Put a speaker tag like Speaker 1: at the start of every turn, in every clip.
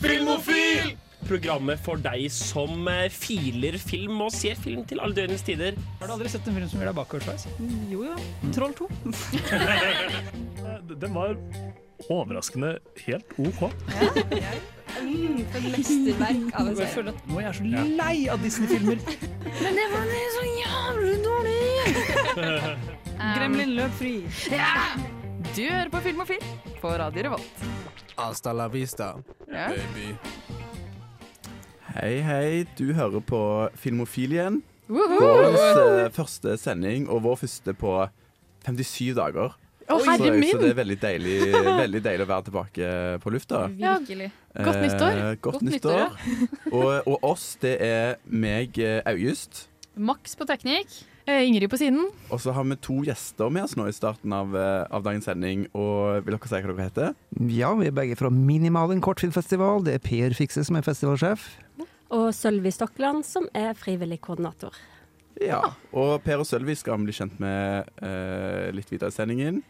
Speaker 1: Filmofil! Programmet for deg som eh, filer film og ser film til alle døgnets tider.
Speaker 2: Har du aldri sett en film som gjør deg bakoversveis?
Speaker 3: Jo jo. Troll 2.
Speaker 4: Den var overraskende helt OK.
Speaker 3: Mm, for et mesterverk av en
Speaker 2: Jeg
Speaker 3: serie.
Speaker 2: føler at nå er jeg så lei av Disney-filmer.
Speaker 3: Men det var så jævlig dårlig!
Speaker 5: Gremlin.
Speaker 3: løp fri.
Speaker 5: Du hører på Filmofil på Radio Revolt.
Speaker 6: Hasta la vista,
Speaker 5: Ja.
Speaker 6: baby.
Speaker 7: Hei, hei. Du hører på Filmofil igjen.
Speaker 5: Woohoo!
Speaker 7: Vår eh, første sending, og vår første på 57 dager.
Speaker 5: Å,
Speaker 7: så,
Speaker 5: herre
Speaker 7: så det
Speaker 5: min!
Speaker 7: er veldig deilig, veldig deilig å være tilbake på lufta.
Speaker 5: Virkelig. Mm. Godt nyttår.
Speaker 7: Eh, godt,
Speaker 5: Godt
Speaker 7: nyttår.
Speaker 5: nyttår,
Speaker 7: og, og oss, det er meg, eh, August.
Speaker 5: Max på teknikk. Eh, Ingrid på siden.
Speaker 7: Og så har vi to gjester med oss nå i starten av, eh, av dagens sending. Og vil dere si hva dere heter?
Speaker 8: Ja, vi er begge fra Minimalen kortfilmfestival. Det er Per Fikse som er festivalsjef.
Speaker 9: Og Sølvi Stokkeland, som er frivillig koordinator.
Speaker 7: Ja. Og Per og Sølvi skal vi bli kjent med eh, litt videre i sendingen.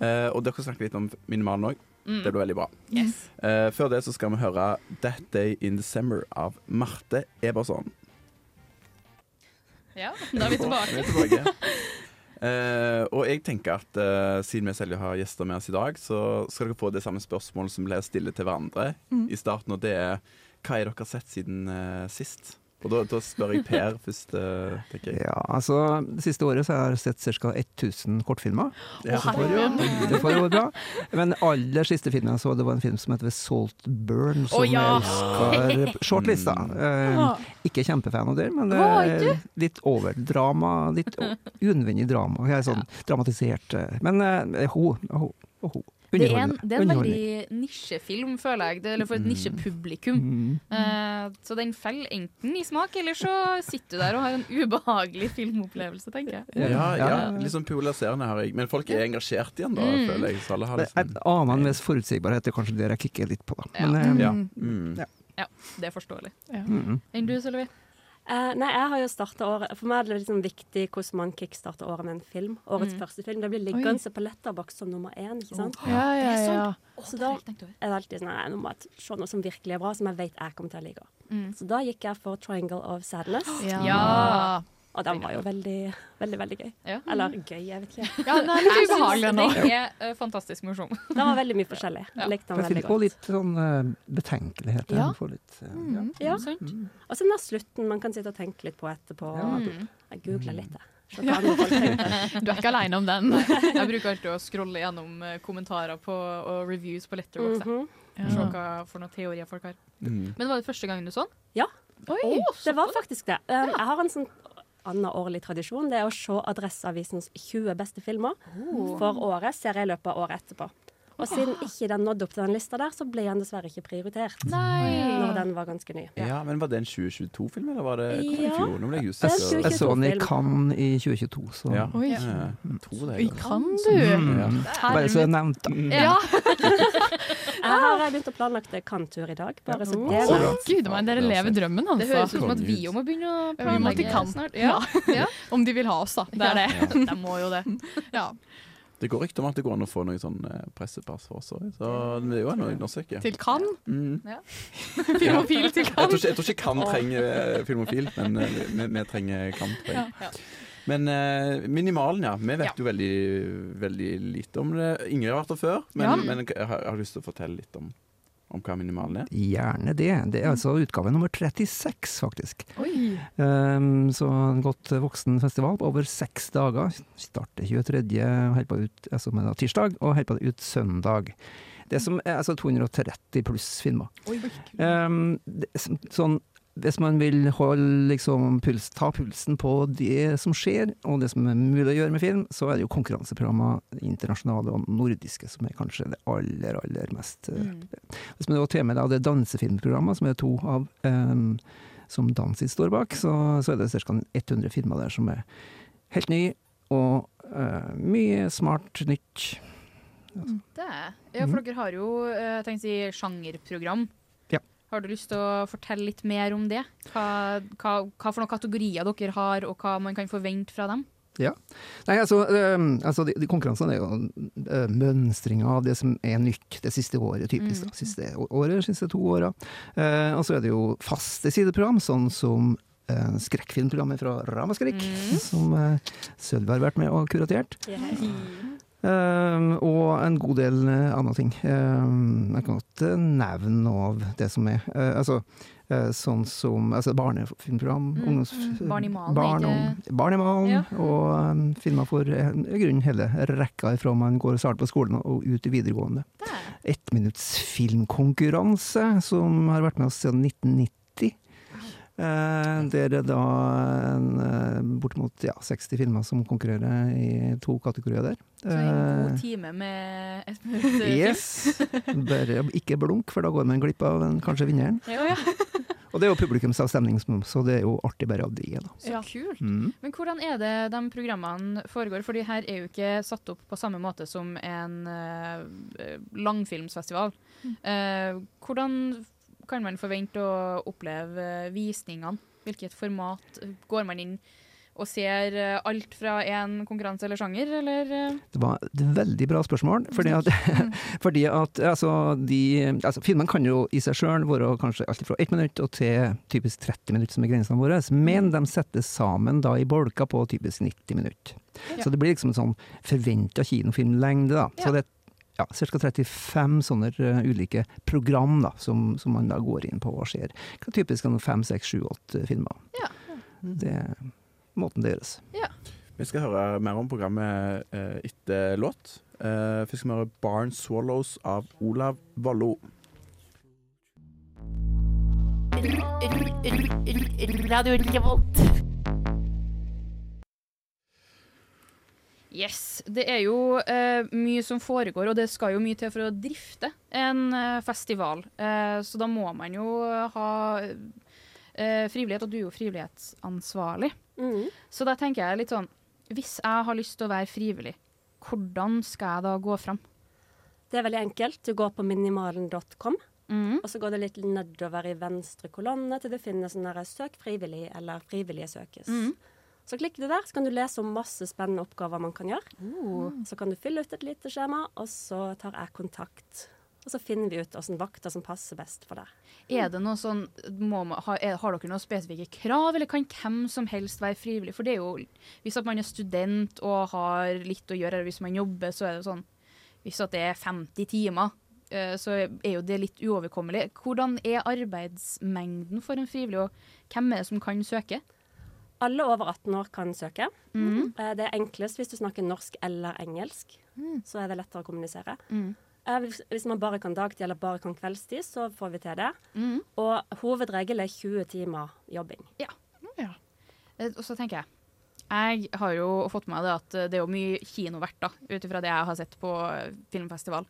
Speaker 7: Eh, og dere snakker litt om Minimalen òg. Det blir veldig bra.
Speaker 5: Mm. Yes.
Speaker 7: Eh, før det så skal vi høre 'That Day in December' av Marte Eberson.
Speaker 5: Ja, da er vi
Speaker 7: Vi
Speaker 5: tilbake.
Speaker 7: er tilbake. Eh, og jeg tenker at eh, siden vi selv har gjester med oss i dag, så skal dere få det samme spørsmålet som ble stilt til hverandre
Speaker 5: Mm.
Speaker 7: i starten, og det er hva har dere sett siden eh, sist? Og da, da spør jeg Per først, eh, tenker jeg.
Speaker 8: Ja, altså, Det siste året så har jeg sett ca. 1000 kortfilmer.
Speaker 7: Ja.
Speaker 8: Så det var jo- Det var jo bra. Men aller siste filmen jeg så, det var en film som heter Salt Burn, som
Speaker 5: Å, ja. Mm.
Speaker 8: jeg elsker shortlista. Eh, ikke kjempefan av det, men det
Speaker 5: Var
Speaker 8: er litt overdrama. Litt o- uunødvendig drama. Jeg er sånn dramatisert. eh, Men eh, ho, ho, ho.
Speaker 5: Det er en,
Speaker 8: Underholdning.
Speaker 5: det er en
Speaker 8: Underholdning.
Speaker 5: veldig nisjefilm, føler jeg. Det, eller for et nisjepublikum.
Speaker 8: Mm.
Speaker 5: Eh, så den faller enten i smak, eller så sitter du der og har en ubehagelig filmopplevelse, tenker jeg.
Speaker 7: Ja, ja,
Speaker 8: Ja.
Speaker 7: litt sånn polariserende har jeg. Men folk er engasjert igjen, da,
Speaker 5: Mm.
Speaker 7: føler jeg. Så alle har
Speaker 8: Det er
Speaker 7: liksom
Speaker 8: En annen enn mest forutsigbarhet er kanskje det jeg klikker litt på. Da.
Speaker 5: Ja.
Speaker 8: Men, eh,
Speaker 7: Ja. Mm.
Speaker 5: Det er forståelig.
Speaker 8: mm.
Speaker 5: Enn du, Sølvi?
Speaker 9: Eh, nei, jeg har jo starta året For meg er det liksom viktig hvordan man kickstarter året med en film.
Speaker 5: Mm.
Speaker 9: Årets første film. Det blir liggende på Letterbox som nummer én, ikke sant. sånn-
Speaker 5: Ja, ja, ja.
Speaker 9: Så da er det alltid sånn Nei, nå må jeg se noe som virkelig er bra, som jeg vet jeg kommer til å like. Så da gikk jeg for 'Triangle of Sadness',
Speaker 5: Mm. Ja.
Speaker 9: og den var jo veldig, veldig, veldig gøy.
Speaker 5: Ja.
Speaker 9: Eller gøy, jeg vet ikke.
Speaker 5: Ja, den er litt ubehagelig nå. Den er eh, fantastisk morsom.
Speaker 9: Den var veldig mye forskjellig. Jeg likte den
Speaker 8: Men
Speaker 9: veldig
Speaker 8: Philip, Og
Speaker 9: godt.
Speaker 8: litt sånn eh, betenkelighet.
Speaker 5: Ja.
Speaker 8: Ja. Får litt, eh, ja.
Speaker 9: Ja.
Speaker 5: Sant?
Speaker 9: Og så den der slutten man kan sitte og tenke litt på etterpå.
Speaker 5: Mm.
Speaker 9: Jeg googla litt, jeg. Se hva andre folk tenkte.
Speaker 5: Du er ikke aleine om den. Jeg bruker alltid å scrolle gjennom eh, kommentarer på, og reviews på Letterboxd.
Speaker 9: Mhm.
Speaker 5: Mm Se hva for noen teorier folk har.
Speaker 7: Mm.
Speaker 5: Men var det første gangen du så den?
Speaker 9: Ja.
Speaker 5: Oi,
Speaker 9: Det var faktisk det. Um, jeg har en sånn annen årlig tradisjon. Det er å se Adresseavisens 20 beste filmer for året. Ser jeg i løpet av året etterpå. Og siden ikke den nådde opp til den lista der, så ble den dessverre ikke prioritert. Når den var ganske ny.
Speaker 7: ja, men var det en 2022-film, eller var det i
Speaker 9: Ja.
Speaker 7: fjor? Nå ble jeg
Speaker 9: Det
Speaker 7: usikker.
Speaker 9: er en
Speaker 8: Jeg så den i
Speaker 9: 22-film.
Speaker 8: Cannes i 2022, så
Speaker 7: Ja.
Speaker 5: Oi.
Speaker 7: Ja, jeg tror det. jeg gjorde.
Speaker 5: Kan du?
Speaker 7: Ja.
Speaker 8: Bare sånn- så jeg nevnte
Speaker 7: Mm.
Speaker 8: den.
Speaker 5: Ja.
Speaker 9: Jeg har eh, begynt å planlegge tur i dag, bare så det
Speaker 7: Så
Speaker 9: er
Speaker 7: bra.
Speaker 10: Gud meg, dere
Speaker 7: Ja,
Speaker 10: lever drømmen,
Speaker 5: Det
Speaker 10: altså.
Speaker 5: høres ut som at vi jo må begynne å
Speaker 10: Ja, vi må til
Speaker 5: planlegge
Speaker 10: Cannes.
Speaker 5: snart. Ja. Ja.
Speaker 10: Om de vil ha oss, da. Det er det.
Speaker 5: De må jo det.
Speaker 10: Ja.
Speaker 7: Det går rykter om at det går an å få noen sånn eh, pressepass for oss òg, så det er jo en å undersøke.
Speaker 10: Til Cannes.
Speaker 7: Mm.
Speaker 10: Filmofil til
Speaker 7: Jeg tror
Speaker 10: Cannes.
Speaker 7: ikke, jeg tror ikke Kan trenger eh, filmofil, men eh, vi, vi trenger Kan. Tror jeg.
Speaker 5: Ja.
Speaker 7: Men eh, minimalen, ja. Vi vet
Speaker 5: Ja.
Speaker 7: jo veldig, veldig lite om det. Ingrid har vært der før, men,
Speaker 10: Ja.
Speaker 7: men jeg har, jeg har lyst til å fortelle litt om, om hva minimalen er.
Speaker 8: Gjerne det. Det er altså utgave nummer 36, faktisk.
Speaker 10: Oi.
Speaker 8: Um, så en godt voksen festival på over seks dager. Starter 23. Helt på ut, altså, men da tirsdag, og helt på ut søndag. Det som er altså 230 pluss filmer. Um, det, som- sånn, hvis man vil holde, liksom, puls, ta pulsen på det som skjer, og det som er mulig å gjøre med film, så er det jo konkurranseprogrammer internasjonale og nordiske som er kanskje det aller, aller mest
Speaker 5: Mm.
Speaker 8: eh, Hvis man da tar med da, det dansefilmprogrammet, som er to av um, som Dansit står bak, så, så er det ca. 100 filmer der som er helt ny, og eh, mye smart nytt.
Speaker 5: Det er. Ja, for dere har jo eh, jeg tenkte å si, sjangerprogram.
Speaker 8: Mhm. Ja.
Speaker 5: Har du lyst til å fortelle litt mer om det? Hva, hva, hva for noen kategorier dere har, og hva man kan forvente fra dem?
Speaker 8: Ja. Nei, altså, øhm, altså de, de konkurransene er jo øh, mønstringa av det som er nytt det siste året, typisk. Da. Siste å- året, siste to åra. Eh, og så er det jo faste sideprogram, sånn som eh, skrekkfilmprogrammet fra Ramaskrik, som uh, Sølvi har vært med og kuratert. Eh, og en god del eh, andre ting. Eh, jeg kan godt eh, nevne noe av det som er eh, altså, eh, Sånn som altså, barnefilmprogram.
Speaker 5: Mm,
Speaker 8: ungdoms-
Speaker 5: mm. Barn i malen,
Speaker 8: barn,
Speaker 5: er
Speaker 8: om, barn i malen
Speaker 5: Ja.
Speaker 8: og um, filmer for eh, i grunnen hele rekka fra man går og starter på skolen og ut i videregående.
Speaker 5: Der.
Speaker 8: Ettminuttsfilmkonkurranse, som har vært med oss siden 1990. Eh, der er da en, eh, bortimot ja, 60 filmer som konkurrerer i to kategorier der.
Speaker 5: Så en
Speaker 8: Eh,
Speaker 5: god time med et minutt. eh,
Speaker 8: Yes. Bare ikke blunk, for da går man glipp av en, kanskje vinneren.
Speaker 5: Ja, ja.
Speaker 8: Og det er jo publikumsavstemning, så det er jo artig bare av det. Da.
Speaker 5: Så kult. Men hvordan er det de programmene foregår? For de her er jo ikke satt opp på samme måte som en eh, langfilmsfestival.
Speaker 8: Mm.
Speaker 5: Eh, hvordan kan man forvente å oppleve eh, visningene? Hvilket format går man inn og ser eh, alt fra en konkurranse eller sjanger, eller eh,
Speaker 8: Det var et veldig bra spørsmål. Fordi at,
Speaker 5: Mm.
Speaker 8: fordi at altså, de, altså, filmen kan jo i seg sjøl være kanskje alt fra ett minutt og til typisk 30 minutter, som er grensene våre.
Speaker 5: Mm.
Speaker 8: Men de settes sammen da i bolker på typisk 90 minutter.
Speaker 5: Ja.
Speaker 8: Så det blir liksom en sånn forventa kinofilmlengde. da.
Speaker 5: Ja.
Speaker 8: Så det er ja, ca. 35 sånne eh, ulike program da, som, som man da går inn på og ser. Typisk en fem, seks, sju, åtte filmer.
Speaker 5: Ja. Mm.
Speaker 8: Det er måten det gjøres.
Speaker 7: Vi skal høre mer om programmet eh, etter låt. Eh, Først skal vi høre 'Barn Swallows' av Olav Vollo.
Speaker 10: Radio Revolt.
Speaker 5: Yes. Det er jo eh, mye som foregår, og det skal jo mye til for å drifte en eh, festival. Eh, så da må man jo ha eh, frivillighet, og du er jo frivillighetsansvarlig.
Speaker 9: Mm.
Speaker 5: Så da tenker jeg litt sånn Hvis jeg har lyst til å være frivillig, hvordan skal jeg da gå fram?
Speaker 9: Det er veldig enkelt. Du går på minimalen.com,
Speaker 5: Mm.
Speaker 9: og så går det litt nedover i venstre kolonne til du finner sånn her 'søk frivillig' eller 'frivillige søkes'.
Speaker 5: Mm.
Speaker 9: Så klikker du der, så kan du lese om masse spennende oppgaver man kan gjøre. Så kan du fylle ut et lite skjema, og så tar jeg kontakt. Og så finner vi ut hvilke vakter som passer best for deg.
Speaker 5: Er det noe sånn, må man, har, er, har dere noen spesifikke krav, eller kan hvem som helst være frivillig? For det er jo, hvis at man er student og har litt å gjøre, eller hvis man jobber, så er det jo sånn, hvis at det er 50 timer, eh, så er jo det litt uoverkommelig. Hvordan er arbeidsmengden for en frivillig, og hvem er det som kan søke?
Speaker 9: Alle over 18 år kan søke. Eh, Det er enklest hvis du snakker norsk eller engelsk. Så er det lettere å kommunisere. Eh, Hvis, hvis man bare kan dagtid eller bare kan kveldstid, så får vi til det. Og hovedregel er 20 timer jobbing.
Speaker 5: Eh, Og så tenker jeg Jeg har jo fått med meg det at eh, det er jo mye kinovert, da, ut ifra det jeg har sett på eh, filmfestival.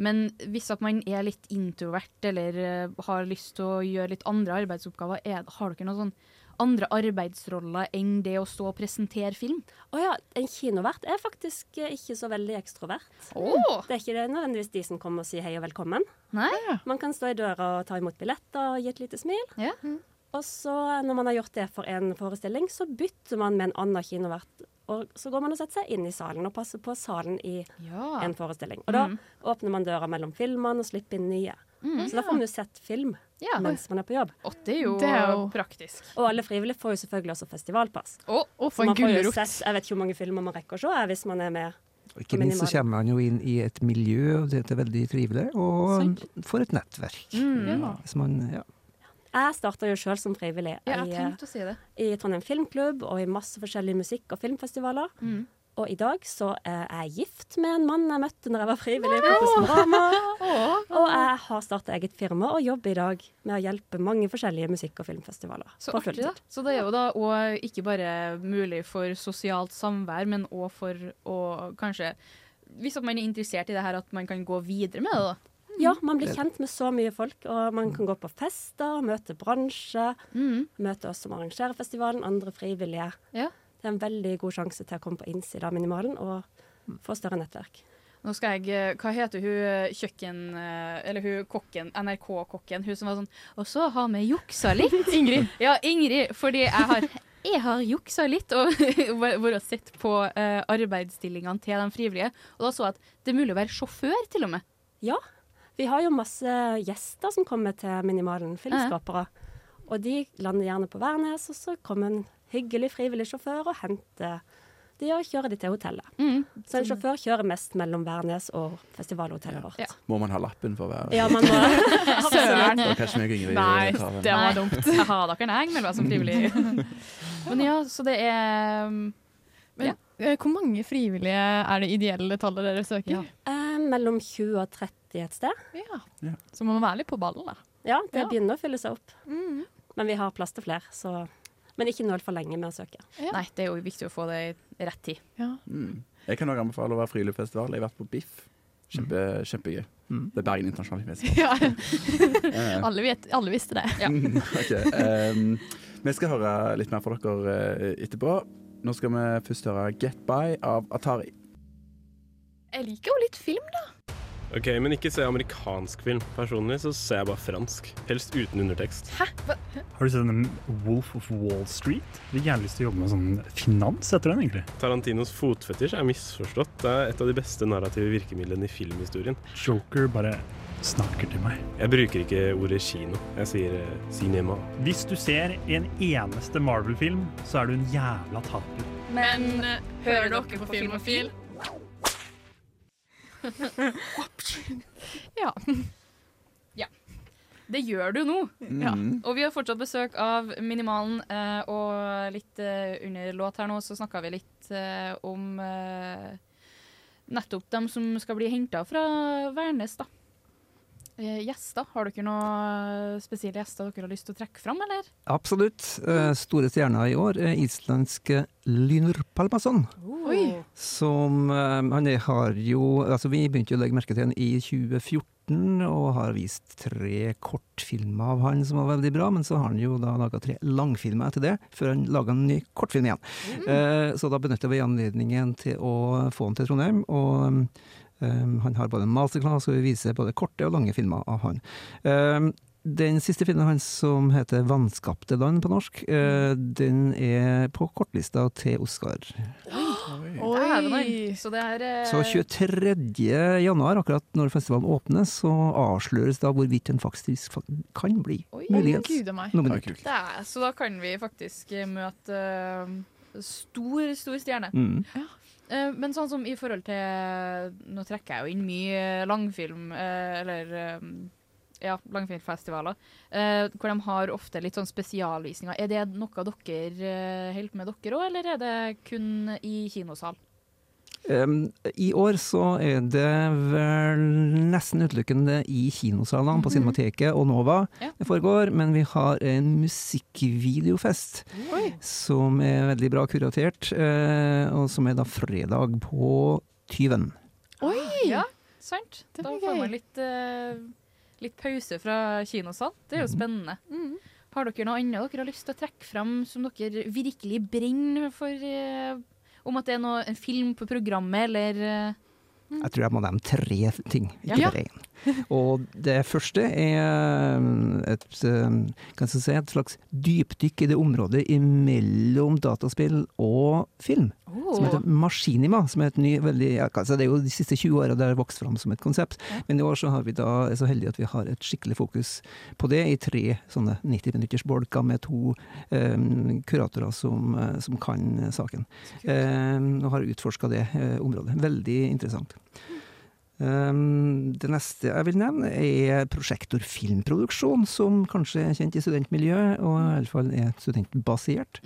Speaker 5: Men hvis at man er litt introvert eller eh, har lyst til å gjøre litt andre arbeidsoppgaver, er, har dere noen sånn andre arbeidsroller enn det å stå og presentere film?
Speaker 9: Å ja, en kinovert er faktisk eh, ikke så veldig ekstrovert.
Speaker 5: Oh,
Speaker 9: Det er ikke det nødvendigvis de som kommer og sier hei og velkommen.
Speaker 5: nei?
Speaker 9: Man kan stå i døra og ta imot billetter og gi et lite smil.
Speaker 5: Ja.
Speaker 9: Og så, når man har gjort det for en forestilling, så bytter man med en annen kinovert. Og så går man og setter seg inn i salen og passer på salen i
Speaker 5: ja.
Speaker 9: en forestilling. Og da
Speaker 5: Mm.
Speaker 9: åpner man døra mellom filmene og slipper inn nye. så da får man jo sett film
Speaker 5: ja.
Speaker 9: mens man er på jobb.
Speaker 5: Og det er jo,
Speaker 10: Det er jo-
Speaker 5: praktisk.
Speaker 9: Og alle frivillige får jo selvfølgelig også festivalpass.
Speaker 5: Å,
Speaker 10: Og
Speaker 9: Så
Speaker 10: for en
Speaker 9: man får jo
Speaker 10: gulrot.
Speaker 9: sett, jeg vet ikke hvor mange filmer man rekker å se jeg, hvis man er med.
Speaker 8: Og ikke minst så
Speaker 9: Minimalt.
Speaker 8: kommer man jo inn i et miljø, og det er veldig trivelig, og får et nettverk.
Speaker 5: Mm.
Speaker 8: Så man, ja.
Speaker 9: Jeg starta jo sjøl som frivillig
Speaker 5: Ja, jeg
Speaker 9: i,
Speaker 5: tenkte å si det.
Speaker 9: i Trondheim Filmklubb og i masse forskjellige musikk- og filmfestivaler.
Speaker 5: Mm.
Speaker 9: Og i dag så er jeg gift med en mann jeg møtte når jeg var frivillig på Kosmorama. Og jeg har starta eget firma og jobber i dag med å hjelpe mange forskjellige musikk- og filmfestivaler.
Speaker 5: Så
Speaker 9: på
Speaker 5: artig, da.
Speaker 9: fulltid.
Speaker 5: Så det er jo da og ikke bare mulig for sosialt samvær, men òg for å kanskje Hvis at man er interessert i det her, at man kan gå videre med det, da.
Speaker 9: Ja, man blir kjent med så mye folk, og man kan gå på fester, møte bransje, møte oss som arrangerer festivalen, andre frivillige.
Speaker 5: Mm. Ja.
Speaker 9: Det er en veldig god sjanse til å komme på innsida av minimalen og få større nettverk.
Speaker 5: Nå skal jeg eh, Hva heter hun eh, kjøkken... eh, Eller hun kokken, NRK-kokken, hun som var sånn Og så har vi juksa litt.
Speaker 10: Ingrid.
Speaker 5: Ja, Ingrid, fordi jeg har Jeg har juksa litt og vært og sett på eh, arbeidsstillingene til de frivillige. Og da så jeg at det er mulig å være sjåfør, til og med.
Speaker 9: Ja. Vi har jo masse gjester som kommer til Minimalen, filmskapere. Og de lander gjerne på Værnes, og så kommer en hyggelig frivillig sjåfør og henter de og kjører de til hotellet.
Speaker 5: Mm.
Speaker 9: Så en sjåfør kjører mest mellom Værnes og festivalhotellet vårt.
Speaker 5: Ja.
Speaker 7: Må man ha lappen for å være
Speaker 9: Ja, man må
Speaker 5: Søren!
Speaker 7: Det var kanskje meg og Ingrid
Speaker 5: Nei,
Speaker 7: tar den.
Speaker 5: det var dumt. Jeg har dere nei, men var som frivillig. Men ja, så det er um,
Speaker 11: Men, eh, Hvor mange frivillige er det ideelle tallet dere søker?
Speaker 9: eh, mellom 20 og 30 et sted.
Speaker 11: Ja.
Speaker 7: Ja.
Speaker 11: Så man må være litt på ballen, da.
Speaker 9: Ja, det
Speaker 11: Ja.
Speaker 9: begynner å fylle seg opp.
Speaker 5: Mm.
Speaker 9: Men vi har plass til flere, så Men ikke nøl for lenge med å søke.
Speaker 11: Ja.
Speaker 5: Nei, det er jo viktig å få det i rett tid.
Speaker 7: Mm. Jeg kan også anbefale å være friluftsfestival. Jeg har vært på BIFF. Kjempe, Kjempegøy.
Speaker 8: Mm.
Speaker 7: Det er Bergen internasjonale festival.
Speaker 11: Ja,
Speaker 7: Eh,
Speaker 11: alle, vet, alle visste det.
Speaker 7: Mm, ok, ehm, vi skal høre litt mer fra dere eh, etterpå. Nå skal vi først høre 'Get By' av Atari.
Speaker 11: Jeg liker jo litt film.
Speaker 1: Ok, Men ikke se amerikansk film. Personlig så ser jeg bare fransk. Helst uten undertekst.
Speaker 4: Har du sett den Wolf of Wall Street? Jeg har gjerne lyst til å jobbe med sånn finans etter den, egentlig.
Speaker 1: Tarantinos fotfetisj er misforstått. Det er et av de beste narrative virkemidlene i filmhistorien.
Speaker 4: Joker bare snakker til meg.
Speaker 1: Jeg bruker ikke ordet kino. Jeg sier eh, cinema.
Speaker 4: Hvis du ser en eneste Marvel-film, så er du en jævla taper.
Speaker 5: Men eh, hører dere på Filmofil? ja. ja. Det gjør du nå.
Speaker 7: Mm.
Speaker 5: Og vi har fortsatt besøk av Minimalen, eh, og litt eh, under låt her nå så snakka vi litt eh, om eh, nettopp dem som skal bli henta fra Værnes, da. Eh, gjester. Har dere noen spesielle gjester dere har lyst til å trekke fram, eller?
Speaker 8: Absolutt. Eh, Store stjerner i år er islandske Lynur Palmason.
Speaker 11: Oi.
Speaker 8: Som eh, Han er- har jo Altså, vi begynte jo å legge merke til han i 2014, og har vist tre kortfilmer av han som var veldig bra, men så har han jo da laga tre langfilmer etter det, før han laga en ny kortfilm igjen. Eh, Så da benytta vi anledningen til å få han til Trondheim, og um, um, han har både en masterclass, og vi viser både korte og lange filmer av han. Um, den siste filmen hans som heter 'Vanskapte land' på norsk, eh,
Speaker 5: Mm.
Speaker 8: den er på kortlista til Oscar.
Speaker 5: Dæven, Så det er eh,
Speaker 8: Så 23. januar, akkurat når festivalen åpner, så avsløres da hvorvidt den faktisk fa- kan bli
Speaker 5: Oi.
Speaker 8: muligens
Speaker 11: Gud a meg.
Speaker 7: Det er
Speaker 8: nominert.
Speaker 7: kult.
Speaker 5: det er, Så da kan vi faktisk eh, møte eh, stor, stor stjerne.
Speaker 8: Mm.
Speaker 5: Eh, Men sånn som i forhold til Nå trekker jeg jo inn mye langfilm, eh, eller eh, ja, langfilmfestivaler, eh, hvor de har ofte litt sånn spesialvisninger. Er det noe dere eh, holder på med dere òg, eller er det kun i kinosal?
Speaker 8: Um, I år så er det vel nesten utelukkende i kinosalene på Cinemateket og Nova
Speaker 5: Mhm. Ja.
Speaker 8: det foregår, men vi har en musikkvideofest som er veldig bra kuratert, eh, og som er da fredag på Tyven.
Speaker 5: Ja, sant?
Speaker 11: Det
Speaker 5: Da
Speaker 11: blir
Speaker 5: får
Speaker 11: gøy.
Speaker 5: man litt, eh, litt pause fra kinosal. Det er
Speaker 11: Mhm.
Speaker 5: jo spennende. Har dere noe annet dere har lyst til å trekke fram som dere virkelig brenner for? eh, om at det er noe, en film på programmet, eller eh,
Speaker 8: Jeg tror jeg må nevne tre ting, ikke
Speaker 5: Ja.
Speaker 8: bare én. Og det første er et, um, kan jeg si, et slags dypdykk i det området mellom dataspill og film. Som heter Maskinima, som er et ny, veldig, ja, altså det er jo de siste 20 åra det har vokst fram som et konsept. Men i år så har vi da, er så heldige at vi har et skikkelig fokus på det i tre sånne 90 minutters bolker med to um, kuratorer som, eh, som kan saken. Um, og har utforska det eh, området. Veldig interessant. Um, det neste jeg vil nevne, er Prosjektor filmproduksjon, som kanskje er kjent i studentmiljøet, og i alle fall er studentbasert,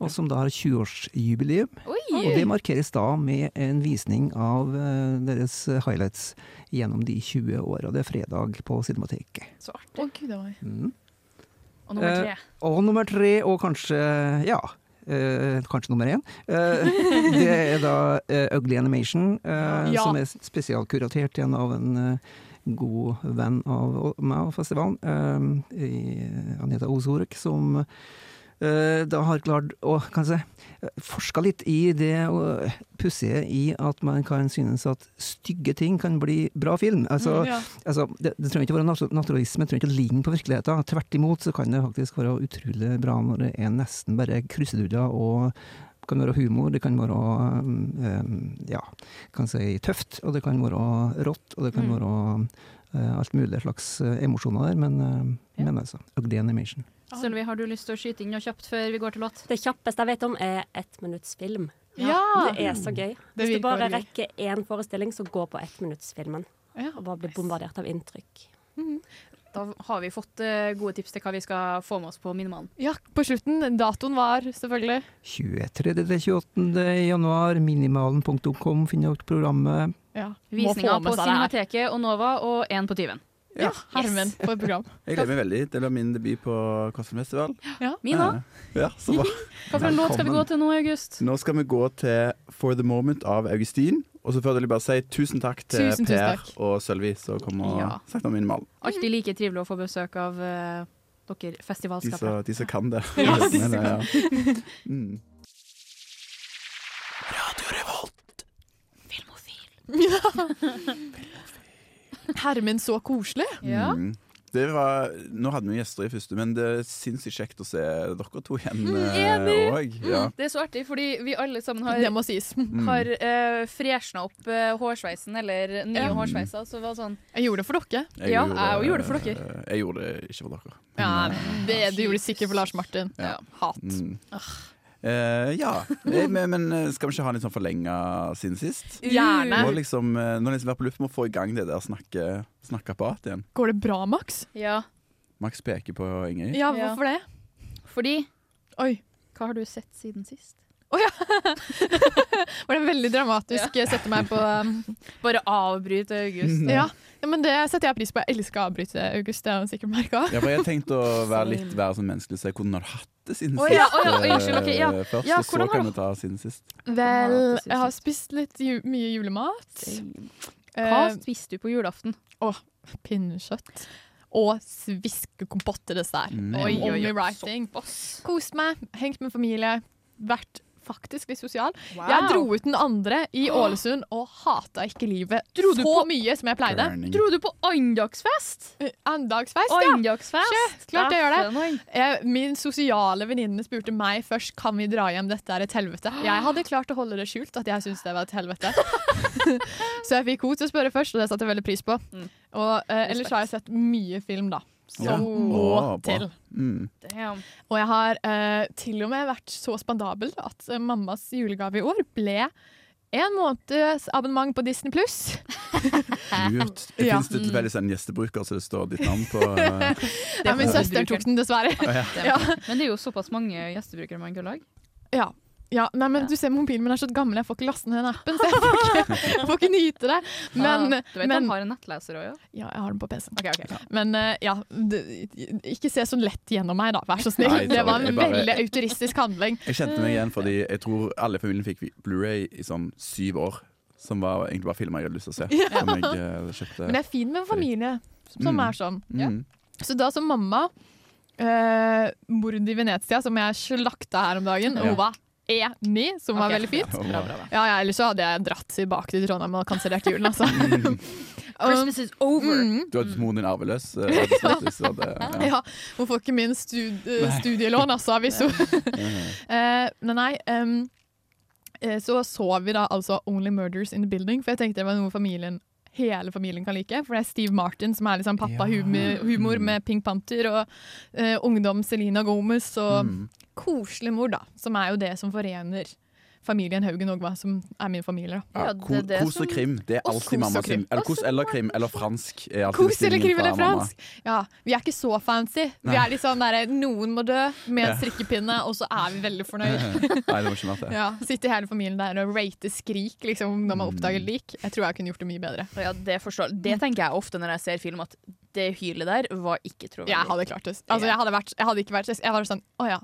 Speaker 8: og som da har 20-årsjubileum. Og eh, det markeres da med en visning av eh, deres highlights gjennom de 20 åra. Det er fredag på Cinemateket.
Speaker 5: Så artig.
Speaker 11: Å, gud a meg.
Speaker 8: Mm.
Speaker 5: Og nummer
Speaker 8: Eh,
Speaker 5: tre.
Speaker 8: Og nummer tre, og kanskje ja. eh, kanskje nummer én. eh, det er da eh, Ugly Animation, eh,
Speaker 11: Ja.
Speaker 8: som er spesialkuratert igjen av en eh, god venn av meg og festivalen. eh, i- han heter Ozorek, som eh, da har klart å kan jeg si, forska litt i det og pussige i at man kan synes at stygge ting kan bli bra film. Altså,
Speaker 11: Mm, ja.
Speaker 8: altså, det, det trenger ikke å være natu- naturalisme, det trenger ikke å ligne på virkeligheten. Tvert imot så kan det faktisk være utrolig bra når det er nesten bare kruseduller og det kan være humor, det kan være um, ja, kan si tøft, og det kan være rått, og det kan
Speaker 5: Mm.
Speaker 8: være eh, alt mulig slags eh, emosjoner der, men, eh, men altså, ugly animation.
Speaker 5: Sølvi, har du lyst til å skyte inn noe kjapt før vi går til låt?
Speaker 9: Det kjappeste jeg vet om, er ett minutts film.
Speaker 5: Ja.
Speaker 9: Det er så gøy.
Speaker 5: Ah. Mm. Det
Speaker 9: Hvis
Speaker 5: virker
Speaker 9: du bare
Speaker 5: veldig gøy.
Speaker 9: rekker én forestilling, så gå på ettminuttsfilmen.
Speaker 5: Ja.
Speaker 9: Og bare bli bombardert av inntrykk.
Speaker 5: Da har vi fått eh, gode tips til hva vi skal få med oss på Minnemann.
Speaker 11: Ja, på slutten. Datoen var selvfølgelig
Speaker 8: 23.-28. januar, minimalen.com finner dere programmet.
Speaker 11: ja.
Speaker 5: Visninga på
Speaker 11: Cinemateket.
Speaker 5: Cinemateket og Nova og én på Tyven.
Speaker 11: Ja, Hermen på et program.
Speaker 7: Jeg gleder meg veldig til å ha min debut på Kostfilmfestival.
Speaker 5: Ja. Min òg.
Speaker 7: Ja, så bra.
Speaker 5: Hva for en låt skal vi gå til nå i august?
Speaker 7: Nå skal vi gå til For the Moment av Augustin. Og så vil jeg bare si tusen takk til
Speaker 5: Tusen, tusen
Speaker 7: Per
Speaker 5: takk.
Speaker 7: og Sølvi som kom og
Speaker 5: Ja.
Speaker 7: snakket om min mal.
Speaker 5: Alltid like trivelig å få besøk av eh, dere
Speaker 7: De som
Speaker 5: festivalskapere.
Speaker 7: de som kan det.
Speaker 5: Ja, de som
Speaker 7: Men,
Speaker 5: kan
Speaker 7: ja. Mm.
Speaker 11: Hermen så koselig.
Speaker 7: Mm. Det var, nå hadde vi jo gjester i første, men det er sinnssykt kjekt å se dere to igjen eh,
Speaker 5: Mm, Enig!
Speaker 7: òg. Ja.
Speaker 5: Mm,
Speaker 7: Mm.
Speaker 5: Det er så artig, fordi vi alle sammen har
Speaker 11: Det må sies.
Speaker 5: har uh, fresna opp eh, hårsveisen, eller nye
Speaker 7: Ja.
Speaker 5: hårsveiser. Så det var sånn
Speaker 11: Jeg gjorde det for dere.
Speaker 7: Jeg
Speaker 5: Ja, jeg gjorde det for dere.
Speaker 7: eh, Jeg gjorde det ikke for dere.
Speaker 11: Ja,
Speaker 5: Mm.
Speaker 11: det, du gjorde det sikkert for Lars Martin.
Speaker 7: Ja.
Speaker 11: Hat.
Speaker 7: Mm. Eh, ja. Eh, Men, men eh, skal vi ikke ha en litt sånn forlenga siden sist?
Speaker 5: Gjerne.
Speaker 7: Nå liksom, eh, nå liksom være på luft med å få i gang det der snakke, snakkeapparatet igjen.
Speaker 11: Går det bra, Max?
Speaker 5: Ja.
Speaker 7: Max peker på Ingrid.
Speaker 11: Ja,
Speaker 5: Ja.
Speaker 11: hvorfor det?
Speaker 5: Fordi
Speaker 11: Oi.
Speaker 5: Hva har du sett siden sist?
Speaker 11: Var det veldig dramatisk å sette meg på um,
Speaker 5: Bare avbryt August.
Speaker 11: ja. ja, men det setter jeg pris på. Jeg elsker å avbryte August, det har hun sikkert merka.
Speaker 7: Ja, for jeg tenkte å være litt være sånn menneskelig og si hvordan har du hatt det siden
Speaker 5: Å,
Speaker 7: sist?
Speaker 5: ja, å, ja,
Speaker 7: eh,
Speaker 5: unnskyld, ok, ja.
Speaker 7: Først,
Speaker 5: Ja,
Speaker 7: og så
Speaker 5: hvordan har
Speaker 7: kan
Speaker 5: du-
Speaker 7: vi ta siden sist.
Speaker 11: Vel,
Speaker 5: det synes
Speaker 11: jeg
Speaker 5: jeg.
Speaker 11: har spist litt ju mye julemat.
Speaker 5: Hva
Speaker 11: Eh,
Speaker 5: spiste du på julaften?
Speaker 11: pinnekjøtt. Og sviskekompott til dessert.
Speaker 7: Mm.
Speaker 11: Oi, oi, oi. Writing.
Speaker 5: Såpass.
Speaker 11: Kost meg, hengt med familie, vært faktisk litt sosial. Jeg dro ut den andre i Ålesund og hata ikke livet
Speaker 5: Dro du
Speaker 11: så
Speaker 5: på-
Speaker 11: mye som jeg pleide.
Speaker 7: Burning.
Speaker 5: Dro du på andagsfest?
Speaker 11: Eh, Andagsfest, ja.
Speaker 5: Andagsfest!
Speaker 11: Sjø, klart jeg gjør det.
Speaker 5: Dæven, oi.
Speaker 11: Jeg, min sosiale venninne spurte meg først Kan vi dra hjem, dette er et helvete. Jeg hadde klart å holde det skjult at jeg syntes det var et helvete. så jeg fikk henne til å spørre først, og det satte jeg veldig pris på.
Speaker 5: Mm.
Speaker 11: Og eh, Ellers har jeg sett mye film, da. Som
Speaker 7: Ja.
Speaker 11: må
Speaker 7: Å, bra.
Speaker 11: til.
Speaker 7: Mm.
Speaker 5: Damn.
Speaker 11: Og jeg har eh, til og med vært så spandabel at eh, mammas julegave i år ble en måneds abonnement på Disney pluss.
Speaker 7: Lurt. Det
Speaker 11: Ja.
Speaker 7: finnes det
Speaker 5: Mm.
Speaker 7: tilfeldigvis en gjestebruker så det står ditt navn på. eh,
Speaker 11: Ja, min søster tok den, dessverre. Ja.
Speaker 5: Men det er jo såpass mange gjestebrukere man kan lage.
Speaker 11: Ja. ja. Nei, men du ser mobilen min er så gammel, jeg får ikke laste ned den appen, så jeg får ikke, jeg får ikke nyte det. Men,
Speaker 5: Ah, du vet
Speaker 11: men
Speaker 5: han har en nettleser òg, ja?
Speaker 11: Ja, jeg har den på PC-en.
Speaker 5: Ok, ok.
Speaker 11: Men eh, ja, d- ikke se så lett gjennom meg, da. Vær så snill.
Speaker 7: Nei,
Speaker 11: det
Speaker 7: sorry,
Speaker 11: var
Speaker 7: jeg
Speaker 11: en
Speaker 7: bare-
Speaker 11: veldig autoristisk handling.
Speaker 7: Jeg kjente meg igjen fordi jeg tror alle i familien fikk Blu-ray i sånn syv år. Som var egentlig bare filmer jeg hadde lyst til å se. Som jeg eh, kjøpte.
Speaker 11: Men det er fint med en familie som, som
Speaker 7: Mm.
Speaker 11: er sånn.
Speaker 7: Mm.
Speaker 11: Så da som mamma eh, Mordet i Venezia, som jeg slakta her om dagen,
Speaker 7: Ja.
Speaker 11: hun var enig, som var
Speaker 5: Ok.
Speaker 11: veldig fint.
Speaker 7: Og-
Speaker 11: Ja, ja, ellers så hadde jeg dratt tilbake til Trondheim og kansellert julen, altså.
Speaker 7: Mm.
Speaker 11: Um,
Speaker 5: Christmas is over!
Speaker 11: mm.
Speaker 7: Du hadde moren din arveløs. eh, rett og slett, så det- ja.
Speaker 11: Ja, hun får ikke min stud eh, studielån, altså, hvis hun Eh, Men nei, em, eh, så så vi da altså Only Murders in the Building, for jeg tenkte det var noe familien hele familien kan like, for det er Steve Martin som er liksom pappa-humor med Pink Panther, og eh, ungdom Selena Gomez, og
Speaker 7: Mm.
Speaker 11: koselig mor, da, som er jo det som forener familien Haugen og hva som er min familie, da.
Speaker 5: Ja,
Speaker 7: Ja,
Speaker 5: det er
Speaker 7: ko-
Speaker 5: det
Speaker 7: Kos og
Speaker 5: som-
Speaker 7: krim. Det er
Speaker 11: Og
Speaker 7: alltid
Speaker 11: kos
Speaker 7: mamma
Speaker 11: og krim.
Speaker 7: sin. Eller kos eller krim eller fransk. er alltid
Speaker 11: Kos eller
Speaker 7: bestillingen
Speaker 11: krim
Speaker 7: fra
Speaker 11: eller
Speaker 7: mamma.
Speaker 11: fransk? Ja, Vi er ikke så fancy. Vi er litt sånn derre noen må dø med en strikkepinne, og så er vi veldig fornøyd.
Speaker 7: Nei, det var ikke verdt det.
Speaker 11: Ja, Sitte hele familien der og rate skrik liksom, når man oppdager
Speaker 7: Mm.
Speaker 11: lik. Jeg tror jeg kunne gjort det mye bedre.
Speaker 5: Ja, det, forstår. det tenker jeg ofte når jeg ser film, at det hylet der var ikke troverdig.
Speaker 11: Jeg hadde klart det. Altså, jeg hadde, vært, jeg hadde ikke vært Jeg var sånn Å ja.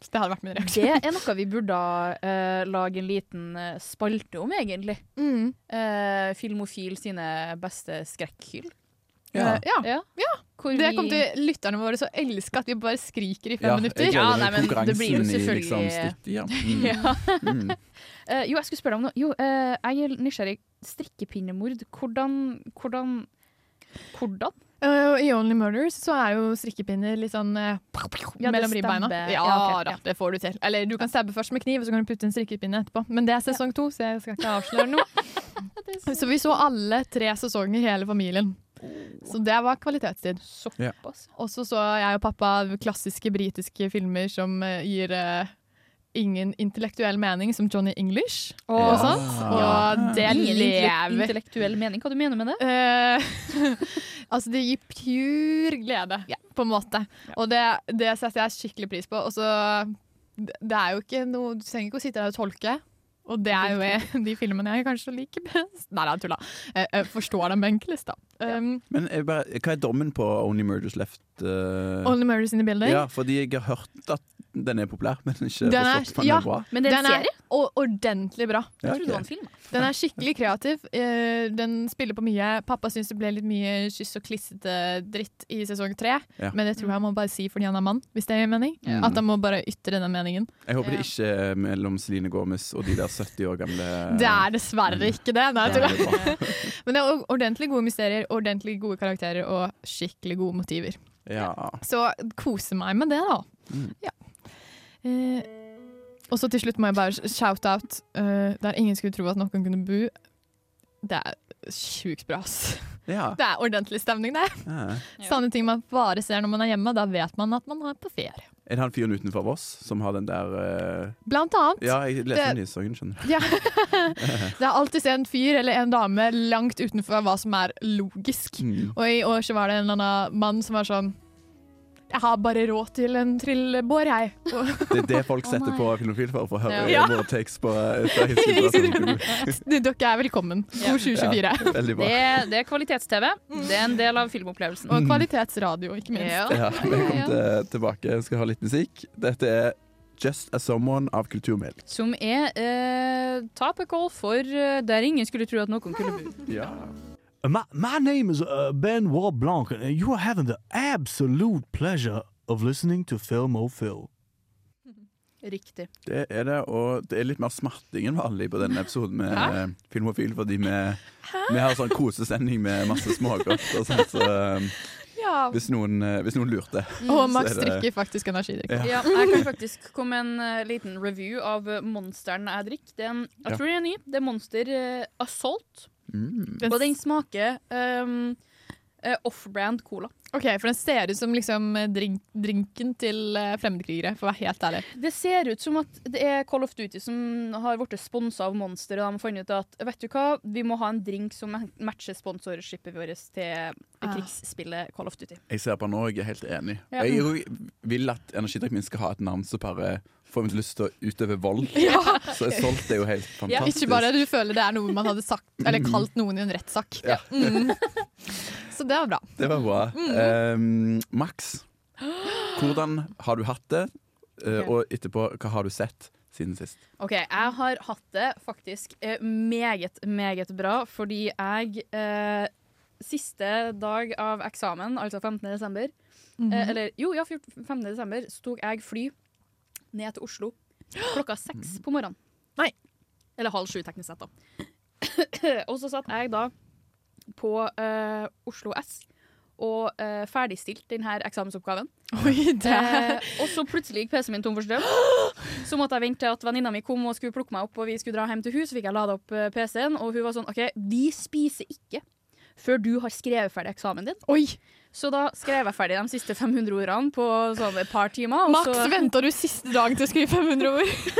Speaker 11: Det hadde vært min reaksjon.
Speaker 5: Det er noe vi burde eh, lage en liten eh, spalte om, egentlig.
Speaker 11: Mm.
Speaker 5: Eh, Filmofil sine beste skrekkhyl.
Speaker 7: Ja.
Speaker 11: Eh, ja.
Speaker 5: Ja. Hvor
Speaker 11: Det
Speaker 5: vi-
Speaker 11: kom til lytterne våre så elsker at vi bare skriker i fem
Speaker 7: Ja, jeg
Speaker 11: minutter.
Speaker 7: gleder
Speaker 5: Ja,
Speaker 7: meg
Speaker 5: nei, men
Speaker 7: til
Speaker 5: det blir jo
Speaker 7: konkurransen i
Speaker 5: selvfølgelig-
Speaker 7: liksom snittet, ja. Mm.
Speaker 5: Ja.
Speaker 7: Mm.
Speaker 5: Eh, jo, jeg skulle spørre deg om noe. Jo, eh, jeg er nysgjerrig. Strikkepinnemord, hvordan Hvordan? hvordan?
Speaker 11: Eh, og I Only Murders så er jo strikkepinner litt sånn eh,
Speaker 5: Ja, det
Speaker 11: mellom ribbeina.
Speaker 5: stabber.
Speaker 11: Ja,
Speaker 5: Ja, ok,
Speaker 11: da,
Speaker 5: ja.
Speaker 11: det får du til. Eller du kan stabbe først med kniv, og så kan du putte en strikkepinne etterpå. Men det er sesong to, så jeg skal ikke avsløre noe. Så vi så alle tre sesonger, hele familien. Så det var kvalitetstid.
Speaker 5: Såpass?
Speaker 11: Og så så jeg og pappa klassiske britiske filmer som eh, gir eh, ingen intellektuell mening, som Johnny English og
Speaker 5: Ja.
Speaker 11: sånt.
Speaker 7: Ah,
Speaker 11: Og
Speaker 5: Ja.
Speaker 11: det
Speaker 5: Ingen intellek-
Speaker 11: lever.
Speaker 5: intellektuell mening. Hva du mener med det?
Speaker 11: Eh, altså, det gir pur glede, på en måte. Og det, det setter jeg skikkelig pris på. Og så det det er jo ikke noe Du trenger ikke å sitte der og tolke. Og det er jo de filmene jeg kanskje liker best. Nei, nei, tulla. Jeg, jeg forstår dem egentlig, da. Um,
Speaker 7: Men jeg bare, hva er dommen på Only Murders Left? eh?
Speaker 11: Only Murders in the Building.
Speaker 7: Ja, fordi jeg har hørt at den er populær, men ikke
Speaker 11: Den er-
Speaker 7: forstått om den
Speaker 11: ja.
Speaker 7: er bra.
Speaker 5: Men det er en
Speaker 11: Den er
Speaker 5: serie?
Speaker 11: o- ordentlig bra.
Speaker 7: Ja,
Speaker 5: Jeg trodde det var en
Speaker 7: ok.
Speaker 5: film.
Speaker 11: Den er skikkelig kreativ. Eh, Den spiller på mye. Pappa syns det ble litt mye kyss og klissete dritt i sesong tre,
Speaker 7: Ja.
Speaker 11: men det tror jeg han må bare si fordi han er mann, hvis det gir mening.
Speaker 7: Ja.
Speaker 11: At han må bare ytre denne meningen.
Speaker 7: Jeg håper
Speaker 5: Ja.
Speaker 7: det ikke er mellom Celine Gomez og de der 70 år gamle
Speaker 11: Det er dessverre ikke det. Nei,
Speaker 7: Ja,
Speaker 11: jeg tuller.
Speaker 7: det er bra.
Speaker 11: Men det er o- ordentlig gode mysterier, ordentlig gode karakterer og skikkelig gode motiver.
Speaker 7: Ja.
Speaker 11: Så kose meg med det, da.
Speaker 7: Mm.
Speaker 11: Ja. Eh, og så til slutt må jeg bare shout-out eh, der ingen skulle tro at noen kunne bo. Det er sjukt bra, ass.
Speaker 7: ja.
Speaker 11: Det er ordentlig stemning, det.
Speaker 7: ja.
Speaker 11: Sanne ting man bare ser når man er hjemme. Da vet man at man er på ferie.
Speaker 7: Er det han fyren utenfor Voss som har den der eh,
Speaker 11: Blant annet.
Speaker 7: Ja, jeg leste
Speaker 11: Det-
Speaker 7: den nyhetssangen, skjønner du.
Speaker 11: Ja. det er alltid en fyr eller en dame langt utenfor hva som er logisk.
Speaker 7: Mm.
Speaker 11: Og i år så var det en eller annen mann som var sånn Jeg har bare råd til en trillebår, jeg. Og
Speaker 7: Det er det folk
Speaker 5: Å,
Speaker 7: setter
Speaker 5: nei.
Speaker 7: på Filmofil for, for å høre
Speaker 11: Ja.
Speaker 7: våre takes på eh, fra historien.
Speaker 11: dere er velkommen. God 2024.
Speaker 7: Veldig bra.
Speaker 5: Det, det er kvalitets-TV. Det er en del av filmopplevelsen.
Speaker 11: Og kvalitetsradio, ikke minst.
Speaker 5: Ja.
Speaker 7: Mm. Ja, Velkommen til, tilbake. Jeg skal ha litt musikk. Dette er Just As Someone av Kulturmel.
Speaker 5: Som er eh, tapekål for eh, der ingen skulle tro at noen kunne bo.
Speaker 7: Ja.
Speaker 12: Uh, My, my name is uh, Benoit Blanc, and you are having the absolute pleasure of listening to Film O Phil.
Speaker 5: Riktig.
Speaker 7: Det er det, og det er litt mer smerting enn vanlig på denne episoden med
Speaker 5: Hæ?
Speaker 7: eh, Filmofil, fordi vi, vi har sånn kosesending med masse smågodt og sånn, så eh,
Speaker 11: Ja.
Speaker 7: hvis noen, eh, hvis noen lurte
Speaker 11: Og
Speaker 7: så
Speaker 11: Max
Speaker 7: er det-
Speaker 11: drikker faktisk energidrikk.
Speaker 7: Mm. Ja.
Speaker 5: Mm. Ja, jeg kan faktisk komme med en eh, liten review av eh, monsteren jeg drikker. Det er en-
Speaker 7: Ja.
Speaker 5: Jeg tror den er ny. Det er Monster eh, Assault.
Speaker 7: Mm.
Speaker 11: Den-
Speaker 5: Og den smaker ehm, eh, off-brand cola.
Speaker 11: Ok, For den ser ut som liksom drink, drinken til eh, fremmedkrigere, for å være helt ærlig.
Speaker 5: Det ser ut som at det er Call of Duty som har blitt sponsa av Monster, og de har funnet ut at vet du hva, vi må ha en drink som matcher sponsorskipet vårt til krigsspillet Call of Duty.
Speaker 7: Jeg ser på han òg, jeg er helt enig.
Speaker 5: Ja.
Speaker 7: Jeg jo vil at energidrikken min skal ha et navn som bare får meg til lyst til å utøve vold. Så jeg solgte det jo helt
Speaker 11: Ja,
Speaker 7: fantastisk.
Speaker 11: ikke bare du føler det er noe man hadde sagt, eller kalt noen i en rettssak.
Speaker 7: Ja.
Speaker 11: Mm. Så det var bra.
Speaker 7: Det var bra. Eh, Max, hvordan har du hatt det? Eh, og etterpå, hva har du sett siden sist?
Speaker 5: OK, jeg har hatt det faktisk eh, meget, meget bra, fordi jeg eh, Siste dag av eksamen, altså 15. desember, eh, eller jo, ja, 14 15. desember, så tok jeg fly ned til Oslo klokka seks på morgenen.
Speaker 11: Nei.
Speaker 5: Eller halv sju, teknisk sett, da. og så satt jeg da på eh, Oslo S og eh, ferdigstilt denne eksamensoppgaven.
Speaker 11: Oi, det
Speaker 5: Eh, og så plutselig gikk PC-en min tom for strøm. Så måtte jeg vente til at venninna mi kom og skulle plukke meg opp, og vi skulle dra hjem til hun, så fikk jeg lada opp eh, PC-en, og hun var sånn OK, vi spiser ikke før du har skrevet ferdig eksamen din.
Speaker 11: Oi!
Speaker 5: Så da skrev jeg ferdig de siste 500 ordene på sånn et par timer. og
Speaker 11: Max,
Speaker 5: så-
Speaker 11: venta du siste dagen til å skrive 500 ord?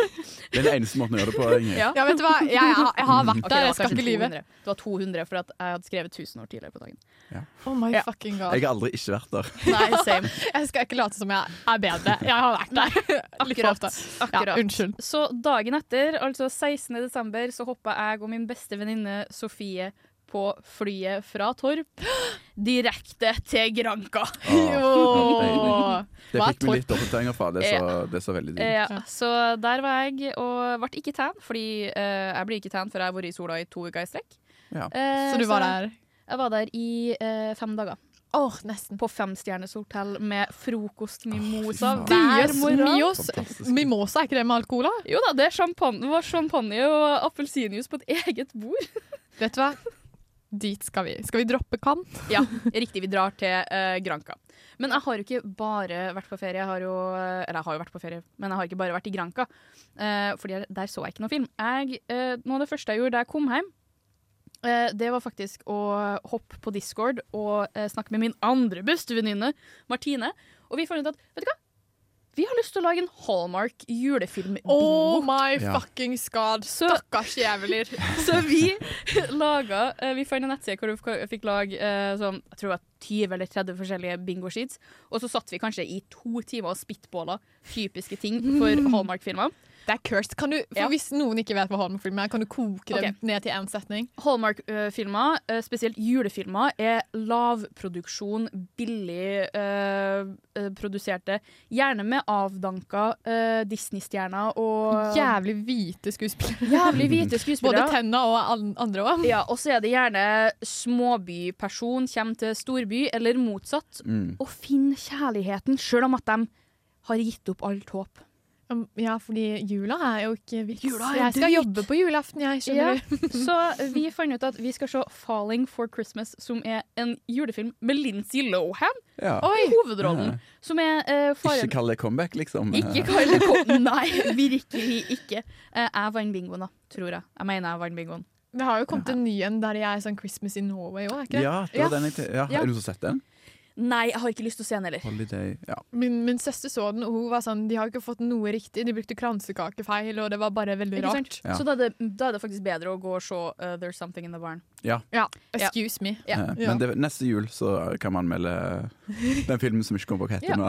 Speaker 7: Det er den eneste måten å gjøre det på. Ingrid.
Speaker 5: Ja.
Speaker 11: Ja, vet du hva? Jeg, jeg, har- jeg har vært
Speaker 5: Ok, det
Speaker 11: der,
Speaker 5: var
Speaker 11: jeg skal
Speaker 5: kanskje
Speaker 11: ikke lyve.
Speaker 5: 200. Det var 200 for at jeg hadde skrevet 1000 år tidligere på dagen.
Speaker 11: Oh my
Speaker 5: Ja.
Speaker 11: fucking
Speaker 7: Jeg
Speaker 11: god.
Speaker 7: har aldri ikke vært der.
Speaker 5: Nei, same.
Speaker 11: Jeg skal ikke late som jeg er bedre. Jeg har vært der. Litt for
Speaker 5: Akkurat.
Speaker 11: ofte. Ja,
Speaker 5: akkurat.
Speaker 11: unnskyld.
Speaker 5: Så dagen etter, altså 16. desember, så hoppa jeg og min beste venninne Sofie på flyet fra Torp direkte til Granca.
Speaker 7: Ah,
Speaker 11: Åh.
Speaker 7: det
Speaker 11: Hva er
Speaker 7: fikk vi litt opptegninger fra. Det så, det så veldig dyrt.
Speaker 5: Ja, så der var jeg, og ble ikke tan, fordi eh, jeg blir ikke tan før jeg har vært i sola i to uker i strekk.
Speaker 7: Ja.
Speaker 5: Eh,
Speaker 11: Så du var der?
Speaker 5: Jeg Jeg var der i eh, fem dager. På femstjerners hotell med frokost mimosa
Speaker 11: Åh, fy faen.
Speaker 5: hver
Speaker 11: Dios mios. Fantastisk.
Speaker 5: morgen. Mimosa, er ikke det med alkohol? Jo da, det, er champagne, det var champagne og appelsinjuice på et eget bord.
Speaker 11: Vet du hva? Dit skal vi. Skal vi droppe Cannes?
Speaker 5: Ja, riktig. Vi drar til eh, Granca. Men jeg har jo ikke bare vært på ferie. Jeg har jo, eller jeg har jo vært på ferie, men jeg har ikke bare vært i Granca. Uh, fordi der så jeg ikke noe film. Jeg, eh, noe av det første jeg gjorde da jeg kom hjem, eh, det var faktisk å hoppe på Discord og eh, snakke med min andre beste venninne, Martine. Og vi fant ut at vet du hva? Vi har lyst til å lage en Hallmark julefilm-bingo.
Speaker 11: Oh my
Speaker 5: Ja.
Speaker 11: fuckings god! Stakkars jævler.
Speaker 5: Så vi laga eh, Vi fant en nettside hvor vi k- fikk lage eh, sånn, jeg tror det var 20 eller 30 forskjellige bingo sheets. Og så satt vi kanskje i to timer og spitballa typiske ting for
Speaker 11: Mm.
Speaker 5: Hallmark-filmer.
Speaker 11: Det er cursed. Kan du, for
Speaker 5: Ja.
Speaker 11: Hvis noen ikke vet hva Holm-film er, kan du koke det
Speaker 5: Ok.
Speaker 11: ned til én setning?
Speaker 5: Hallmark-filmer, eh, spesielt julefilmer, er lavproduksjon, billig eh, eh, produserte. Gjerne med avdanka eh, Disney-stjerner og
Speaker 11: Jævlig hvite skuespillere.
Speaker 5: Jævlig hvite skuespillere.
Speaker 11: Både tenna og an- andre òg.
Speaker 5: Ja, og så er det gjerne småbyperson kommer til storby, eller motsatt,
Speaker 11: Mm.
Speaker 5: og finner kjærligheten, sjøl om at de har gitt opp alt håp.
Speaker 11: Um, Ja, fordi jula er jo ikke vits.
Speaker 5: Jula er
Speaker 11: jeg skal
Speaker 5: drit.
Speaker 11: jobbe på julaften, jeg. Skjønner du?
Speaker 5: så vi fant ut at vi skal se 'Falling for Christmas', som er en julefilm med Lindsay Lohan
Speaker 7: Ja.
Speaker 5: i hovedrollen.
Speaker 7: Ja.
Speaker 5: Som er eh, faren
Speaker 7: Ikke kall det comeback, liksom.
Speaker 5: Ikke kall det kom... Nei, virkelig ikke. Eh, jeg vant bingoen, da, tror jeg. Jeg mener jeg vant bingoen.
Speaker 11: Det har jo kommet en ny en der jeg er sånn Christmas in Norway òg, er ikke det?
Speaker 7: Ja, det var den jeg te- ja.
Speaker 11: Ja.
Speaker 7: Er det noen som har sett den?
Speaker 5: Nei, jeg har ikke lyst til å se den heller.
Speaker 7: Holiday ja.
Speaker 11: Min, min søster så den, og hun var sånn De har jo ikke fått noe riktig. De brukte kransekakefeil, og det var bare veldig
Speaker 5: Ikke
Speaker 11: rart.
Speaker 5: sant? Så da er, det, da er det faktisk bedre å gå og se eh, 'There's Something In The Barn'.
Speaker 7: Ja.
Speaker 11: Ja. Excuse me.
Speaker 5: Ja.
Speaker 7: Eh, Men det, neste jul så kan man anmelde den filmen som ikke kommer på hva heter
Speaker 5: Ja.
Speaker 7: nå.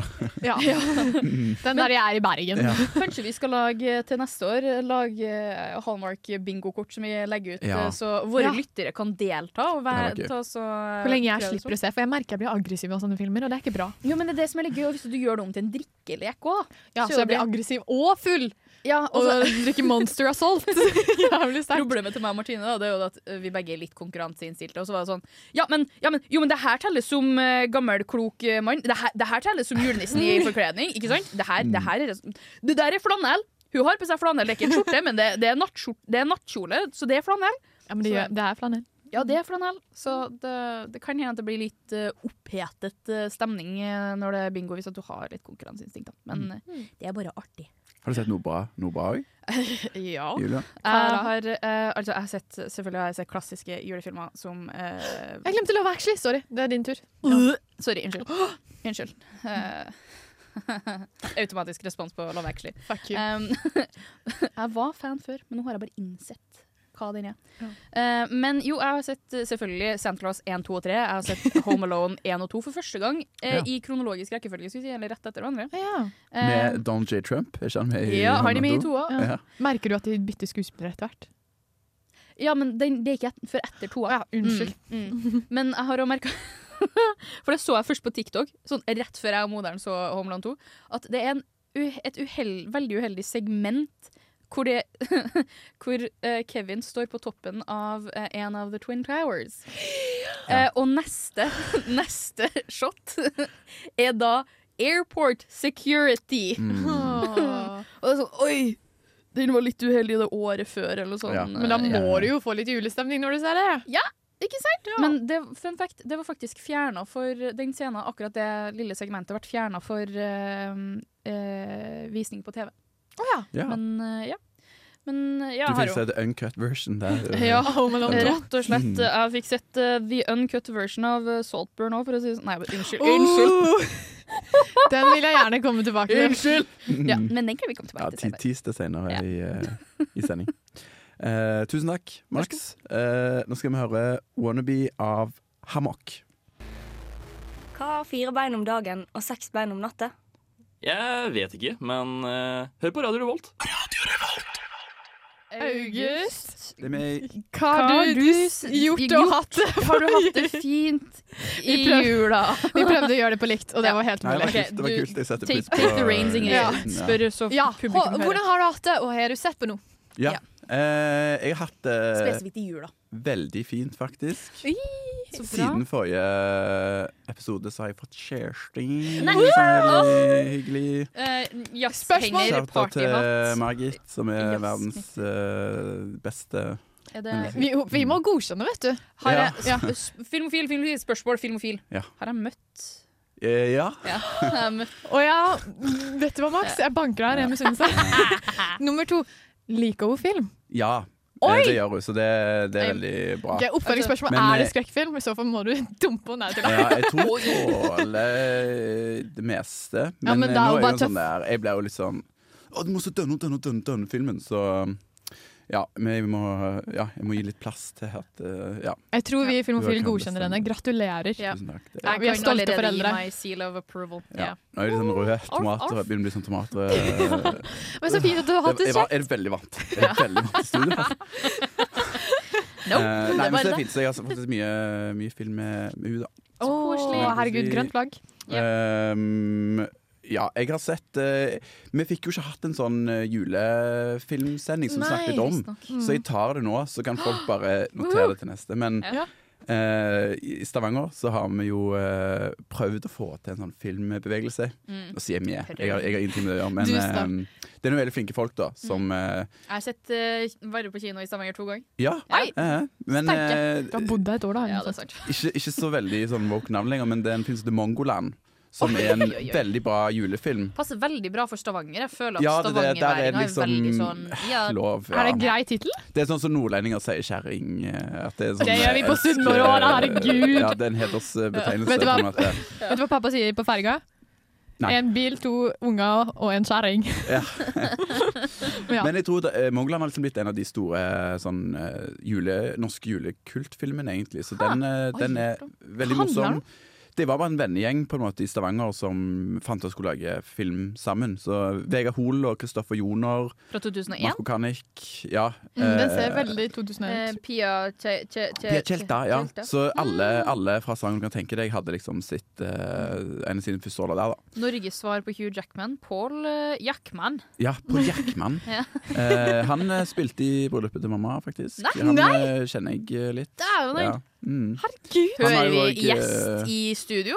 Speaker 11: Ja.
Speaker 7: Mm.
Speaker 11: Den der jeg er i Bergen.
Speaker 7: Ja.
Speaker 5: Kanskje vi skal lage til neste år Lage eh, Hallmark-bingokort som vi legger ut,
Speaker 11: Ja.
Speaker 5: eh, så våre
Speaker 11: Ja.
Speaker 5: lyttere kan delta. Og være,
Speaker 11: Det var gøy.
Speaker 5: ta, så,
Speaker 11: Hvor lenge jeg slipper å se, for jeg merker jeg blir aggressiv av sånne filmer, og det er ikke bra.
Speaker 5: Jo, men det er det som er litt gøy, og hvis du gjør det om til en drikkelek òg.
Speaker 11: Ja, så jeg blir aggressiv og full!
Speaker 5: Ja,
Speaker 11: og
Speaker 5: og så-
Speaker 11: drikker Monster Assault. Jævlig altså, sterkt.
Speaker 5: Problemet til meg og Martine da, det er jo at eh, vi begge er litt konkurranseinnstilte. Og så var det sånn Ja, men, ja, men, jo, men det her telles som eh, gammel, klok eh, mann. Det her, det her telles som julenissen i forkledning. Ikke sant? Det, her, det, her er, det der er flanell. Hun har på seg flanell, det er ikke en skjorte, men det, det, er, nattskjort, det er nattkjole, så det er flanell.
Speaker 11: Ja, men det, gjør- det er flanell.
Speaker 5: Ja, det er flanell. Så det, det kan hende at det blir litt eh, opphetet eh, stemning eh, når det er bingo, hvis at du har litt konkurranseinstinkt. da. Men
Speaker 7: Mm.
Speaker 5: eh, det er bare artig.
Speaker 7: Har du sett noe bra Noe bra òg?
Speaker 5: ja.
Speaker 7: Julia?
Speaker 5: eh, Jeg har, eh, altså, jeg har sett, selvfølgelig har jeg sett klassiske julefilmer som eh,
Speaker 11: Jeg glemte love actually. Sorry, det er din tur.
Speaker 5: Sorry, unnskyld. Unnskyld. Eh, automatisk respons på Love Actually.
Speaker 11: Fuck you.
Speaker 5: jeg var fan før, men nå har jeg bare innsett hva den er. Eh, men jo, jeg har sett eh, selvfølgelig Santa Claus 1, 2 og 3. Jeg har sett Home Alone 1 og 2 for første gang eh,
Speaker 7: Ja.
Speaker 5: i kronologisk rekkefølge, skulle jeg si, eller rett etter hverandre. Eh,
Speaker 7: Med Donald J. Trump? Er ikke han med i
Speaker 5: ja, har de med i
Speaker 7: Hamilton?
Speaker 5: toa?
Speaker 7: Ja.
Speaker 11: Merker du at de bytter skuespillere etter hvert?
Speaker 5: Ja, men den, det er ikke et, før etter toa.
Speaker 11: unnskyld.
Speaker 5: Mm, mm. Men jeg har òg merka For det så jeg først på TikTok, sånn rett før jeg og moderen så Homeland 2, at det er en, u- et uhell, veldig uheldig segment hvor, det, hvor eh, Kevin står på toppen av eh, en av The Twin Towers. Eh, og neste, neste shot er da Airport Security.
Speaker 11: Mm. Åh.
Speaker 5: og det er sånn Oi! Den var litt uheldig det året før, eller sånn. noe sånt.
Speaker 11: Ja. Men da må
Speaker 5: Ja.
Speaker 11: du jo få litt julestemning når du ser det.
Speaker 5: Ja, ikke sant? Men det, fun fact, det var faktisk fjerna for den scenen, akkurat det lille segmentet, ble fjerna for eh, eh, visning på TV.
Speaker 11: Å
Speaker 7: Ja.
Speaker 5: Men eh, ja. Men eh, ja,
Speaker 7: Du
Speaker 5: har
Speaker 7: fikk
Speaker 5: jo-
Speaker 7: se the uncut version der. eh,
Speaker 5: ja,
Speaker 7: Ja.
Speaker 5: rett og slett.
Speaker 7: Mm.
Speaker 5: eh, Jeg fikk sett eh, the uncut version av eh, Saltburn òg, for å si det sånn. Nei, men unnskyld.
Speaker 11: Oh.
Speaker 5: Unnskyld!
Speaker 11: Den vil jeg gjerne komme tilbake til.
Speaker 5: Unnskyld! Ja, men den kan vi komme tilbake
Speaker 7: Mm. Ja,
Speaker 5: til.
Speaker 7: ti-
Speaker 5: senere.
Speaker 7: tis det senere i, eh, i sending. Eh, tusen takk, Max. Eh, nå skal vi høre 'Wannabe' av Hammock.
Speaker 13: Hva har fire bein om dagen og seks bein om natta?
Speaker 14: Jeg vet ikke, men eh, hør på Radio Revolt.
Speaker 5: August,
Speaker 7: Det er med i
Speaker 11: hva har du s- gjort og hatt det?
Speaker 5: Har du hatt det fint i
Speaker 11: Vi prøv-
Speaker 5: jula?
Speaker 11: Vi prøvde å gjøre det på likt, og det var helt
Speaker 7: Nei, det var
Speaker 11: mulig.
Speaker 7: kult, det var kult. Jeg setter
Speaker 5: Take,
Speaker 7: pris på
Speaker 5: take the reins, Ingrid.
Speaker 11: Ja.
Speaker 5: Spør så
Speaker 11: Ja,
Speaker 5: publikum
Speaker 11: hå- Hvordan har du hatt det, og har du sett på noe?
Speaker 7: Ja. Eh, jeg har hatt det
Speaker 11: i jula.
Speaker 7: veldig fint, faktisk.
Speaker 5: Så bra.
Speaker 7: Siden forrige episode så har jeg fått kjærestein,
Speaker 5: Nei!
Speaker 7: som er veldig hyggelig.
Speaker 5: Eh,
Speaker 11: Spørsmål?
Speaker 5: Jazzhenger,
Speaker 7: Shout out til
Speaker 5: partyhatt.
Speaker 7: Margit, som er verdens eh, beste
Speaker 5: Er
Speaker 7: menneske.
Speaker 5: det-
Speaker 11: Vi, vi må godkjenne, vet du.
Speaker 5: Har
Speaker 7: Ja.
Speaker 5: jeg, s- Filmofil, filmofil, spørsmål, filmofil.
Speaker 7: Ja.
Speaker 5: Har jeg møtt
Speaker 7: Eh, ja.
Speaker 5: Ja. Har jeg møtt
Speaker 11: Å ja, vet du hva, Max? Jeg banker deg i ren misunnelse. Nummer to. Liker hun film?
Speaker 7: ja. eh,
Speaker 11: Oi!
Speaker 7: Det gjør hun, så det, det er veldig bra.
Speaker 11: Ok, Oppfølgingsspørsmål.
Speaker 7: Men,
Speaker 11: Er det
Speaker 7: eh,
Speaker 11: skrekkfilm? I så fall må du dumpe henne til
Speaker 7: Ja, jeg
Speaker 11: deg.
Speaker 7: tror jeg tåler det meste. Men,
Speaker 11: Ja, men
Speaker 7: eh,
Speaker 11: da er
Speaker 7: nå
Speaker 11: hun
Speaker 7: er
Speaker 11: bare
Speaker 7: jo sånn der Jeg blir jo litt sånn Å, du må se denne, denne, denne, denne filmen. Så ja, men jeg må, ja, jeg må gi litt plass til at eh, Ja.
Speaker 11: Jeg tror vi i Filmofil
Speaker 7: Du kan
Speaker 11: godkjenner henne. Gratulerer.
Speaker 7: Tusen takk. Det-
Speaker 11: Ja, Vi er
Speaker 5: Kan
Speaker 11: stolte
Speaker 5: allerede gi
Speaker 11: foreldre.
Speaker 5: meg seal of approval.
Speaker 7: Ja. Nå er det litt sånn røde tomater. Jeg begynner å bli sånn tomater. eh,
Speaker 11: Men så fint at du har hatt det
Speaker 7: jeg var-
Speaker 11: kjekt.
Speaker 7: Jeg er veldig vant. Jeg er veldig vant til studio. her. Eh, nei, men
Speaker 11: det
Speaker 7: så
Speaker 11: var
Speaker 7: er det
Speaker 11: det.
Speaker 7: fint. Så jeg har faktisk mye, mye film med, med henne, da.
Speaker 11: Å, herregud, grønt flagg.
Speaker 7: Ehm, ja, jeg har sett eh, Vi fikk jo ikke hatt en sånn eh, julefilmsending som vi
Speaker 11: Nei,
Speaker 7: snakket om,
Speaker 11: visstnok. Mm.
Speaker 7: så jeg tar det nå, så kan folk bare notere det til neste. Men
Speaker 11: Ja.
Speaker 7: eh, i Stavanger så har vi jo eh, prøvd å få til en sånn filmbevegelse.
Speaker 5: Mm.
Speaker 7: Nå sier vi jeg, jeg har, jeg har ingenting med det å gjøre, men
Speaker 5: Du snakker.
Speaker 7: ehm, det er noen veldig flinke folk,
Speaker 11: Mm.
Speaker 7: da, som eh,
Speaker 5: Jeg har sett eh, Varre på kino i Stavanger to ganger.
Speaker 7: Ja.
Speaker 5: Oi!
Speaker 7: eh, men eh,
Speaker 11: Du har bodd der et år, da.
Speaker 5: Ja, det er sant.
Speaker 7: ikke, ikke så veldig sånn woke navn lenger, men det er en film som heter Mongoland. Som er en
Speaker 5: Oi, oi, oi.
Speaker 7: veldig bra julefilm.
Speaker 5: Passer veldig bra for Stavanger. Jeg føler at
Speaker 7: Ja, det- det- der er
Speaker 5: stavangerværinga er,
Speaker 7: liksom-
Speaker 5: veldig sånn ja,
Speaker 7: Lov, ja.
Speaker 11: Er det grei tittel?
Speaker 7: Det er sånn som nordlendinger sier kjerring. eh, at er sånn-
Speaker 11: Det gjør vi på
Speaker 7: eh,
Speaker 11: Sunnmøre også, da, herregud.
Speaker 7: Ja, det er en hedersbetegnelse.
Speaker 11: Vet du hva?
Speaker 7: på en måte.
Speaker 11: Vet du hva pappa sier på ferga?
Speaker 7: Nei.
Speaker 11: En bil, to unger og en kjerring.
Speaker 7: Ja.
Speaker 11: Ja.
Speaker 7: Men jeg tror da, eh, Mongoland har liksom blitt en av de store eh, sånn, eh, jule, norske julekultfilmene, egentlig. Så den, eh,
Speaker 11: Oi,
Speaker 7: den er veldig
Speaker 11: Hva handler den
Speaker 7: morsom. Det var bare en vennegjeng på en måte i Stavanger som fant ut å skulle lage film sammen. Så Vegard Hoel og Kristoffer Joner,
Speaker 5: fra 2001.
Speaker 7: Marko Kanik ja,
Speaker 11: Mm, den
Speaker 7: eh,
Speaker 11: ser veldig 2000
Speaker 5: Eh,
Speaker 11: ut.
Speaker 5: Pia Tje- Tje- Tje-
Speaker 7: Pia Tjelta, ja.
Speaker 5: Tjelta.
Speaker 7: Så
Speaker 11: Mm.
Speaker 7: alle, alle fra Stavanger du kan tenke deg, hadde liksom sitt eh, en av sine første år der, da.
Speaker 5: Norges svar på Hugh Jackman. Paul eh, Jackman.
Speaker 7: Ja, på Jackman.
Speaker 5: Ja.
Speaker 7: Eh, han eh, spilte i bryllupet til mamma, faktisk.
Speaker 5: Nei!
Speaker 7: han
Speaker 5: Nei!
Speaker 7: eh, kjenner jeg eh, litt.
Speaker 5: Dæven,
Speaker 7: Ja. Mm. Han har
Speaker 5: Hører
Speaker 7: jo
Speaker 5: vi
Speaker 7: også,
Speaker 5: gjest
Speaker 7: eh,
Speaker 5: i studio?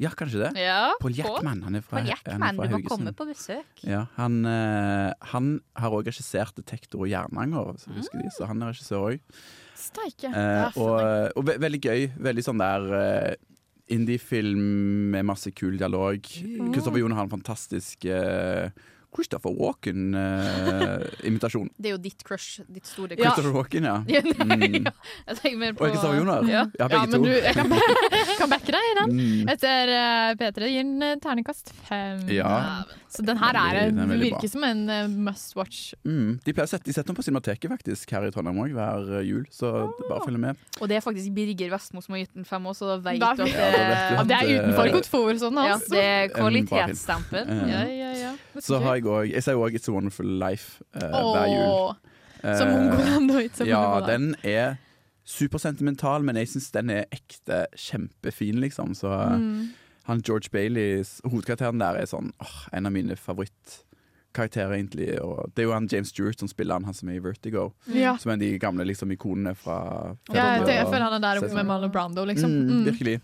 Speaker 7: Ja, kanskje det.
Speaker 5: Ja,
Speaker 7: Paul
Speaker 5: Paul.
Speaker 7: Jackman. Han er fra,
Speaker 5: Paul
Speaker 7: han er
Speaker 5: Jackman,
Speaker 7: fra
Speaker 5: du må
Speaker 7: Haugesund.
Speaker 5: komme på besøk.
Speaker 7: Ja, han, eh, han har òg regissert 'Detektor og Jernanger',
Speaker 5: Ah.
Speaker 7: så, husker de, så han er regissør òg.
Speaker 11: Steike.
Speaker 7: Eh, og og ve veldig gøy. Veldig sånn der eh, indie-film med masse kul dialog.
Speaker 11: Mm.
Speaker 7: Kristoffer Joner har en fantastisk eh, Christopher Walken-invitasjon.
Speaker 5: Det er jo ditt crush. Ditt store crush.
Speaker 7: Christopher Walken, ja.
Speaker 5: Ja, nei,
Speaker 7: Mm.
Speaker 5: ja. Jeg tenker mer på
Speaker 7: Og Kristoffer Joner.
Speaker 5: Ja.
Speaker 7: Ja,
Speaker 11: Ja,
Speaker 7: begge
Speaker 11: men
Speaker 7: to.
Speaker 11: du, jeg kan, kan backe deg i den.
Speaker 7: Mm.
Speaker 11: Etter eh, P3 gir den eh, terningkast fem.
Speaker 7: Ja.
Speaker 11: Så den her er,
Speaker 7: Veldig- den er veldig bra.
Speaker 11: virker som en eh, must watch.
Speaker 7: Mm. De pleier å sette, de setter den på Cinemateket faktisk her i Trondheim òg hver eh, jul, så
Speaker 11: Ah,
Speaker 7: bare følg med.
Speaker 5: Og det er faktisk Birger Vestmo som har gitt den fem år, så da vet
Speaker 11: Da-
Speaker 5: du at det,
Speaker 7: Ja, da vet du
Speaker 11: Ja, det er
Speaker 7: at,
Speaker 11: utenfor sånn,
Speaker 7: eh,
Speaker 11: altså. kontorsonen
Speaker 5: Ja,
Speaker 11: hans.
Speaker 5: det er
Speaker 7: En
Speaker 5: kvalitetsstempen.
Speaker 7: bra film.
Speaker 5: Ja, ja,
Speaker 7: Ja.
Speaker 5: ja.
Speaker 7: Så har jeg òg Jeg sier òg It's a Wonderful Life eh, hver
Speaker 11: Åh,
Speaker 7: jul.
Speaker 11: Som
Speaker 7: Eh,
Speaker 11: Mongoland og It's a
Speaker 7: Ja,
Speaker 11: Wonderful Life.
Speaker 7: den er supersentimental, men jeg syns den er ekte kjempefin, liksom. Så eh,
Speaker 11: Mm.
Speaker 7: han George Baileys hovedkarakteren der er sånn åh, en av mine favorittkarakterer, egentlig. Og det er jo han James Stewart som spiller han, han som er i Vertigo.
Speaker 11: Ja.
Speaker 7: Som er de gamle liksom, ikonene fra fra
Speaker 11: Ja, jeg,
Speaker 7: Vertigo
Speaker 11: tenker, jeg
Speaker 7: og
Speaker 11: føler han er der
Speaker 7: Sesame
Speaker 11: oppe med Marlon Brando, liksom.
Speaker 7: Mm,
Speaker 11: Mm.
Speaker 7: Virkelig.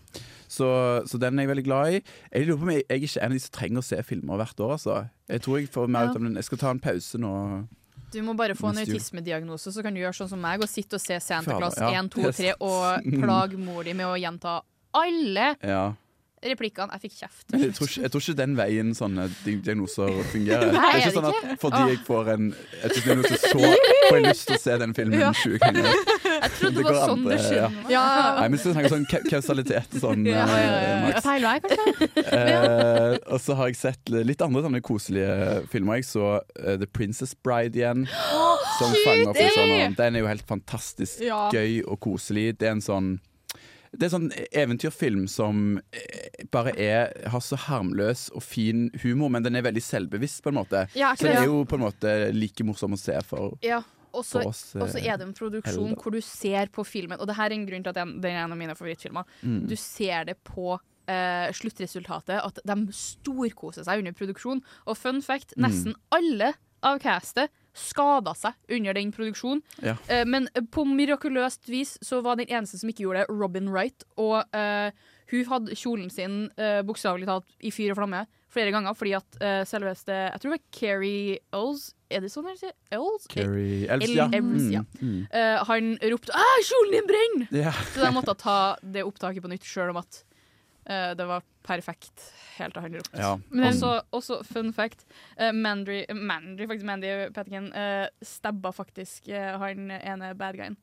Speaker 7: Så, så den er jeg veldig glad i. Jeg lurer på om jeg, jeg er ikke en av de som trenger å se filmer hvert år. Altså. Jeg tror jeg får mer
Speaker 5: Ja.
Speaker 7: ut av den. Jeg skal ta en pause nå.
Speaker 5: Du må bare få en
Speaker 7: Neste jul.
Speaker 5: autismediagnose, så kan du gjøre sånn som meg og sitte og se Santa Claus
Speaker 7: Fader, ja.
Speaker 5: 1, 2, 3 og plage mor di med å gjenta alle
Speaker 7: Ja.
Speaker 5: replikkene. Jeg fikk kjeft.
Speaker 7: Men jeg tror, ikke, jeg tror ikke den veien sånne di- diagnoser fungerer.
Speaker 5: Nei,
Speaker 7: det er
Speaker 5: er det
Speaker 7: ikke sånn at
Speaker 5: ikke?
Speaker 7: fordi jeg får en diagnose, så får jeg lyst til å se den filmen
Speaker 5: Ja.
Speaker 7: 20 ganger.
Speaker 5: Jeg trodde det var sånn det skjedde.
Speaker 11: Ja,
Speaker 7: Nei, men så snakker jeg sånn ka- kausalitet og sånn.
Speaker 11: ja, ja,
Speaker 7: eh,
Speaker 11: ja.
Speaker 7: Max.
Speaker 11: Feil vei, kanskje?
Speaker 7: Eh, og så har jeg sett litt andre sånne koselige filmer. Jeg så eh, The Princess Bride igjen. Som fanger opp i sånn, og Den er jo helt fantastisk
Speaker 11: Ja.
Speaker 7: gøy og koselig. Det er en sånn det er en sånn eventyrfilm som eh, bare er, har så harmløs og fin humor, men den er veldig selvbevisst, på en måte.
Speaker 5: Ja, ikke
Speaker 7: så den
Speaker 5: det?
Speaker 7: er jo på en måte like morsom å se for
Speaker 5: Ja, og så
Speaker 7: For oss, eh,
Speaker 5: og så er det en produksjon
Speaker 7: eldre.
Speaker 5: hvor du ser på filmen, og det her er en grunn til at den den er en av mine favorittfilmer.
Speaker 7: Mm.
Speaker 5: Du ser det på eh, sluttresultatet, at de storkoser seg under produksjon. Og fun fact,
Speaker 7: Mm.
Speaker 5: nesten alle av castet skada seg under den produksjonen.
Speaker 7: Ja.
Speaker 5: Eh, Men på mirakuløst vis så var den eneste som ikke gjorde det, Robin Wright. Og eh, hun hadde kjolen sin uh, bokstavelig talt i fyr og flamme flere ganger fordi at eh, selveste Jeg tror det var Keri Ells. Er det sånn hun sier? Ells?
Speaker 7: Carrie Elves,
Speaker 5: El-
Speaker 7: ja.
Speaker 5: Elves, ja.
Speaker 7: Mm, mm.
Speaker 5: Eh, han ropte 'Æ, kjolen din brenner!'
Speaker 7: Ja.
Speaker 5: Så de måtte ta det opptaket på nytt, sjøl om at eh, det var perfekt helt til han ropte.
Speaker 7: Ja.
Speaker 5: Og så- Også fun fact. eh, Mandry, Mandry, faktisk Mandy Pettigan eh, stabba faktisk eh, han ene bad guyen.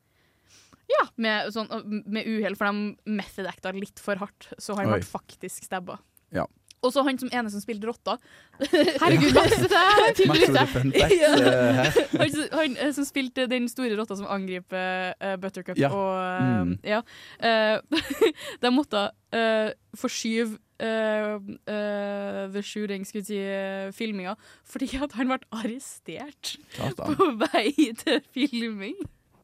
Speaker 5: Ja, med, sånn, med uhell, for de method acta litt for hardt, så han ble
Speaker 7: Oi.
Speaker 5: faktisk stabba.
Speaker 7: Ja.
Speaker 5: Og så han som ene som spilte rotta. Herregud, Max, det er
Speaker 7: Max
Speaker 5: tydeligvis
Speaker 7: gjorde fun facts,
Speaker 5: Ja.
Speaker 7: eh, her.
Speaker 5: Han, som- han eh, som spilte den store rotta som angriper eh, Buttercup
Speaker 7: Ja.
Speaker 5: og eh,
Speaker 7: Mm.
Speaker 5: Ja. Eh, de måtte eh, forskyve uh, the shooting, skulle jeg si, eh, filminga, fordi at han ble arrestert
Speaker 7: Klart da.
Speaker 5: på vei til filming.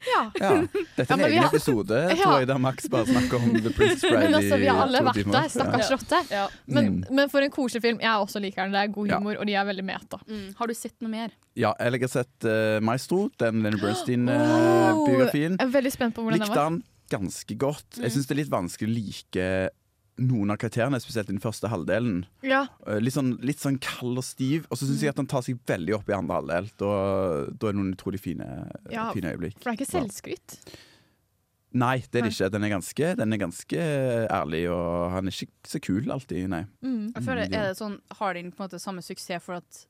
Speaker 7: Ja. Dette er
Speaker 5: Ja,
Speaker 7: en
Speaker 5: men vi
Speaker 7: egen
Speaker 5: har-
Speaker 7: episode,
Speaker 11: Ja.
Speaker 7: tror jeg, der Max bare snakker om The Prince Bride
Speaker 11: Men altså, vi har
Speaker 7: i
Speaker 11: alle
Speaker 7: to
Speaker 11: vært
Speaker 7: timer.
Speaker 11: der, stakkars
Speaker 7: Ja. Mm.
Speaker 11: rotte. Men, men for en koselig film. Jeg også liker den. Det er god
Speaker 7: Ja.
Speaker 11: humor, og de er veldig meta.
Speaker 5: Mm. Har du sett noe mer?
Speaker 7: Ja, eller jeg har sett eh, Maestro, den Lenny eh,
Speaker 11: Wow.
Speaker 7: Bernstein-biografien.
Speaker 11: Jeg er Mm. veldig spent på hvordan den
Speaker 7: Likte
Speaker 11: var.
Speaker 7: han ganske godt. Jeg syns det er litt vanskelig å like noen av karakterene, spesielt i den første halvdelen.
Speaker 11: Ja.
Speaker 7: Eh, Litt sånn, litt sånn kald og stiv, og så
Speaker 11: Mm.
Speaker 7: syns jeg at han tar seg veldig opp i andre halvdel. Da, da er det noen utrolig fine,
Speaker 11: Ja,
Speaker 7: fine øyeblikk.
Speaker 11: For det er ikke
Speaker 7: Ja.
Speaker 11: selvskryt.
Speaker 7: Nei, det er det ikke. Den er ganske, den er ganske ærlig, og han er ikke så kul alltid, nei.
Speaker 5: Jeg føler,
Speaker 7: Mm, ja.
Speaker 5: er det sånn, Har den på en måte samme suksess for at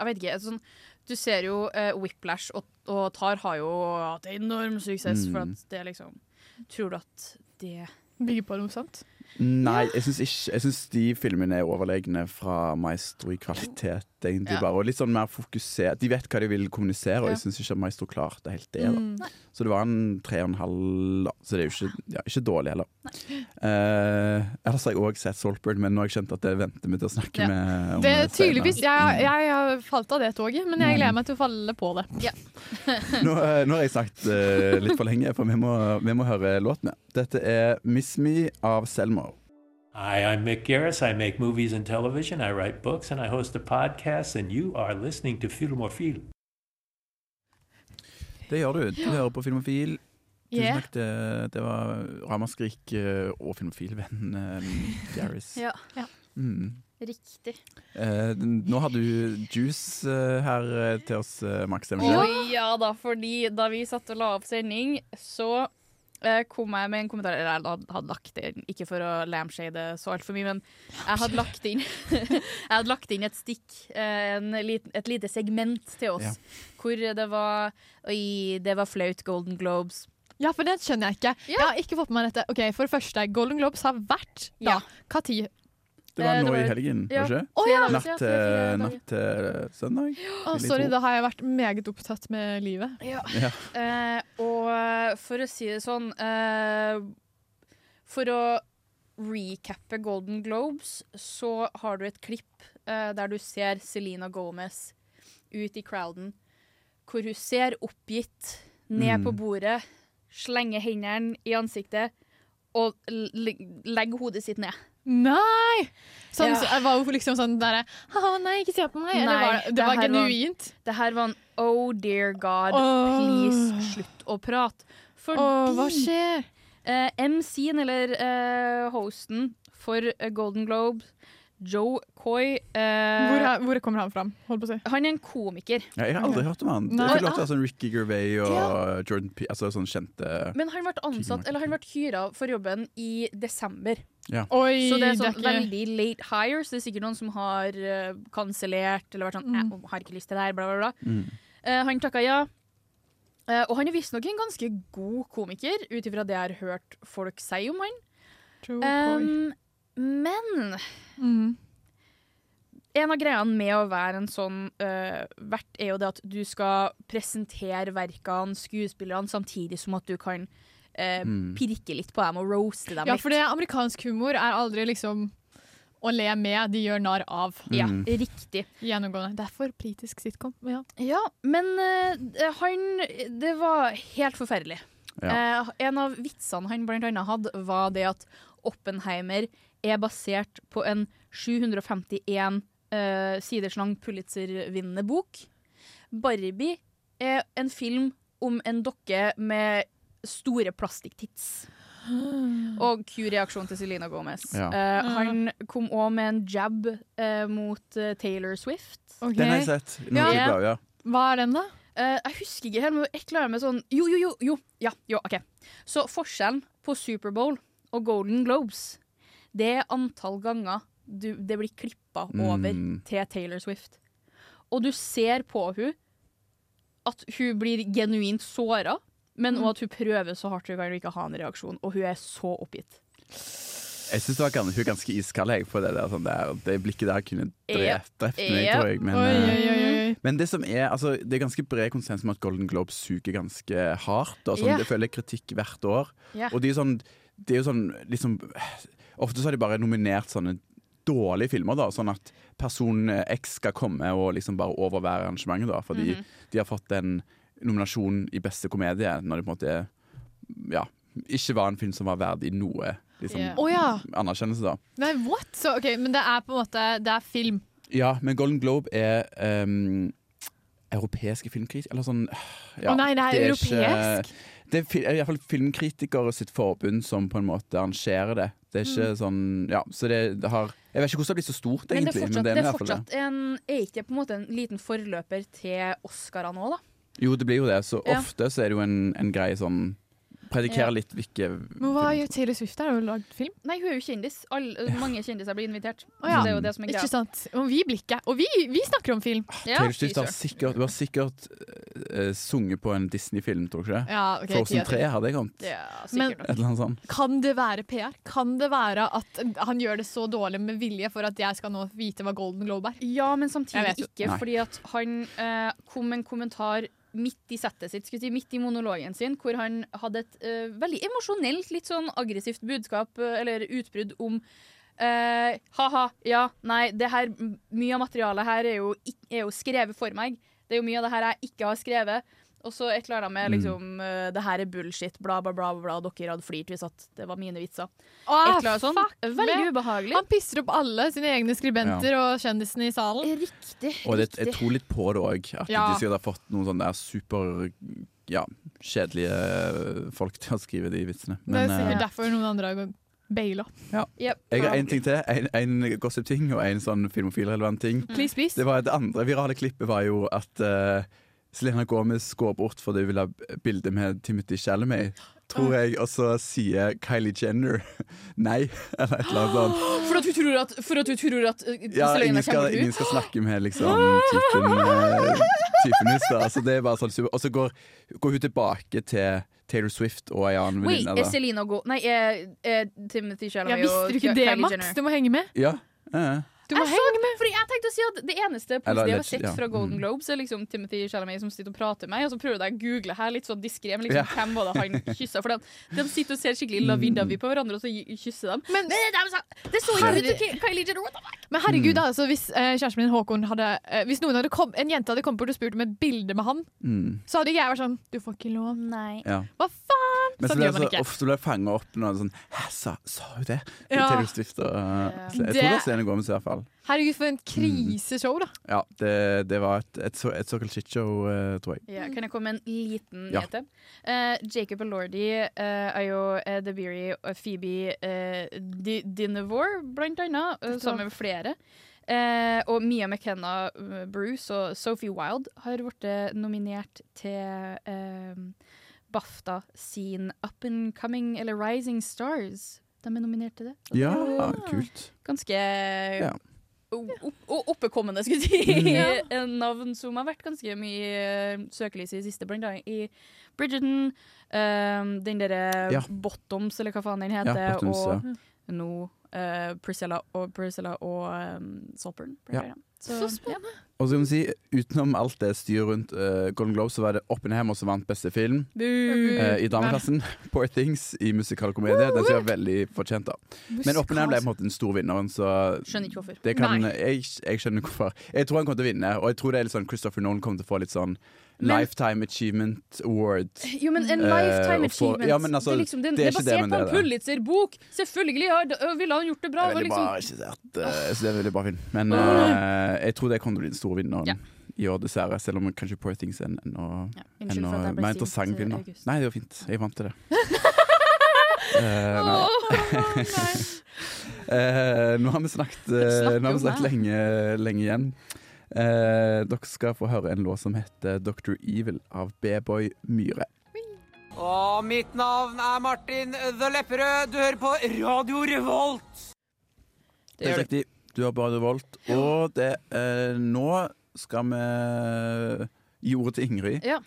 Speaker 5: Jeg vet ikke. Sånn, du ser jo eh, Whiplash og, og Tar har jo hatt enorm suksess for
Speaker 7: Mm.
Speaker 5: at det liksom Tror du at det
Speaker 11: Bygger på noe sant?
Speaker 7: Nei, jeg syns ikke Jeg syns de filmene er overlegne fra Maestro i kvalitet, egentlig
Speaker 5: Ja.
Speaker 7: bare. Og litt sånn mer fokusert. De vet hva de vil kommunisere, og jeg syns ikke at Maestro klarte helt det.
Speaker 11: Mm.
Speaker 7: da Så det var en tre og en halv, da. Så det er jo ikke, ja, ikke dårlig heller. Eh, ellers har jeg òg sett Saltburn, men nå har jeg skjønt at det venter vi til å snakke
Speaker 11: Ja.
Speaker 7: med om
Speaker 11: Det,
Speaker 7: det
Speaker 11: tydeligvis.
Speaker 7: senere.
Speaker 11: Jeg, jeg har falt av det toget, men
Speaker 7: Mm.
Speaker 11: jeg gleder meg til å falle på det.
Speaker 7: Nå, eh, nå har jeg sagt eh, litt for lenge, for vi må, vi må høre låten. Dette er 'Miss Me' av Selma.
Speaker 15: Hi, I'm Mick Garris. I make movies and television. I write books and I host a podcast. And you are listening to Filmofil.
Speaker 7: Det gjør du. Du hører på Filmofil. Tusen
Speaker 5: Yeah.
Speaker 7: takk. Det, det var Ramaskrik eh, og Filmofil-venn eh, Garris.
Speaker 5: Ja.
Speaker 7: Mm.
Speaker 5: Riktig.
Speaker 7: Eh, den- nå har du juice eh, her eh, til oss, eh, Max. stemmer
Speaker 5: Å
Speaker 7: ikke det?
Speaker 5: ja da, fordi da vi satt og la opp sending, så eh, kom jeg med en kommentar Eller jeg hadde- hadde lagt det inn, ikke for å lamshade så altfor mye, men jeg hadde lagt inn Jeg hadde lagt inn et stikk, eh, en liten, et lite segment til oss,
Speaker 11: Ja.
Speaker 5: hvor det var Oi, det var flaut, Golden Globes.
Speaker 11: Ja, for det skjønner jeg ikke. Jeg har ikke fått med meg dette. Ok, For det første, Golden Globes har vært da. Hva tid?
Speaker 7: Det var
Speaker 11: Eh,
Speaker 7: nå
Speaker 11: det
Speaker 7: i
Speaker 11: var-
Speaker 7: helgen,
Speaker 11: ja.
Speaker 7: var det ikke?
Speaker 11: Å, ja.
Speaker 7: Natt
Speaker 11: Ja, tre-fire
Speaker 7: til natt til søndag?
Speaker 11: Å,
Speaker 7: Eller
Speaker 11: sorry,
Speaker 7: to.
Speaker 11: da har jeg vært meget opptatt med livet.
Speaker 7: Ja.
Speaker 5: Eh, og for å si det sånn eh, For å recappe Golden Globes, så har du et klipp eh, der du ser Selena Gomez ut i crowden, hvor hun ser oppgitt ned
Speaker 11: Mm.
Speaker 5: på bordet, slenger hendene i ansiktet og l- legger hodet sitt ned.
Speaker 11: Nei! Sånn,
Speaker 5: Ja.
Speaker 11: så, jeg var jo liksom sånn derre «Haha, Nei, ikke se på meg. Eller var, det- det var
Speaker 5: her
Speaker 11: genuint.
Speaker 5: det her var en Oh dear God,
Speaker 11: Åh.
Speaker 5: please slutt å prate. Fordi
Speaker 11: Åh, hva skjer?
Speaker 5: Eh, MC-en, eller eh, hosten for eh, Golden Globe, Joe Coy eh,
Speaker 11: Hvor, er- hvor kommer han fram? Holdt på å si.
Speaker 5: Han er en komiker.
Speaker 7: Ja, jeg har aldri hørt om han. Det
Speaker 5: Nei.
Speaker 7: er lov til å ha sånn Ricky Gervais og Jordan P... Altså sånn kjente
Speaker 5: Men han ble ansatt, eller han ble hyra for jobben i desember.
Speaker 7: Ja.
Speaker 5: så det er sånn
Speaker 11: det er ikke-
Speaker 5: veldig late hire, så det er sikkert noen som har eh, kansellert eller vært sånn mm. 'Har ikke lyst til det her', bla, bla, bla.
Speaker 7: Mm.
Speaker 5: Eh, han takka ja. Eh, og han er visstnok en ganske god komiker, ut ifra det jeg har hørt folk si om han.
Speaker 11: Joe
Speaker 5: Em, men
Speaker 11: Mm.
Speaker 5: En av greiene med å være en sånn eh, vert, er jo det at du skal presentere verkene, skuespillerne, samtidig som at du kan eh,
Speaker 11: Mm.
Speaker 5: pirke litt på dem og roaste dem
Speaker 11: Ja,
Speaker 5: litt.
Speaker 11: for det amerikansk humor er aldri liksom å le med, de gjør narr av.
Speaker 5: Ja, Mm. riktig.
Speaker 11: Gjennomgående. Det er for politisk sitcom. men Ja.
Speaker 5: Ja, men eh, han Det var helt forferdelig.
Speaker 11: Ja.
Speaker 5: Eh, en av vitsene han blant annet hadde, var det at Oppenheimer er basert på en 751 eh, siders lang Pulitzer-vinnende bok. Barbie er en film om en dokke med store plastikktits. Og Q-reaksjon til Selena Gomez.
Speaker 7: Ja.
Speaker 5: Eh, han kom òg med en jab eh, mot eh, Taylor Swift.
Speaker 7: Den har jeg sett. Den er veldig bra, ja.
Speaker 5: Hva er den, da? Eh, jeg husker ikke helt, men jeg klarer meg sånn Jo, jo, jo. jo, ja, jo ok. Så forskjellen på Superbowl og Golden Globes, det er antall ganger du, det blir klippa over
Speaker 16: Mm.
Speaker 5: til Taylor Swift. Og du ser på hun at hun blir genuint såra, men
Speaker 11: Mm.
Speaker 5: også at hun prøver så hardt hun kan å ikke ha en reaksjon, og hun er så oppgitt.
Speaker 7: Jeg syns hun er ganske iskald jeg, på det der. Sånn der. Det blikket der kunne
Speaker 5: Yep.
Speaker 7: drept, drept meg,
Speaker 5: Yep.
Speaker 7: tror jeg. Men,
Speaker 5: Oi,
Speaker 7: eh,
Speaker 5: oi, oi, oi.
Speaker 7: men det som er altså, Det er ganske bred konsens om at Golden Globe suger ganske hardt. Og sånn,
Speaker 5: Ja.
Speaker 7: Det føler jeg kritikk hvert år.
Speaker 5: Ja.
Speaker 7: Og det er jo sånn, det er jo sånn liksom, Ofte så har de bare nominert sånne dårlige filmer, da, sånn at person X skal komme og liksom bare overvære arrangementet. Da, fordi
Speaker 5: Mhm.
Speaker 7: de har fått en nominasjon i beste komedie når det på en måte ja, ikke var en film som var verdig noe liksom,
Speaker 11: Ja. Å ja.
Speaker 7: anerkjennelse. da
Speaker 11: Nei, what? Så, ok, men det er på en måte Det er film.
Speaker 7: Ja, men Golden Globe er ehm, europeiske filmkritikere Eller sånn
Speaker 11: Å nei, det er europeisk?
Speaker 7: Ikke, det er fi- i hvert fall filmkritikere sitt forbund som på en måte arrangerer det. Det er
Speaker 11: Mm.
Speaker 7: ikke sånn Ja, så det, det har Jeg vet ikke hvordan det blir så stort,
Speaker 5: Men det
Speaker 7: egentlig.
Speaker 5: er fortsatt,
Speaker 7: men
Speaker 5: det
Speaker 7: i
Speaker 5: er
Speaker 7: hvert fall det.
Speaker 5: fortsatt en, er ikke det på en måte en liten forløper til Oscarene òg, da?
Speaker 7: Jo, det blir jo det. Så
Speaker 5: Ja.
Speaker 7: ofte så er det jo en, en greie sånn
Speaker 5: Ja.
Speaker 7: Predikerer litt hvilke
Speaker 11: Men hva gjør Taylor Swift der? Har hun lagd film?
Speaker 5: Nei, hun er jo kjendis. Alle- Mange kjendiser blir invitert.
Speaker 11: Å ja.
Speaker 5: Så det er jo det som er greia.
Speaker 11: Ikke sant? Og vi blir ikke Og vi, vi snakker om film.
Speaker 5: Ah,
Speaker 7: Taylor Swift har sikkert, hun har sikkert eh, sunget på en Disney-film, tror du ikke det?
Speaker 11: Ja, ok, ti
Speaker 7: Frozen
Speaker 11: av ti.
Speaker 7: 3 hadde jeg kommet.
Speaker 11: Men
Speaker 7: Et eller annet sånt.
Speaker 11: kan det være PR? Kan det være at han gjør det så dårlig med vilje for at jeg skal nå vite hva Golden Globe er?
Speaker 5: Ja, men samtidig ikke,
Speaker 11: Nei.
Speaker 5: fordi at han eh, kom med en kommentar midt i settet sitt, skulle jeg si, midt i monologen sin, hvor han hadde et eh, veldig emosjonelt, litt sånn aggressivt budskap, eh, eller utbrudd om eh, ha-ha, ja, nei, det her, m- mye av materialet her er jo, ikk- er jo skrevet for meg. Det er jo mye av det her jeg ikke har skrevet. Og så et eller annet med liksom, eh, det her er bullshit, bla, bla, bla, bla, dere hadde flirt hvis at det var mine vitser.
Speaker 11: Ah,
Speaker 5: et eller annet sånt.
Speaker 11: fuck
Speaker 5: Veldig
Speaker 11: det.
Speaker 5: ubehagelig.
Speaker 11: Han pisser opp alle sine egne skribenter og kjendisene i salen.
Speaker 5: Riktig.
Speaker 7: Og det, jeg tror litt på det òg, at
Speaker 11: Ja.
Speaker 7: de sikkert har fått noen sånne der super ja, kjedelige eh, folk til å skrive de vitsene.
Speaker 11: det er sikkert
Speaker 7: eh,
Speaker 11: derfor noen andre har gått baila.
Speaker 7: jeg har én ting til. En, en gossip-ting og en sånn filmofilrelevant ting.
Speaker 11: Please, please.
Speaker 7: Det, var det andre virale klippet var jo at eh, Selena Gomez går bort fordi hun vil ha bilde med Timothy Chalamet, tror jeg, og så sier Kylie Jenner nei, eller et eller annet sånt.
Speaker 5: For at hun tror at, for at, hun tror at eh,
Speaker 7: Ja,
Speaker 5: Selena
Speaker 7: ingen
Speaker 5: kommer
Speaker 7: skal,
Speaker 5: til
Speaker 7: ingen
Speaker 5: ut.
Speaker 7: skal snakke med liksom typen, eh, typen hus, da. Altså, det er bare sånn super. Og så går, går hun tilbake til Taylor Swift og ei annen
Speaker 5: Wait,
Speaker 7: venninne.
Speaker 5: er
Speaker 7: da.
Speaker 5: Selena Go... Nei, er, er Timothy Chalamet
Speaker 11: Ja, visste du ikke det, Max? Du må henge med.
Speaker 7: Ja. ja,
Speaker 11: Du må
Speaker 5: jeg,
Speaker 11: henge
Speaker 5: så, fordi jeg tenkte å si at Det eneste
Speaker 7: Eller
Speaker 5: positive jeg har
Speaker 7: legit-
Speaker 5: sett
Speaker 7: ja,
Speaker 5: fra Golden
Speaker 7: mm.
Speaker 5: Globes, er liksom Timothy Chalamet som sitter og prater med meg, og så prøvde jeg å google her litt sånn diskré men
Speaker 7: Ja.
Speaker 5: liksom, hvem var det han kyssa. For de, de sitter og ser skikkelig lavidavi på hverandre, og så gi- kysser Eh, de. Men, det, er så- det så ikke ut! til Ki- Kylie Jenner, what the fuck?
Speaker 11: Men herregud,
Speaker 7: Mm.
Speaker 11: da, altså, hvis eh, kjæresten min Håkon hadde eh, Hvis noen hadde kom, en jente hadde kommet bort og spurt om et bilde med han,
Speaker 7: Mm.
Speaker 11: så hadde ikke jeg vært sånn Du får ikke lov. Nei.
Speaker 7: Ja.
Speaker 11: Hva faen?
Speaker 7: Men så
Speaker 11: sånn
Speaker 7: ble
Speaker 11: gjør man
Speaker 7: jeg så
Speaker 11: ikke.
Speaker 7: ofte ble jeg fanget opp når det er sånn Hæ, sa, sa hun det?
Speaker 11: Ja.
Speaker 7: Taylor Swift og eh, Jeg tror
Speaker 11: Det-
Speaker 7: det er Selena Gomez i hvert fall.
Speaker 11: Herregud, for
Speaker 7: Mm.
Speaker 11: en kriseshow, da.
Speaker 7: Ja, det, det var et, et, så- et såkalt shitshow, eh, tror jeg.
Speaker 5: Ja, kan jeg komme med en liten
Speaker 7: Ja.
Speaker 5: nyhet? Eh, Jacob Elordi, uh, Ayo eh, Debiri og Phoebe eh, Di Dinevor, blant annet, eh,
Speaker 16: Dette
Speaker 5: sammen
Speaker 16: var-
Speaker 5: med flere. Eh, og Mia McKenna eh, Bruce og Sophie Wilde har blitt eh, nominert til eh, BAFTA sin Up and Coming, eller Rising Stars. De er nominert til det. Og det
Speaker 7: Ja,
Speaker 5: er jo
Speaker 7: kult.
Speaker 5: Ganske
Speaker 7: Ja.
Speaker 5: opp og oppekommende, skulle jeg si.
Speaker 16: Mm.
Speaker 5: Eh, Navn som har vært ganske mye eh, søkelys i det siste, blant annet i Bridgerton. eh, den derre
Speaker 16: Ja.
Speaker 5: Bottoms, eller hva faen den
Speaker 16: Ja,
Speaker 5: heter.
Speaker 16: Bottoms,
Speaker 5: og
Speaker 16: ja.
Speaker 5: nå eh, Priscilla og, Priscilla og eh, Saltburn. blant
Speaker 7: Ja.
Speaker 5: annet. Så, spennende.
Speaker 7: Og så kan vi si, utenom alt det styret rundt eh, Golden Globe, så var det Oppenheimer som vant beste film.
Speaker 5: Bu.
Speaker 7: Eh, I dameklassen. Poor Things i musikalkomedie. Den som jeg var veldig fortjent av. Men Oppenheim ble på en måte den store vinneren, så
Speaker 5: Skjønner ikke hvorfor.
Speaker 7: Det kan, eh,
Speaker 5: Nei.
Speaker 7: jeg, jeg skjønner hvorfor. Jeg tror han kommer til å vinne, og jeg tror det er litt sånn Christopher Nolan kommer til å få litt sånn Lifetime Achievement Award.
Speaker 5: Jo, men en
Speaker 7: Eh,
Speaker 5: lifetime
Speaker 7: og få-
Speaker 5: achievement.
Speaker 7: ja, men altså,
Speaker 5: det, er liksom, det,
Speaker 7: det
Speaker 5: det,
Speaker 7: er
Speaker 5: er
Speaker 7: ikke det,
Speaker 5: basert
Speaker 7: men
Speaker 5: på en
Speaker 7: det er det.
Speaker 5: Pulitzer-bok! Selvfølgelig ja, da- øh, ville han gjort det bra. Det
Speaker 7: Jeg vil
Speaker 5: var
Speaker 7: bare
Speaker 5: liksom,
Speaker 7: ikke si at eh, jeg synes det er en veldig bra film, men eh, jeg tror det kommer til å bli den store vinneren
Speaker 5: Ja.
Speaker 7: i år, dessverre. Selv om kanskje Poor Things er en ennå
Speaker 5: unnskyld for at jeg ble
Speaker 7: mer
Speaker 5: sint,
Speaker 7: interessant
Speaker 5: eh,
Speaker 7: film. Da.
Speaker 5: August.
Speaker 7: Nei, det var fint. Jeg vant til det. Eh, nei. Eh, nå har vi snakket, eh, nå har vi snakket lenge, lenge igjen. Eh, dere skal få høre en låt som heter Dr. Evil av B-boy Myhre.
Speaker 16: Og mitt navn er Martin The Lepperød. Du hører på Radio Revolt.
Speaker 7: Det er riktig. Du har bare revolt. Og det, eh, nå skal vi gi ordet til Ingrid.
Speaker 5: ja.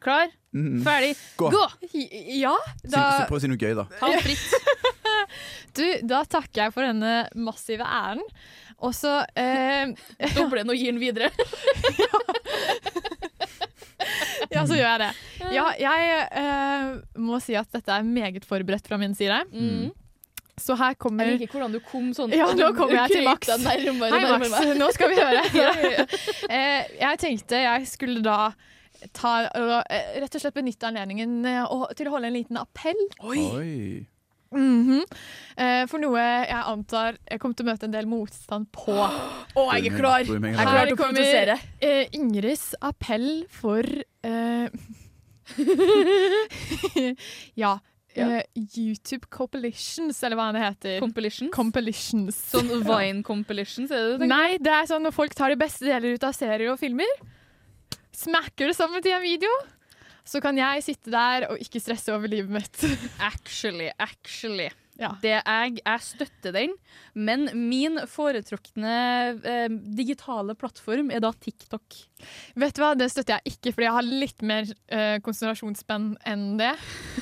Speaker 5: Klar,
Speaker 7: Mm.
Speaker 5: ferdig,
Speaker 7: Gå.
Speaker 5: gå!
Speaker 11: Ja,
Speaker 7: Si, si- prøv å si noe gøy, da.
Speaker 5: Tall fritt.
Speaker 11: Du, da takker jeg for denne massive æren. Og så eh,
Speaker 5: Doble den og gi den videre.
Speaker 11: ja, så gjør jeg det. Ja, jeg eh, må si at dette er meget forberedt fra min side.
Speaker 5: Mm.
Speaker 11: Så her kommer
Speaker 5: Jeg liker hvordan du kom sånn
Speaker 11: Ja, nå kommer jeg til
Speaker 5: Krypa
Speaker 11: Max.
Speaker 5: Nærmere,
Speaker 11: Hei,
Speaker 5: nærmere
Speaker 11: Max.
Speaker 5: meg.
Speaker 11: Nå skal vi høre.
Speaker 5: Ja, ja, ja.
Speaker 11: Eh, jeg tenkte jeg skulle da ta, eh, rett og slett benytte anledningen eh, å- til å holde en liten appell.
Speaker 7: Oi.
Speaker 11: Mhm. eh, for noe jeg antar jeg kommer til å møte en del motstand på.
Speaker 5: Å, jeg er klar. Jeg er klar
Speaker 11: Her
Speaker 5: til å
Speaker 11: kommer
Speaker 5: provosere.
Speaker 11: eh, Ingrids appell for eh, Ja. eh, YouTube Compilitions, eller hva det heter.
Speaker 5: Compilitions?
Speaker 11: Sånn
Speaker 5: Vine Compilitions, er det det du tenker?
Speaker 11: Nei, det er sånn når folk tar de beste deler ut av serier og filmer. Smacker det sammen til en video. Så kan jeg sitte der og ikke stresse over livet mitt.
Speaker 5: sånn- Actually, actually. Det jeg, jeg støtter den, men min foretrukne eh, digitale plattform er da TikTok.
Speaker 11: Vet du hva, det støtter jeg ikke, fordi jeg har litt mer eh, konsentrasjonsspenn enn det.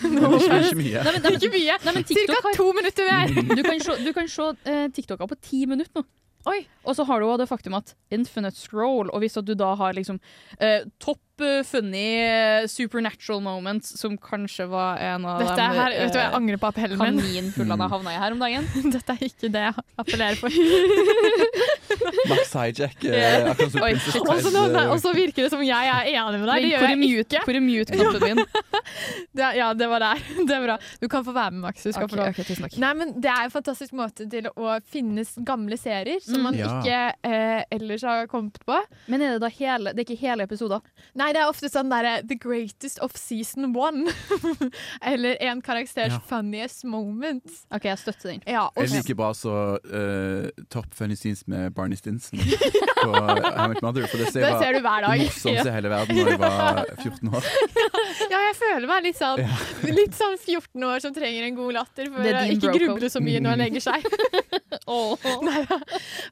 Speaker 5: Men ikke- ikke
Speaker 7: mye.
Speaker 5: Nei, men- nei, men-
Speaker 11: ikke mye.
Speaker 5: nei, men TikTok
Speaker 11: Cirka
Speaker 5: har-
Speaker 11: to minutter hver.
Speaker 5: Du kan se, du kan se eh, TikToker på ti minutter nå. Og så har du også det faktum at infinite scroll, og hvis at du da har liksom eh, topp eh, funny eh, supernatural moments, som kanskje var en av eh,
Speaker 11: Dette er her, vet du, hva, jeg angrer på appellen min.
Speaker 5: Kaninfuglene havna i her om dagen.
Speaker 11: Dette er ikke det jeg appellerer for.
Speaker 7: Max Hijack.
Speaker 11: Yeah.
Speaker 7: eh, akkurat som
Speaker 5: Oi,
Speaker 7: Princess
Speaker 11: Og så nå-
Speaker 7: Bride,
Speaker 11: nei,
Speaker 7: eh,
Speaker 11: og så virker det som jeg er enig med
Speaker 5: Men
Speaker 11: deg. Det
Speaker 5: hvor
Speaker 11: gjør
Speaker 5: er
Speaker 11: jeg
Speaker 5: mute-
Speaker 11: ikke.
Speaker 5: hvor er mute-knappen din?
Speaker 11: det, ja, det var der. Det er bra. Du kan få være med, Max. Du skal
Speaker 5: Ok,
Speaker 11: få lov.
Speaker 5: ok, tusen takk.
Speaker 11: Nei, men det er en fantastisk måte til å finne s- gamle serier som
Speaker 5: Mm.
Speaker 11: man
Speaker 5: Ja.
Speaker 11: ikke eh, ellers har kommet på.
Speaker 5: Men er det da hele, det er ikke hele episoder?
Speaker 11: Nei, det er ofte sånn derre The greatest of season one. Eller en karakters
Speaker 7: Ja.
Speaker 11: funniest moment.
Speaker 5: OK, jeg støtter den.
Speaker 11: Ja, og
Speaker 7: er like bra som eh, Top Funny Scenes med Barney Stinson på How Much Mother. For det ser,
Speaker 11: Det
Speaker 7: var
Speaker 11: ser du hver dag.
Speaker 7: Det morsomste i hele verden da jeg var 14 år.
Speaker 11: Ja, jeg føler meg litt sånn, litt sånn 14 år som trenger en god latter for
Speaker 5: Det er
Speaker 11: å
Speaker 5: din
Speaker 11: ikke
Speaker 5: bro-code.
Speaker 11: gruble så mye
Speaker 5: Mm.
Speaker 11: når han legger seg. Neida.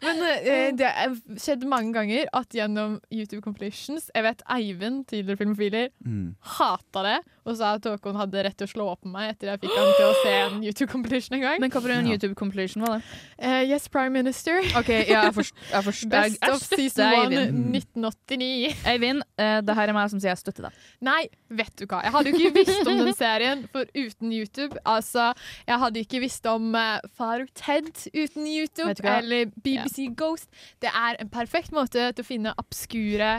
Speaker 11: Men eh, det har skjedd mange ganger at gjennom YouTube Completions Jeg vet Eivind, tidligere filmfiler,
Speaker 7: Mm.
Speaker 11: hata det og sa at Håkon hadde rett til å slå opp med meg etter jeg fikk han til å se en YouTube Completion en gang. Eh,
Speaker 5: Men hva for en YouTube Completion var det?
Speaker 11: yes, Prime Minister.
Speaker 5: OK, ja, jeg forstår. Jeg forstår. jeg,
Speaker 11: Best
Speaker 5: jeg
Speaker 11: of season
Speaker 5: støtter
Speaker 11: one,
Speaker 5: Eivind.
Speaker 11: 1989.
Speaker 5: Eivind, eh, det her er meg som sier jeg støtter deg.
Speaker 11: Nei, vet du hva. Jeg hadde jo ikke visst om den serien for uten YouTube. Altså, jeg hadde ikke visst om eh, Far Ted uten YouTube,
Speaker 5: Vet du hva?
Speaker 11: eller BBC Ghost. Det er en perfekt måte til å finne obskure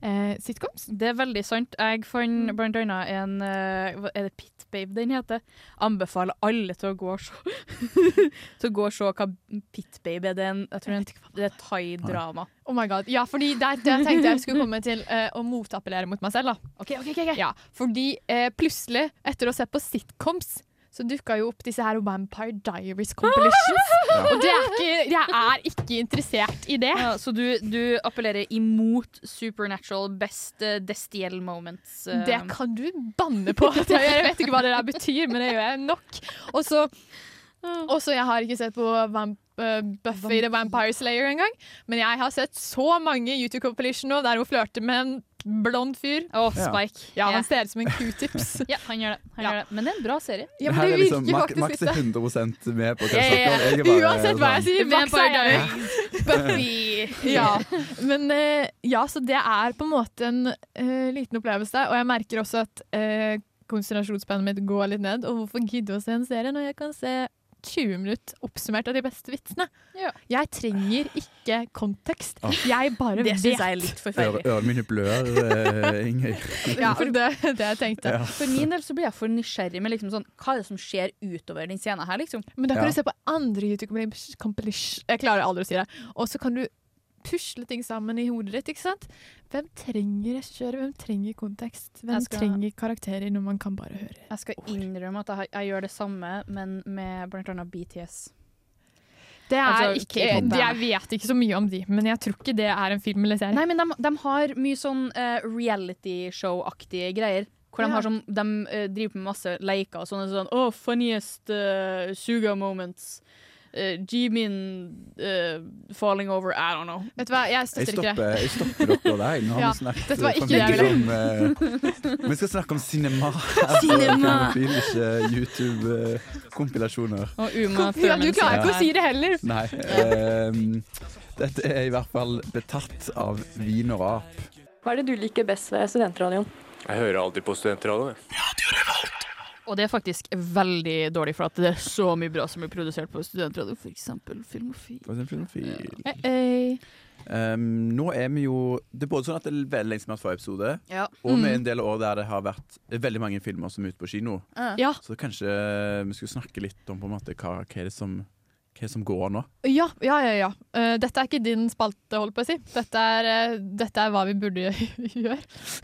Speaker 11: eh, sitcoms.
Speaker 5: Det er veldig sant. Jeg
Speaker 11: Mm.
Speaker 5: fant blant annet en eh, hva- Er det Pit Babe den heter? Anbefaler alle til å gå og se Til å gå og se hva Pit Babe er. Det er en, jeg tror det er en- det er et thai-drama.
Speaker 11: Oh my god. Ja, fordi det er det jeg tenkte jeg skulle komme til eh, å motappellere mot meg selv. da.
Speaker 5: Ok, ok, ok, ok.
Speaker 11: Ja, fordi eh, plutselig, etter å se på sitcoms, så dukka jo opp disse her Vampire Diaries compilations.
Speaker 5: Ja.
Speaker 11: Og det er ikke, jeg er ikke interessert i det.
Speaker 5: Ja, så du, du appellerer imot supernatural best eh, destiel moments. eh.
Speaker 11: Det kan du banne på. at jeg gjør. Jeg vet ikke hva det der betyr, men det gjør jeg nok. Og så og så jeg har ikke sett på Vamp eh, Buffy the Vampire Slayer engang, men jeg har sett så mange YouTube compilation nå der hun flørter med en blond fyr.
Speaker 5: Å, Spike. Ja.
Speaker 11: Ja, han ser ut som en q-tips.
Speaker 5: ja, han gjør det. Han gjør det. Men det er en bra serie.
Speaker 11: Ja, men
Speaker 7: Her
Speaker 11: det
Speaker 7: er liksom
Speaker 11: virker
Speaker 7: Max,
Speaker 11: faktisk
Speaker 7: Max
Speaker 11: litt
Speaker 7: er 100 med på hva
Speaker 11: Ja,
Speaker 7: jeg
Speaker 11: ja,
Speaker 7: snakker om. Jeg er
Speaker 11: ja.
Speaker 7: bare
Speaker 11: Uansett hva jeg
Speaker 7: sånn-
Speaker 11: sier, Max
Speaker 5: Vampire
Speaker 11: er jeg.
Speaker 5: Buffy.
Speaker 11: Ja. Men eh, ja, så det er på en måte en eh, liten opplevelse. Og jeg merker eh, også at uh, konsentrasjonsspennet mitt går litt ned. Og hvorfor gidde å se en serie når jeg kan se 20 minutter oppsummert av de beste vitsene. Jeg trenger ikke kontekst. Jeg
Speaker 5: Det
Speaker 11: bare vet.
Speaker 5: synes jeg er litt
Speaker 7: Øre- Ørene mine blør, eh, Ingrid.
Speaker 5: Ja, for det,
Speaker 11: det jeg tenkte.
Speaker 7: Ja.
Speaker 5: For min del så blir jeg for nysgjerrig med liksom sånn, hva er det som skjer utover den scenen her, liksom.
Speaker 11: Men da kan du se på andre YouTube-kompilisj Jeg klarer aldri å si det. Og så kan du pusle ting sammen i hodet ditt. ikke sant? Hvem trenger regissør? Hvem trenger kontekst? Hvem
Speaker 5: Jeg skal-
Speaker 11: trenger karakterer når man kan bare høre?
Speaker 5: Jeg skal innrømme at jeg, har- jeg gjør det samme, men med blant annet BTS.
Speaker 11: Det er
Speaker 5: Altså,
Speaker 11: ikke,
Speaker 5: K-pop-bandet.
Speaker 11: jeg vet ikke så mye om de, men jeg tror ikke det er en film eller serie.
Speaker 5: Nei, men de, de har mye sånn eh, reality show-aktige greier. Hvor de,
Speaker 11: Ja.
Speaker 5: har sånn, de eh, driver med masse leker og sånne sånn Oh, funniest eh, suga moments. Uh, Jimin eh, falling over. I don't know.
Speaker 11: Vet du hva, jeg
Speaker 7: Jeg stopper, jeg stopper dere der. Nå har
Speaker 5: Ja,
Speaker 7: vi snakket
Speaker 5: dette var ikke
Speaker 7: for
Speaker 5: det jeg
Speaker 7: mye om
Speaker 5: ville.
Speaker 7: eh, Vi skal snakke om cinema.
Speaker 5: Cinema.
Speaker 7: Filmofil, Ikke eh, YouTube-kompilasjoner.
Speaker 5: Og Uma
Speaker 11: Ja, du klarer ikke å si det heller.
Speaker 7: Nei. ehm, dette er i hvert fall betatt av vin og rap.
Speaker 17: Hva er det du liker best ved studentradioen?
Speaker 18: Jeg hører alltid på studentradioen.
Speaker 5: Og det er faktisk veldig dårlig, for at det er så mye bra som blir produsert på studentradio. For eksempel Filmofil.
Speaker 7: Og så en filmofil.
Speaker 11: Eh,
Speaker 5: Hey.
Speaker 7: Ehm, nå er vi jo Det er både sånn at det er veldig lenge siden vi har hatt forrige episode,
Speaker 5: Ja.
Speaker 7: og vi
Speaker 5: Mm.
Speaker 7: er en del år der det har vært veldig mange filmer som er ute på kino.
Speaker 11: Ja.
Speaker 7: Så kanskje vi skulle snakke litt om på en måte hva, hva, er det som, hva er det som går nå.
Speaker 11: Ja, ja, ja. ja. Eh, dette er ikke din spalte, holdt på å si. Dette er, eh, dette er hva vi burde gjøre.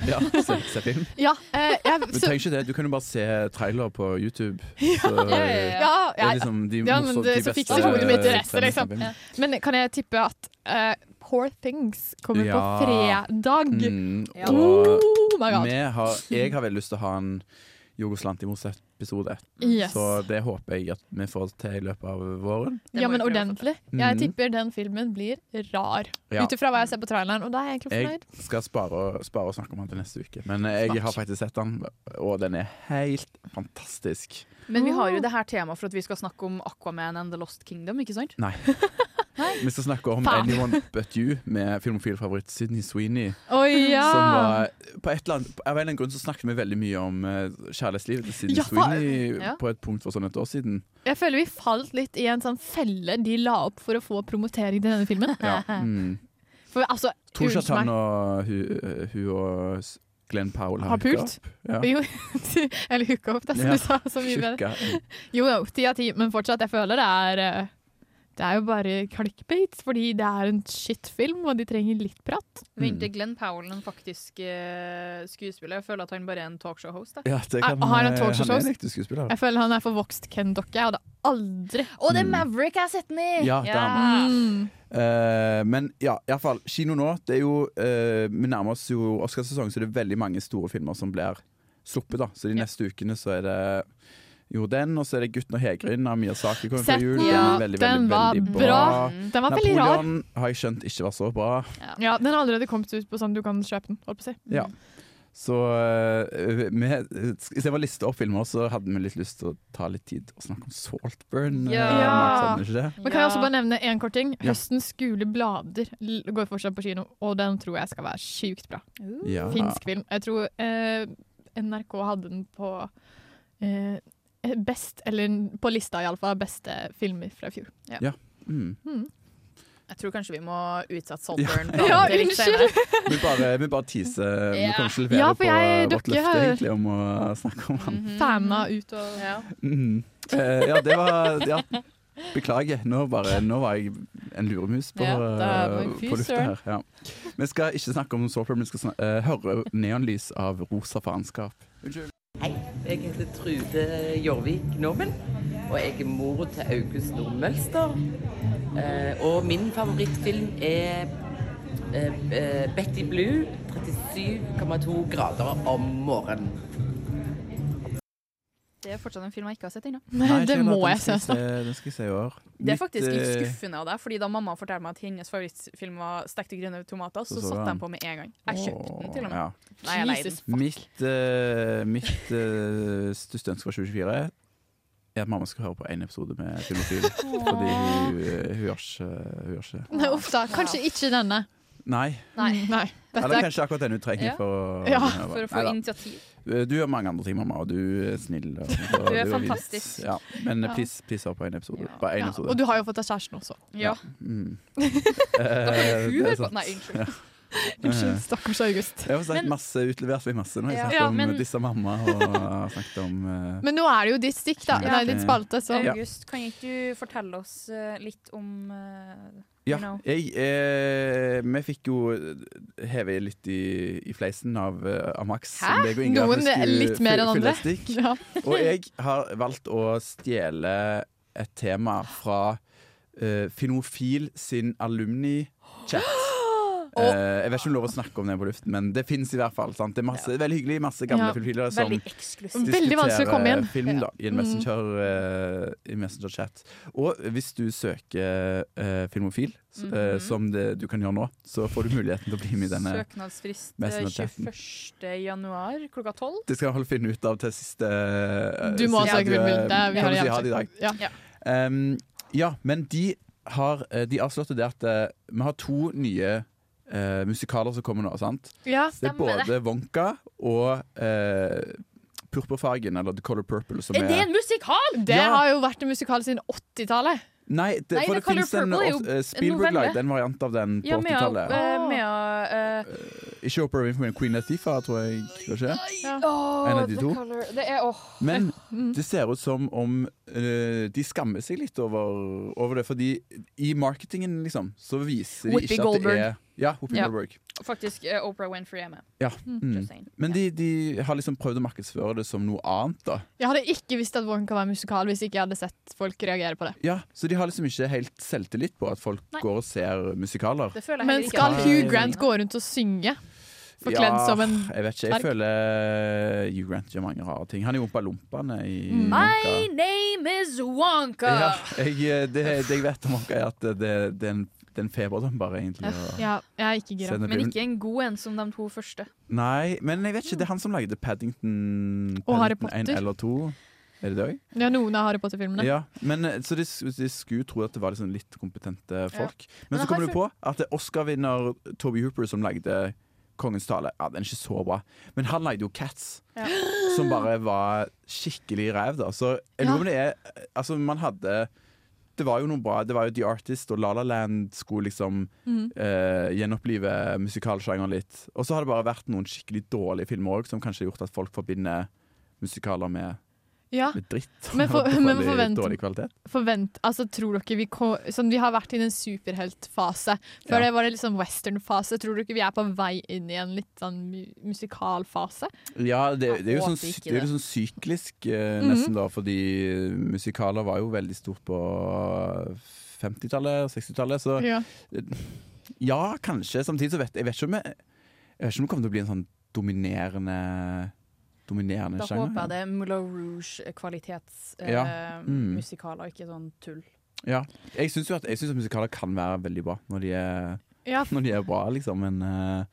Speaker 7: Ja, se, se film.
Speaker 11: Ja, eh, jeg,
Speaker 7: Du
Speaker 11: så,
Speaker 7: trenger ikke det, du kan jo bare se trailer på YouTube.
Speaker 11: Ja,
Speaker 7: Så,
Speaker 11: ja, ja, ja. Ja,
Speaker 7: det er liksom de,
Speaker 11: ja,
Speaker 7: morsom-
Speaker 11: men
Speaker 7: de
Speaker 11: det, så
Speaker 7: beste
Speaker 11: fikser hodet mitt det resten,
Speaker 7: trendene som
Speaker 11: liksom.
Speaker 7: er.
Speaker 11: Men kan jeg tippe at eh, Poor Things kommer
Speaker 7: Ja.
Speaker 11: på fredag?
Speaker 7: Mm,
Speaker 11: liksom. Ja.
Speaker 7: og
Speaker 11: Oh my god.
Speaker 7: vi har, jeg har veldig lyst til å ha en Jorgos Lantimos-episode.
Speaker 11: Yes.
Speaker 7: Så det håper jeg at vi får til i løpet av våren.
Speaker 11: Ja, men ordentlig.
Speaker 7: til.
Speaker 11: Jeg
Speaker 7: Mm.
Speaker 11: tipper den filmen blir rar.
Speaker 7: Ja.
Speaker 11: Ut ifra hva jeg ser på traileren, og da er jeg egentlig
Speaker 7: Jeg
Speaker 11: fornøyd.
Speaker 7: skal spare, og- spare å snakke om den til neste uke. Men eh, jeg har faktisk sett den, og den er helt fantastisk.
Speaker 5: Men vi har jo det her temaet for at vi skal snakke om Aquaman and The Lost Kingdom, ikke sant?
Speaker 7: Nei. Vi skal snakke om
Speaker 5: Faen.
Speaker 7: 'Anyone But You' med filmofilfavoritt Sydney Sweeney.
Speaker 11: Oi, ja.
Speaker 7: Som var, på et eller annet, av en eller annen grunn så snakket vi veldig mye om eh, kjærlighetslivet til Sydney
Speaker 11: Ja, fa-
Speaker 7: Sweeney
Speaker 11: Ja.
Speaker 7: på et punkt for sånn et år siden.
Speaker 11: Jeg føler vi falt litt i en sånn felle de la opp for å få promotering til denne filmen.
Speaker 7: Ja. Mm.
Speaker 11: For altså,
Speaker 7: Tror ikke at
Speaker 11: unnskyld
Speaker 7: han
Speaker 11: meg.
Speaker 7: og hun hun og eh, s- Glenn Powell har,
Speaker 11: Har
Speaker 7: hooka
Speaker 11: pult?
Speaker 7: opp. Ja.
Speaker 11: Jo, eller hooka opp, det som
Speaker 7: Ja,
Speaker 11: du sa. Så mye bedre.
Speaker 7: hooka.
Speaker 11: Jo, jo, ti av ti, men fortsatt, jeg føler det er eh, Det er jo bare clickbait, fordi det er en shitfilm, og de trenger litt prat.
Speaker 5: Venter Glenn Powell en faktisk eh, skuespiller? Jeg føler at han bare er en talkshow-host. da.
Speaker 7: Ja, det kan,
Speaker 11: Er- har han
Speaker 7: eh,
Speaker 11: en talkshow
Speaker 7: han er
Speaker 11: host?
Speaker 7: en ekte skuespiller.
Speaker 11: Jeg føler han er for vokst Ken-dokke. Jeg hadde aldri Mm.
Speaker 5: Å, det er Maverick jeg har sett den i! Mm.
Speaker 7: Ja, det er han. Eh, men ja, iallfall. Kino nå det er jo, eh, Vi nærmer oss jo Oscarsesong, så det er veldig mange store filmer som blir sluppet. da Så de neste ukene så er det jo den, og så er det 'Gutten og Hegrin' av Miyazaki kommer før
Speaker 11: Sett
Speaker 7: jul.
Speaker 11: den. Ja, den var bra. Den var veldig rar.
Speaker 7: Napoleon har jeg skjønt ikke var så bra.
Speaker 11: Ja, Den har allerede kommet ut på sånn du kan kjøpe den. holdt på å si.
Speaker 7: Ja. Så uh, med, istedenfor å liste opp filmer, så hadde vi litt lyst til å ta litt tid og snakke om Saltburn. eh, Mark, savner ikke det?
Speaker 11: Men kan jeg også bare nevne en kort ting?
Speaker 7: Ja.
Speaker 11: Høstens gule blader l- går fortsatt på kino, og den tror jeg skal være sjukt bra.
Speaker 5: Mm,
Speaker 7: Ja.
Speaker 11: Finsk film. Jeg tror eh, NRK hadde den på eh, best, eller på lista iallfall, beste filmer fra i fjor.
Speaker 5: Ja.
Speaker 7: Ja. Mm.
Speaker 11: Mm.
Speaker 5: Jeg tror kanskje vi må utsette Saltburn.
Speaker 11: Ja. Ja, unnskyld.
Speaker 7: Vi bare, vi bare teaser. Vi
Speaker 5: Ja.
Speaker 7: kommer ikke
Speaker 11: Ja,
Speaker 7: levere
Speaker 11: for
Speaker 7: på
Speaker 11: jeg-
Speaker 7: vårt
Speaker 11: dere
Speaker 7: løfte
Speaker 11: har-
Speaker 7: egentlig om å snakke om han.
Speaker 5: Mm. Mhm.
Speaker 11: Fana ut og
Speaker 7: Mm. Eh, ja, det var ja. Beklager. Nå, bare, nå var jeg en luremus på,
Speaker 11: Ja, da var
Speaker 7: eh,
Speaker 11: jeg fy
Speaker 7: på lufta
Speaker 11: søren.
Speaker 7: her. Ja. Vi skal ikke snakke om Saltburn, vi skal snak eh, høre neonlys av rosa faenskap.
Speaker 19: Hei, jeg heter Trude Jorvik Normen, og jeg er mor til August Nordmølster. Eh, og min favorittfilm er eh, eh, Betty Blue, 37,2 grader om morgenen.
Speaker 5: Det er fortsatt en film jeg ikke har sett ennå.
Speaker 7: Nei,
Speaker 11: det
Speaker 7: Sheila,
Speaker 11: må
Speaker 7: den
Speaker 11: jeg
Speaker 7: skal
Speaker 11: se snart.
Speaker 7: Den skal jeg se i år.
Speaker 5: Det er
Speaker 7: Mitt,
Speaker 5: faktisk litt
Speaker 7: eh,
Speaker 5: skuffende av deg, fordi da mamma fortalte meg at hennes favorittfilm var 'Stekte grønne tomater', så,
Speaker 7: Så så
Speaker 5: satte
Speaker 7: jeg
Speaker 5: jeg
Speaker 7: den.
Speaker 5: den på med en gang. Jeg kjøpte den til og med.
Speaker 7: Ja.
Speaker 5: Nei, jeg leide den.
Speaker 7: Mitt, eh, mitt eh, største ønske for 2024 er at mamma skal høre på én episode med Filmofil. fordi eh, hun, hun, gjør ikke, hun gjør ikke det.
Speaker 11: Nei, uff da. Kanskje ikke denne.
Speaker 7: Nei.
Speaker 11: Hmm, Nei.
Speaker 5: Dette
Speaker 7: Eller
Speaker 5: er-
Speaker 7: kanskje akkurat den du trenger
Speaker 5: Ja.
Speaker 7: for,
Speaker 5: Ja, for å få
Speaker 7: Neida. Eh,
Speaker 5: initiativ.
Speaker 7: Du gjør mange andre ting, mamma, og du er snill. Og, og
Speaker 11: Du er
Speaker 7: vis.
Speaker 11: fantastisk.
Speaker 7: Ja. Men eh,
Speaker 11: Ja.
Speaker 7: please, please hør på en episode. Bare en
Speaker 11: Ja,
Speaker 7: episode.
Speaker 11: og du har jo fått deg kjæresten også.
Speaker 5: Ja.
Speaker 7: Mm.
Speaker 11: da
Speaker 7: Eh,
Speaker 11: kan jo
Speaker 7: det
Speaker 11: hun
Speaker 7: er
Speaker 11: høre på.
Speaker 7: sant.
Speaker 11: Nei, unnskyld.
Speaker 7: Ja.
Speaker 11: Unnskyld, stakkars August.
Speaker 7: Jeg har snakket
Speaker 11: Men-
Speaker 7: masse, utlevert meg masse når jeg
Speaker 11: Ja.
Speaker 7: snakket
Speaker 11: Ja,
Speaker 7: om
Speaker 11: men-
Speaker 7: disse mamma og snakket om eh,
Speaker 11: Men nå er det jo ditt stikk, da.
Speaker 7: Ja.
Speaker 11: Nei, ditt spalte, så
Speaker 7: Ja.
Speaker 5: August, kan ikke du fortelle oss eh, litt om eh,
Speaker 7: Ja,
Speaker 5: you know?
Speaker 7: jeg, eh, vi fikk jo heve litt i, i fleisen av, eh, av Max.
Speaker 11: Hæ?
Speaker 7: som deg og Ingrid, at vi
Speaker 11: Noen er
Speaker 7: skulle
Speaker 11: litt mer
Speaker 7: fy-
Speaker 11: enn andre.
Speaker 7: fylle stikk.
Speaker 11: Ja.
Speaker 7: Og jeg har valgt å stjele et tema fra eh, Finofil sin alumni-chat. Eh, jeg vet ikke om det er lov å snakke om det på luften, men det fins i hvert fall. Sant? Det er masse, veldig hyggelig, masse gamle
Speaker 11: Ja.
Speaker 7: filmfiler som
Speaker 11: Veldig eksklusivt. Veldig vanskelig å komme
Speaker 7: diskuterer
Speaker 11: inn.
Speaker 7: film da, i en
Speaker 11: Mm.
Speaker 7: messenger, eh, i messenger-chat. Og hvis du søker eh, Filmofil, s- eh, som det du kan gjøre nå, så får du muligheten til å bli med i denne.
Speaker 5: Søknadsfrist eh,
Speaker 7: Mest med chatten.
Speaker 5: 21. januar klokka 12.
Speaker 7: Det skal jeg holde finne ut av til siste eh,
Speaker 5: Du må
Speaker 7: siste,
Speaker 5: søke
Speaker 7: eh,
Speaker 5: Filmofil. Det er- vi har
Speaker 7: kan du
Speaker 5: det i
Speaker 7: si ha det i dag.
Speaker 5: Ja. Ja.
Speaker 7: Um, ja, men de har eh, De avslørte det at eh, vi har to nye eh, musikaler som kommer nå, sant?
Speaker 11: Ja,
Speaker 7: det er
Speaker 11: stemmer
Speaker 7: både
Speaker 11: det.
Speaker 7: Wonka og eh, Purpurfargen, eller The Color Purple, som
Speaker 5: Er det en musikal?!
Speaker 11: Det
Speaker 7: Ja.
Speaker 11: har jo vært en musikal siden 80-tallet.
Speaker 7: Nei, det,
Speaker 11: Nei,
Speaker 7: for
Speaker 11: The
Speaker 7: det
Speaker 11: Colour
Speaker 7: finnes en,
Speaker 11: Purple er jo
Speaker 7: eh,
Speaker 11: en
Speaker 7: Spielberg
Speaker 11: novelle.
Speaker 7: lagde en variant av den på
Speaker 5: Ja, med,
Speaker 7: 80-tallet.
Speaker 5: eh, med eh,
Speaker 7: Ikke Opera Winfrey, men Queen Latifah, tror jeg. Kanskje.
Speaker 5: ja.
Speaker 7: En av de
Speaker 5: The
Speaker 7: to.
Speaker 5: Colour. Det er, åh.
Speaker 7: Men
Speaker 5: Mm.
Speaker 7: det ser ut som om eh, de skammer seg litt over, over det. Fordi i marketingen, liksom, så viser de
Speaker 5: Whoopi
Speaker 7: ikke at
Speaker 5: Goldberg.
Speaker 7: det er Ja, Whoopi
Speaker 5: Ja.
Speaker 7: Goldberg.
Speaker 5: Faktisk, eh, Oprah Winfrey er med.
Speaker 7: Ja.
Speaker 5: Mm.
Speaker 7: Mm.
Speaker 5: Just saying.
Speaker 7: Men de, de har liksom prøvd å markedsføre det som noe annet, da.
Speaker 11: Jeg hadde ikke visst at Wonka var en musikal hvis ikke jeg hadde sett folk reagere på det.
Speaker 7: Ja, Så de har liksom ikke helt selvtillit på at folk
Speaker 11: Nei.
Speaker 7: går og ser musikaler.
Speaker 11: Men skal Hugh Grant gå rundt og synge? Forkledd som en
Speaker 7: Jeg vet ikke, jeg
Speaker 11: dverg?
Speaker 7: føler Hugh Grant gjør mange rare ting. Han er jo Ompa Lompaene i Wonka.
Speaker 11: Mm.
Speaker 5: My name is Wonka!
Speaker 7: Ja, jeg, det, det jeg vet om Wonka, er at det, det er en, det er en feberdrøm, bare, egentlig. og-
Speaker 5: Ja, jeg er ikke gira.
Speaker 7: Sender
Speaker 5: Men
Speaker 7: film.
Speaker 5: ikke en god en som de to første.
Speaker 7: Nei, men jeg vet ikke. Det er han som lagde Paddington,
Speaker 11: Og Harry
Speaker 7: Paddington 1
Speaker 11: Potter.
Speaker 7: eller 2. Er det det òg?
Speaker 11: Ja, noen av Harry Potter-filmene.
Speaker 7: Ja, men, eh, så de, s- de skulle tro at det var litt sånn litt kompetente folk. Men, så
Speaker 11: Men jeg
Speaker 7: kommer
Speaker 11: har
Speaker 7: du på
Speaker 11: følt-
Speaker 7: at det er Oscar-vinner Toby Hooper som lagde Kongens tale. Ja, Den er ikke så bra, men han lagde jo Cats, som bare var skikkelig ræv. da. Så jeg lurer på om det er Altså, man hadde det var jo noe bra. Det var jo The Artist og La La Land skulle liksom
Speaker 11: Mhm.
Speaker 7: eh, gjenopplive musikalsjangeren litt. Og så har det bare vært noen skikkelig dårlige filmer òg, som kanskje har gjort at folk forbinder musikaler med,
Speaker 11: Ja.
Speaker 7: med dritt.
Speaker 11: Ah. Men for-
Speaker 7: og
Speaker 11: men
Speaker 7: veldig
Speaker 11: forvent-
Speaker 7: dårlig kvalitet.
Speaker 11: Forvent, altså tror dere vi, ko- sånn, vi har vært i en superheltfase. Før
Speaker 7: Ja.
Speaker 11: det var det liksom westernfase. Tror dere vi er på vei inn i en litt sånn mu musikalfase?
Speaker 7: Ja, det, det er jo
Speaker 11: håper
Speaker 7: sånn,
Speaker 11: ikke
Speaker 7: det er jo
Speaker 11: det.
Speaker 7: sånn syklisk, eh,
Speaker 11: Mhm.
Speaker 7: nesten, da, fordi musikaler var jo veldig stort på 50-tallet og 60-tallet, så
Speaker 11: Ja.
Speaker 7: Ja, kanskje. Samtidig så vet jeg vet ikke om jeg, jeg vet ikke om det kommer til å bli en sånn dominerende Dominerende
Speaker 5: Da
Speaker 7: sjanger.
Speaker 5: håper jeg det er Moulin Rouge-kvalitetsmusikaler,
Speaker 7: Ja. Mm.
Speaker 5: ikke sånn tull.
Speaker 7: Ja. Jeg syns jo at, jeg synes at musikaler kan være veldig bra når de er,
Speaker 11: Ja.
Speaker 7: når de er bra, liksom. Men eh,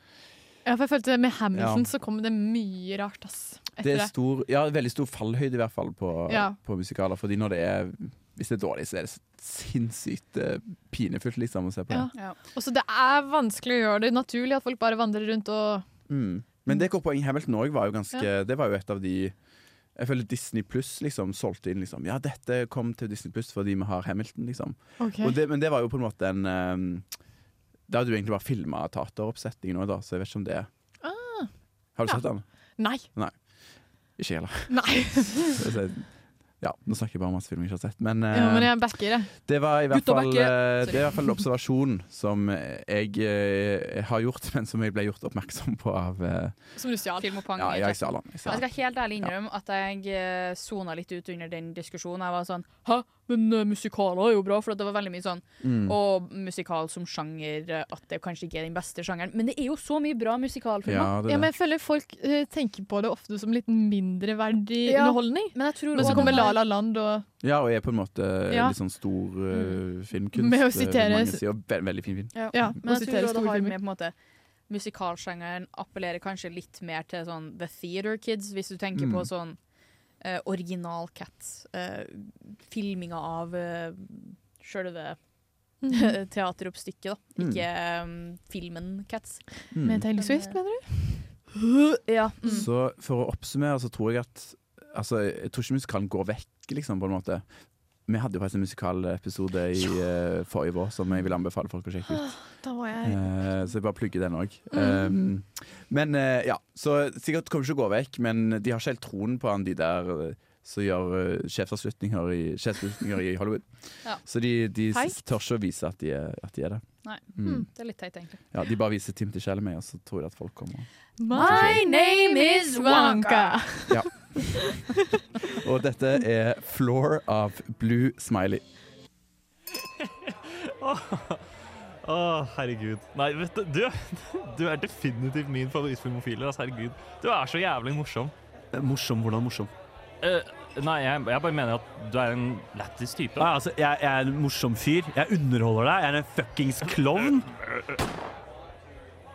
Speaker 11: Ja, for jeg følte det Med Hamilton
Speaker 7: Ja.
Speaker 11: så kom det mye rart ass,
Speaker 7: det
Speaker 11: etter
Speaker 7: er
Speaker 11: det.
Speaker 7: stor, ja, veldig stor fallhøyde i hvert fall på,
Speaker 11: Ja.
Speaker 7: på musikaler. Fordi når det er hvis det er dårlig, så er det så sinnssykt eh, pinefullt liksom, å se på.
Speaker 11: Ja.
Speaker 7: det.
Speaker 11: Og så det er vanskelig å gjøre det naturlig at folk bare vandrer rundt og
Speaker 7: Mm. Men det korpoeng Hamilton òg var jo ganske
Speaker 11: Ja.
Speaker 7: Det var jo et av de Jeg føler Disney Pluss liksom, solgte inn liksom Ja, dette kom til Disney Pluss fordi vi har Hamilton, liksom.
Speaker 11: Ok.
Speaker 7: Og det, men det var jo på en måte en ehm, Det hadde jo egentlig bare filma tateroppsetningen òg, da, så jeg vet ikke om det
Speaker 11: ah,
Speaker 7: Har du
Speaker 11: Ja.
Speaker 7: sett den?
Speaker 11: Nei.
Speaker 7: Nei. Ikke jeg heller.
Speaker 11: Nei.
Speaker 7: Så- ja, nå snakker jeg bare om masse film jeg ikke har sett, men, eh,
Speaker 11: Ja, men jeg backer det.
Speaker 7: det var i hvert
Speaker 11: Gutta
Speaker 7: fall,
Speaker 11: backer.
Speaker 7: eh, det er i
Speaker 11: Sorry.
Speaker 7: hvert fall en observasjon som eh, jeg eh, har gjort, men som jeg ble gjort oppmerksom på av eh,
Speaker 11: Som du stjal.
Speaker 5: Film og pang.
Speaker 7: Ja,
Speaker 5: i
Speaker 7: ja, jeg
Speaker 5: chatten.
Speaker 7: stjal den. Jeg
Speaker 5: Jeg
Speaker 7: stjal
Speaker 5: skal helt ærlig innrømme at jeg eh, sona litt ut under den diskusjonen. Jeg var sånn Hæ, men eh, musikaler er jo bra, for at det var veldig mye sånn
Speaker 11: Mm.
Speaker 5: Og musikal som sjanger, eh, at det kanskje ikke er den beste sjangeren. Men det er jo så mye bra musikalfilmer.
Speaker 11: Ja, men jeg føler folk eh, tenker på det ofte som litt mindreverdig
Speaker 5: Ja,
Speaker 11: underholdning.
Speaker 5: Men, jeg tror
Speaker 11: så
Speaker 5: også
Speaker 11: kommer
Speaker 5: det
Speaker 11: La
Speaker 5: har-
Speaker 11: La Land og
Speaker 7: Ja, og er på en måte
Speaker 11: Ja. Mm.
Speaker 7: litt sånn stor eh, filmkunst.
Speaker 11: Med å
Speaker 7: eh, vil
Speaker 11: sitere-
Speaker 7: mange si, og ve veldig fin film.
Speaker 5: Ja.
Speaker 11: Ja,
Speaker 5: men
Speaker 11: og
Speaker 5: jeg
Speaker 11: sitere
Speaker 5: tror også
Speaker 11: store
Speaker 5: det har
Speaker 11: filmer.
Speaker 5: med på en måte Musikalsjangeren appellerer kanskje litt mer til sånn The Theater Kids, hvis du tenker
Speaker 11: Mm.
Speaker 5: på sånn eh, eh, original Cats. eh, filminga av uh, sjølve Teateroppstykket, da.
Speaker 7: Mm.
Speaker 5: Ikke um, filmen Cats.
Speaker 7: Mm. Med
Speaker 11: Taylor Swift, mener
Speaker 5: du? Ja. Mm.
Speaker 7: Så for å oppsummere så tror jeg at Altså, jeg tror ikke musikalen går vekk, liksom, på en måte. Vi hadde jo faktisk en musikalepisode i eh, forrige vår som jeg vil anbefale folk å sjekke ut.
Speaker 11: Ah, Da var jeg
Speaker 7: Eh, så jeg bare plugger den òg.
Speaker 11: Mm.
Speaker 7: men eh, ja, så sikkert kommer det ikke å gå vekk, men de har ikke helt troen på han, de der eh, som gjør eh, sjefsavslutninger i, sjefsavslutninger i Hollywood.
Speaker 5: Ja.
Speaker 7: Så de, de s-
Speaker 5: Teit.
Speaker 7: tør ikke å vise at de er, at de er det.
Speaker 5: Nei.
Speaker 7: Mm.
Speaker 5: Det er litt teit, egentlig.
Speaker 7: Ja, de bare viser Timothy Chalamet, og så tror de at folk kommer.
Speaker 5: My name is Wonka.
Speaker 7: Ja. og dette er 'Floor' av Blue Smiley.
Speaker 20: Å, herregud. Nei, vet du, du, du er definitivt min favorittfilmofile. Altså, herregud. Du er så jævlig morsom.
Speaker 12: Morsom, hvordan morsom?
Speaker 20: Eh, nei, jeg, jeg bare mener at du er en lættis type.
Speaker 12: Nei, altså, jeg, jeg er en morsom fyr. Jeg underholder deg. Jeg er en fuckings klovn.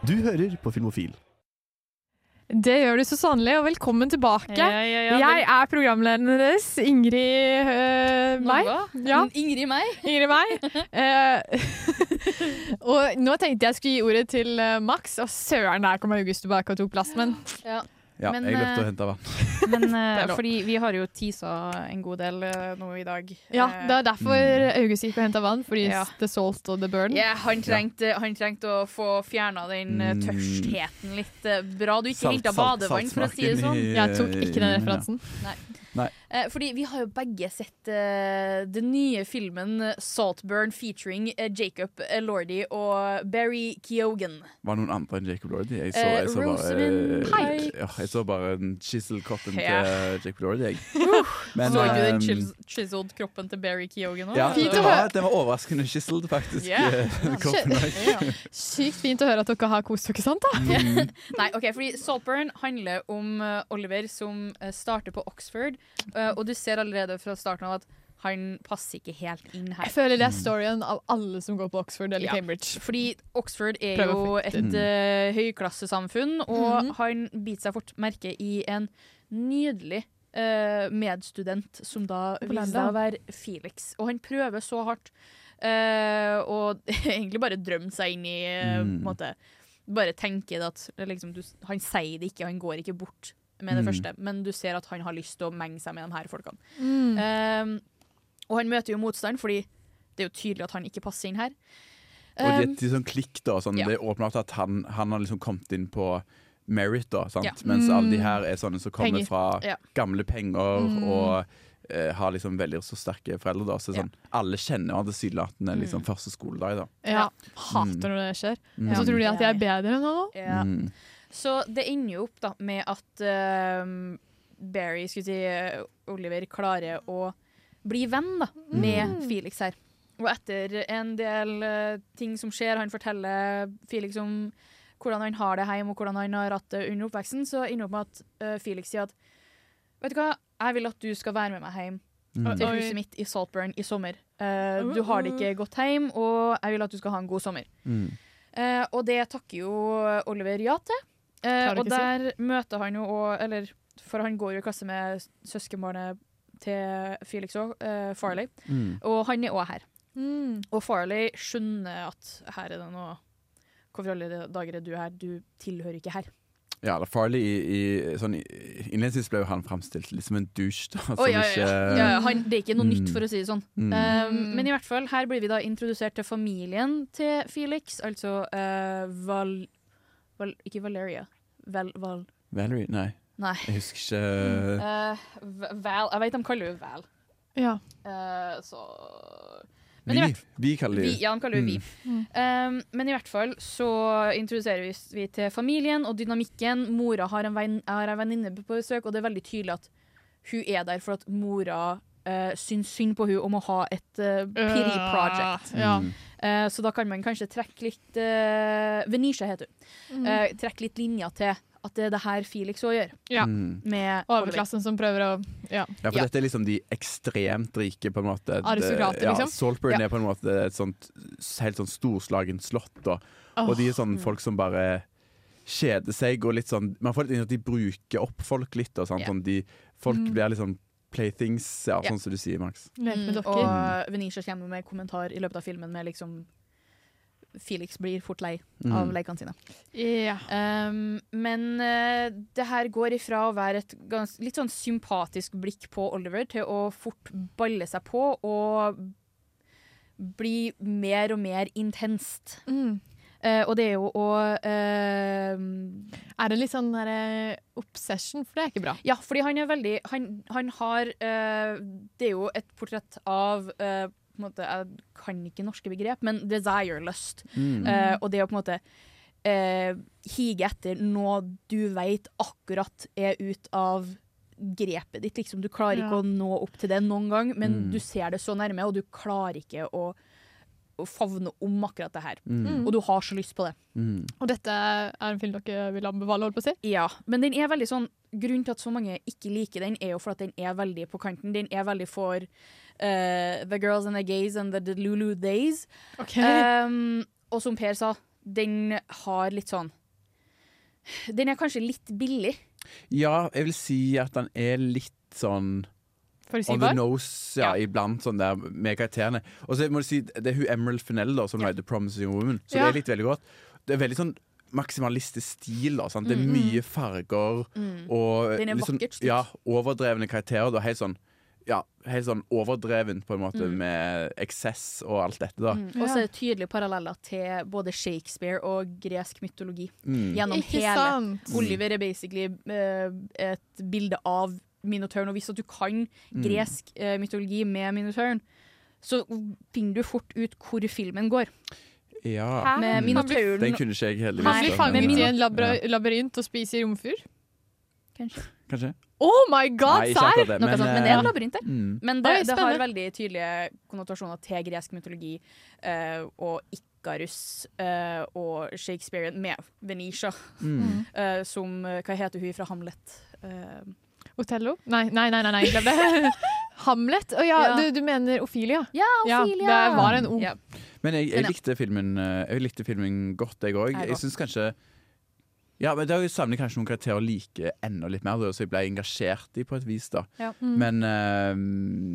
Speaker 12: Du hører på Filmofil.
Speaker 11: Det gjør du så sannelig, og velkommen tilbake.
Speaker 5: Ja, ja, ja, vel-
Speaker 11: Jeg er programlederen deres, Ingrid øh, meg.
Speaker 5: Noga?
Speaker 11: Ja.
Speaker 5: Ingrid meg?
Speaker 11: Ingrid meg. Eh, og nå tenkte jeg skulle gi ordet til øh, Max, og søren, der kom August tilbake og tok plassen min.
Speaker 7: Ja,
Speaker 5: Men,
Speaker 7: jeg løp til
Speaker 5: eh,
Speaker 7: å hente vann.
Speaker 5: Men eh,
Speaker 11: er lov.
Speaker 5: fordi vi har jo teasa en god del eh, nå i dag.
Speaker 11: Ja,
Speaker 5: Eh,
Speaker 11: det er derfor August gikk og henta vann, fordi
Speaker 5: Ja.
Speaker 11: the salt og the burn.
Speaker 5: Ja, han trengte, han trengte å få fjerna den eh, tørstheten litt. Eh, Bra du ikke
Speaker 11: Salt-
Speaker 5: hilta
Speaker 11: salt-
Speaker 5: badevann, for å si det
Speaker 11: saltsmaken
Speaker 5: sånn.
Speaker 11: i- Jeg tok ikke den i referansen.
Speaker 5: Nei.
Speaker 7: Nei.
Speaker 5: Eh, Fordi vi har jo begge sett eh, den nye filmen eh, Saltburn featuring eh, Jacob eh, Lordy og Barry Keoghan.
Speaker 7: Var det noen andre enn Jacob Lordy? Jeg så,
Speaker 5: Eh,
Speaker 7: jeg så bare,
Speaker 5: Rosamund Pike.
Speaker 7: ja, jeg så bare den chiselkoppen
Speaker 5: Ja.
Speaker 7: til Jacob Lordy, jeg.
Speaker 5: så du den
Speaker 7: ehm,
Speaker 5: chis- chiseled kroppen til Barry Keoghan òg?
Speaker 7: ja, det var, den var overraskende chiseled, faktisk.
Speaker 5: Ja.
Speaker 7: eh, koppen også.
Speaker 11: Sykt fint å høre at dere har kost dere, sant? da?
Speaker 7: Mm.
Speaker 5: Nei, ok, fordi Saltburn handler om eh, Oliver som eh, starter på Oxford, eh, og du ser allerede fra starten av at han passer ikke helt inn her.
Speaker 11: Jeg føler det er storyen av alle som går på Oxford eller
Speaker 5: Ja,
Speaker 11: Cambridge.
Speaker 5: Fordi Oxford er
Speaker 11: Prøv å mm.
Speaker 5: jo
Speaker 11: flytte
Speaker 5: et
Speaker 11: inn.
Speaker 5: eh, høyklassesamfunn, og
Speaker 11: Mhm.
Speaker 5: han biter seg fort merke i en nydelig eh, medstudent, som da viser seg
Speaker 11: Blanda.
Speaker 5: å være Felix. Og han prøver så hardt, eh, og egentlig bare drømmer seg inn i eh, på en
Speaker 11: Mm.
Speaker 5: måte, Bare tenker det at eh, liksom, du, Han sier det ikke, han går ikke bort med det
Speaker 11: Mm.
Speaker 5: første, men du ser at han har lyst til å menge seg med de her folkene.
Speaker 11: Mm.
Speaker 5: Eh, og han møter jo motstand, fordi det er jo tydelig at han ikke passer inn her.
Speaker 7: Og det
Speaker 5: Um,
Speaker 7: er til sånn klikk, da. Sånn,
Speaker 5: ja.
Speaker 7: Det er åpenbart at han, han har liksom kommet inn på merit, da. Sant?
Speaker 5: Ja.
Speaker 7: Mens alle de
Speaker 5: Mm.
Speaker 7: her er sånne som kommer
Speaker 5: Penger.
Speaker 7: fra
Speaker 5: Ja.
Speaker 7: gamle penger
Speaker 5: Mm.
Speaker 7: og eh, har liksom veldig så sterke foreldre. Da. Så sånn, Alle kjenner han
Speaker 5: Mm.
Speaker 7: tilsynelatende liksom, første skoledag. Da.
Speaker 11: Ja.
Speaker 7: Mm.
Speaker 11: Hater når det skjer.
Speaker 7: Mm.
Speaker 11: Og så tror de at jeg er bedre enn han.
Speaker 5: Ja.
Speaker 7: Mm.
Speaker 5: Så det ender jo opp da med at eh, Barry, skulle si eh, Oliver, klarer å bli venn da med Felix her. Og etter en del eh, ting som skjer, han forteller Felix om hvordan han har det hjemme og hvordan han har hatt det under oppveksten, så ender det opp med at eh, Felix sier at Vet du hva, jeg vil at du skal være med meg hjem
Speaker 11: Mm.
Speaker 5: til
Speaker 11: Oi.
Speaker 5: huset mitt i Saltburn i sommer. Eh, du har det ikke godt hjem, og jeg vil at du skal ha en god sommer.
Speaker 7: Mm.
Speaker 5: Eh, og det takker jo Oliver ja til. Eh,
Speaker 11: Klarer
Speaker 5: og
Speaker 11: ikke å
Speaker 5: der møter han jo òg Eller for han går jo i klasse med s- søskenbarnet til Felix òg, eh, Farley.
Speaker 11: Mm.
Speaker 5: Og han er òg her.
Speaker 11: Mm.
Speaker 5: Og Farley skjønner at her er det noe Hvorfor i alle dager er du her? Du tilhører ikke her.
Speaker 7: Ja, eller Farley i, i sånn, Innledningsvis ble jo han framstilt litt som en douche. Da, som
Speaker 5: Å, ja, ja, ja.
Speaker 7: ikke-
Speaker 5: Ja, ja, han, det er ikke noe
Speaker 7: Mm.
Speaker 5: nytt, for å si det sånn.
Speaker 7: Mm.
Speaker 5: Um, men i hvert fall, her blir vi da introdusert til familien til Felix, altså eh, Val, Val... Ikke Valeria. Val... Val
Speaker 7: Valerie? Nei.
Speaker 5: Nei.
Speaker 7: Jeg husker ikke
Speaker 5: Eh, V- Val Jeg vet de kaller jo Val.
Speaker 11: Ja.
Speaker 5: Eh, så men i
Speaker 7: vi,
Speaker 5: hvert-
Speaker 7: vi kaller det
Speaker 5: vi, ja, han kaller jo vi.
Speaker 11: Mm.
Speaker 5: Um, men i hvert fall så introduserer vi, vi til familien og dynamikken. Mora har en venn- har en venninne på besøk, og det er veldig tydelig at hun er der for at mora uh, syns synd på hun om å ha et uh, pity
Speaker 11: Ah.
Speaker 5: project.
Speaker 11: Ja. Mm.
Speaker 5: Eh, så da kan man kanskje trekke litt uh, Venisha heter hun.
Speaker 11: Mm.
Speaker 5: Eh, trekke litt linja til at det er det her Felix òg gjør.
Speaker 11: Ja.
Speaker 7: Mm.
Speaker 5: Med
Speaker 11: Overklassen som prøver å Ja.
Speaker 7: Ja, for dette er liksom de ekstremt rike, på en måte.
Speaker 11: Aristokrater,
Speaker 7: ja,
Speaker 11: liksom.
Speaker 7: Saltburn
Speaker 11: Ja.
Speaker 7: er på en måte et sånt helt sånn storslagent slott, da. Og
Speaker 11: Åh.
Speaker 7: de er sånn folk som bare kjeder seg og litt sånn Man får litt inn at de bruker opp folk litt, og sånn.
Speaker 11: Ja.
Speaker 7: sånn de, folk
Speaker 11: Mm.
Speaker 7: blir liksom Playthings, ja,
Speaker 5: Ja.
Speaker 7: sånn som du sier, Max.
Speaker 11: Lek med
Speaker 5: Mm,
Speaker 11: dokker.
Speaker 5: Og Venisha kommer med kommentar i løpet av filmen med liksom Felix blir fort lei av
Speaker 7: Mm.
Speaker 5: lekene sine. Um, men eh, det her går ifra å være et gans, litt sånn sympatisk blikk på Oliver til å fort balle seg på og bli mer og mer intenst.
Speaker 11: Mm.
Speaker 5: Eh, og det er jo å eh,
Speaker 11: Er det litt sånn der, eh, obsession? For det er ikke bra.
Speaker 5: Ja, fordi han er veldig Han, han har eh, Det er jo et portrett av eh, på en måte, Jeg kan ikke norske begrep, men desire lust.
Speaker 10: Mm.
Speaker 5: Eh, og det å på en måte eh, hige etter noe du veit akkurat er ut av grepet ditt. Liksom. Du klarer ikke
Speaker 10: Ja.
Speaker 5: å nå opp til det noen gang, men
Speaker 10: Mm.
Speaker 5: du ser det så nærme, og du klarer ikke å, å favne om akkurat det her.
Speaker 10: Mm.
Speaker 5: Og du har så lyst på det.
Speaker 7: Mm.
Speaker 11: Og dette er en film dere vil anbefale? holdt på å si?
Speaker 5: Ja, men den er veldig sånn Grunnen til at så mange ikke liker den, er jo for at den er veldig på kanten. Den er veldig for eh, The Girls and the Gays and the Delulu Days.
Speaker 11: Ok.
Speaker 5: Ehm, og som Per sa, den har litt sånn Den er kanskje litt billig.
Speaker 7: Ja, jeg vil si at han er litt sånn On the
Speaker 5: Forutsigbar?
Speaker 7: nose, ja, iblant, sånn der med karakterene. Og så må du si, det er hun Emerald Fennell da, som lagde 'Promising Woman', som
Speaker 11: Ja.
Speaker 7: jeg likte veldig godt. Det er veldig sånn maksimalistisk stil. Da, sant? Det er
Speaker 11: Mm.
Speaker 7: mye farger
Speaker 11: Mm.
Speaker 7: og
Speaker 11: Den er
Speaker 7: litt sånn-
Speaker 11: vakkert stilt.
Speaker 7: ja, overdrevne karakterer. Da, helt sånn ja, helt sånn overdrevent, på en måte,
Speaker 5: Mm.
Speaker 7: med eksess og alt dette, da.
Speaker 5: Mm. Og så er det tydelige paralleller til både Shakespeare og gresk mytologi.
Speaker 7: Mm.
Speaker 5: Gjennom
Speaker 11: Ikke
Speaker 5: hele.
Speaker 11: sant?
Speaker 5: Oliver er basically eh, et bilde av Minotauren. Og hvis at du kan
Speaker 7: Mm.
Speaker 5: gresk eh, mytologi med Minotauren, så finner du fort ut hvor filmen går.
Speaker 7: Ja.
Speaker 5: Med
Speaker 7: Mm.
Speaker 5: minotauren-
Speaker 7: Den kunne ikke jeg heldigvis.
Speaker 11: Han blir
Speaker 7: da.
Speaker 11: fanget i
Speaker 7: Ja.
Speaker 11: en labra- labyrint og spiser romfugl?
Speaker 7: Kanskje.
Speaker 11: Oh my god,
Speaker 7: Nei, ikke
Speaker 11: serr!
Speaker 7: akkurat det,
Speaker 5: Noe
Speaker 7: men,
Speaker 5: sånt, men det er en
Speaker 7: eh,
Speaker 5: labyrint der.
Speaker 7: mm.
Speaker 5: Men det,
Speaker 11: Oi,
Speaker 5: det har
Speaker 11: spennende.
Speaker 5: veldig tydelige konnotasjoner til gresk mytologi eh, og Ikarus eh, og Shakespeare med Venetia,
Speaker 11: Mm.
Speaker 5: eh, som eh, Hva heter hun fra Hamlet? Eh,
Speaker 11: Otello? Nei, nei, nei, nei, nei glem det. Hamlet? Å ja,
Speaker 5: Ja.
Speaker 11: Du, du mener Ophelia?
Speaker 5: Ja, Ophelia. Oh.
Speaker 11: det var en O.
Speaker 5: Ja.
Speaker 7: Men jeg,
Speaker 11: Men
Speaker 7: jeg,
Speaker 11: ja.
Speaker 7: likte filmen, eh, jeg likte filmen godt, jeg òg.
Speaker 11: Jeg
Speaker 7: Jeg
Speaker 11: også.
Speaker 7: syns kanskje Ja, men Det savner jeg kanskje noen karakterer å like enda litt mer, da, så jeg ble engasjert i på et vis. da
Speaker 5: Ja. Mm.
Speaker 7: Men eh,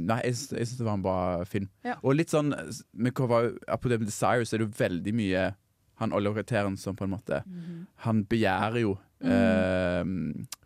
Speaker 7: nei, jeg syns jeg syns det var en bra film.
Speaker 5: Ja.
Speaker 7: Og litt sånn s- med Kova- Apropos det med Desire, så er det jo veldig mye han Oliver-karakteren som på en måte Han begjærer jo eh,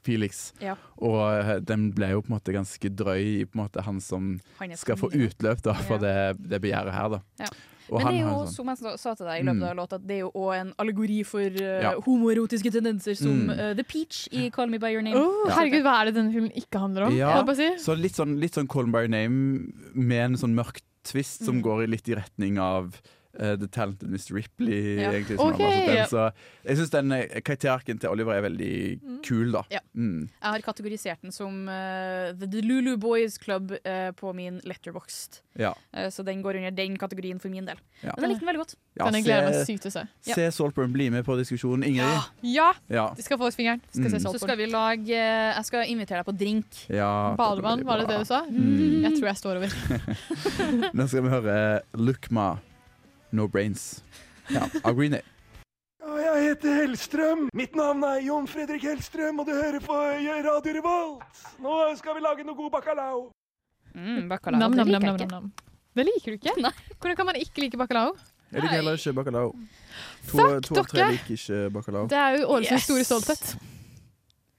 Speaker 7: Felix,
Speaker 5: Ja.
Speaker 7: og eh, den ble jo på en måte ganske drøy i på en måte han som
Speaker 5: Han er
Speaker 7: skal få
Speaker 5: kongen.
Speaker 7: utløp da for det, det begjæret her. da
Speaker 5: Ja.
Speaker 7: Og
Speaker 5: Men
Speaker 7: han
Speaker 5: det er
Speaker 7: har
Speaker 5: jo,
Speaker 7: en sånn-
Speaker 5: som jeg sa- sa til deg i løpet av
Speaker 7: Mm.
Speaker 5: låta, det er jo òg en allegori for eh,
Speaker 7: Ja.
Speaker 5: homoerotiske tendenser som
Speaker 7: Mm.
Speaker 5: eh, The Peach i Call Me By Your Name.
Speaker 11: Oh,
Speaker 7: Ja.
Speaker 11: herregud, hva er det denne filmen ikke handler om?
Speaker 7: Ja,
Speaker 11: holdt på å si?
Speaker 7: så litt sånn, litt sånn Call Me By Your Name med en sånn mørk twist
Speaker 5: Mm.
Speaker 7: som går i litt i retning av eh, The Talented Mr. Ripley.
Speaker 5: Ja.
Speaker 7: Egentlig, som har
Speaker 5: Ok,
Speaker 7: vært den.
Speaker 5: ja.
Speaker 7: Så jeg syns den eh, karakterarken til Oliver er veldig kul, da.
Speaker 5: Ja.
Speaker 7: Mm.
Speaker 5: Jeg har kategorisert den som eh, The Lulu Boys Club eh, på min letterboxed.
Speaker 7: Ja.
Speaker 5: Eh, så den går under den kategorien for min del.
Speaker 7: Ja.
Speaker 5: Men jeg likte den veldig godt.
Speaker 7: Ja, Den jeg gleder meg se- sykt
Speaker 5: til å se.
Speaker 7: Se Saltburn bli med på diskusjonen, Ingrid.
Speaker 11: Ja!
Speaker 7: Ja.
Speaker 11: De skal få ut fingeren. Skal se
Speaker 7: Mm.
Speaker 5: Så
Speaker 11: Saltburn.
Speaker 5: skal vi lage eh, Jeg skal invitere deg på drink.
Speaker 7: Ja,
Speaker 11: Badevann, var det det du sa?
Speaker 7: Mm.
Speaker 11: Jeg tror jeg står over.
Speaker 7: Nå skal vi høre Lukma, No Brains. Ja, av Green Day.
Speaker 21: Og jeg heter Hellstrøm. Mitt navn er Jon Fredrik Hellstrøm, og du hører på Radio Revolt. Nå skal vi lage noe god bacalao.
Speaker 5: Mm, bacalao.
Speaker 11: Nam,
Speaker 5: Det liker
Speaker 11: nam, nam,
Speaker 5: jeg
Speaker 11: nam,
Speaker 5: ikke.
Speaker 11: nam, nam. Det liker du ikke? Hvordan kan man ikke like bacalao?
Speaker 7: Jeg liker heller ikke bacalao. To,
Speaker 11: Fuck
Speaker 7: to av tre
Speaker 11: dere!
Speaker 7: liker ikke bacalao.
Speaker 11: Det er jo Ålesunds
Speaker 5: Yes.
Speaker 11: store stolthet.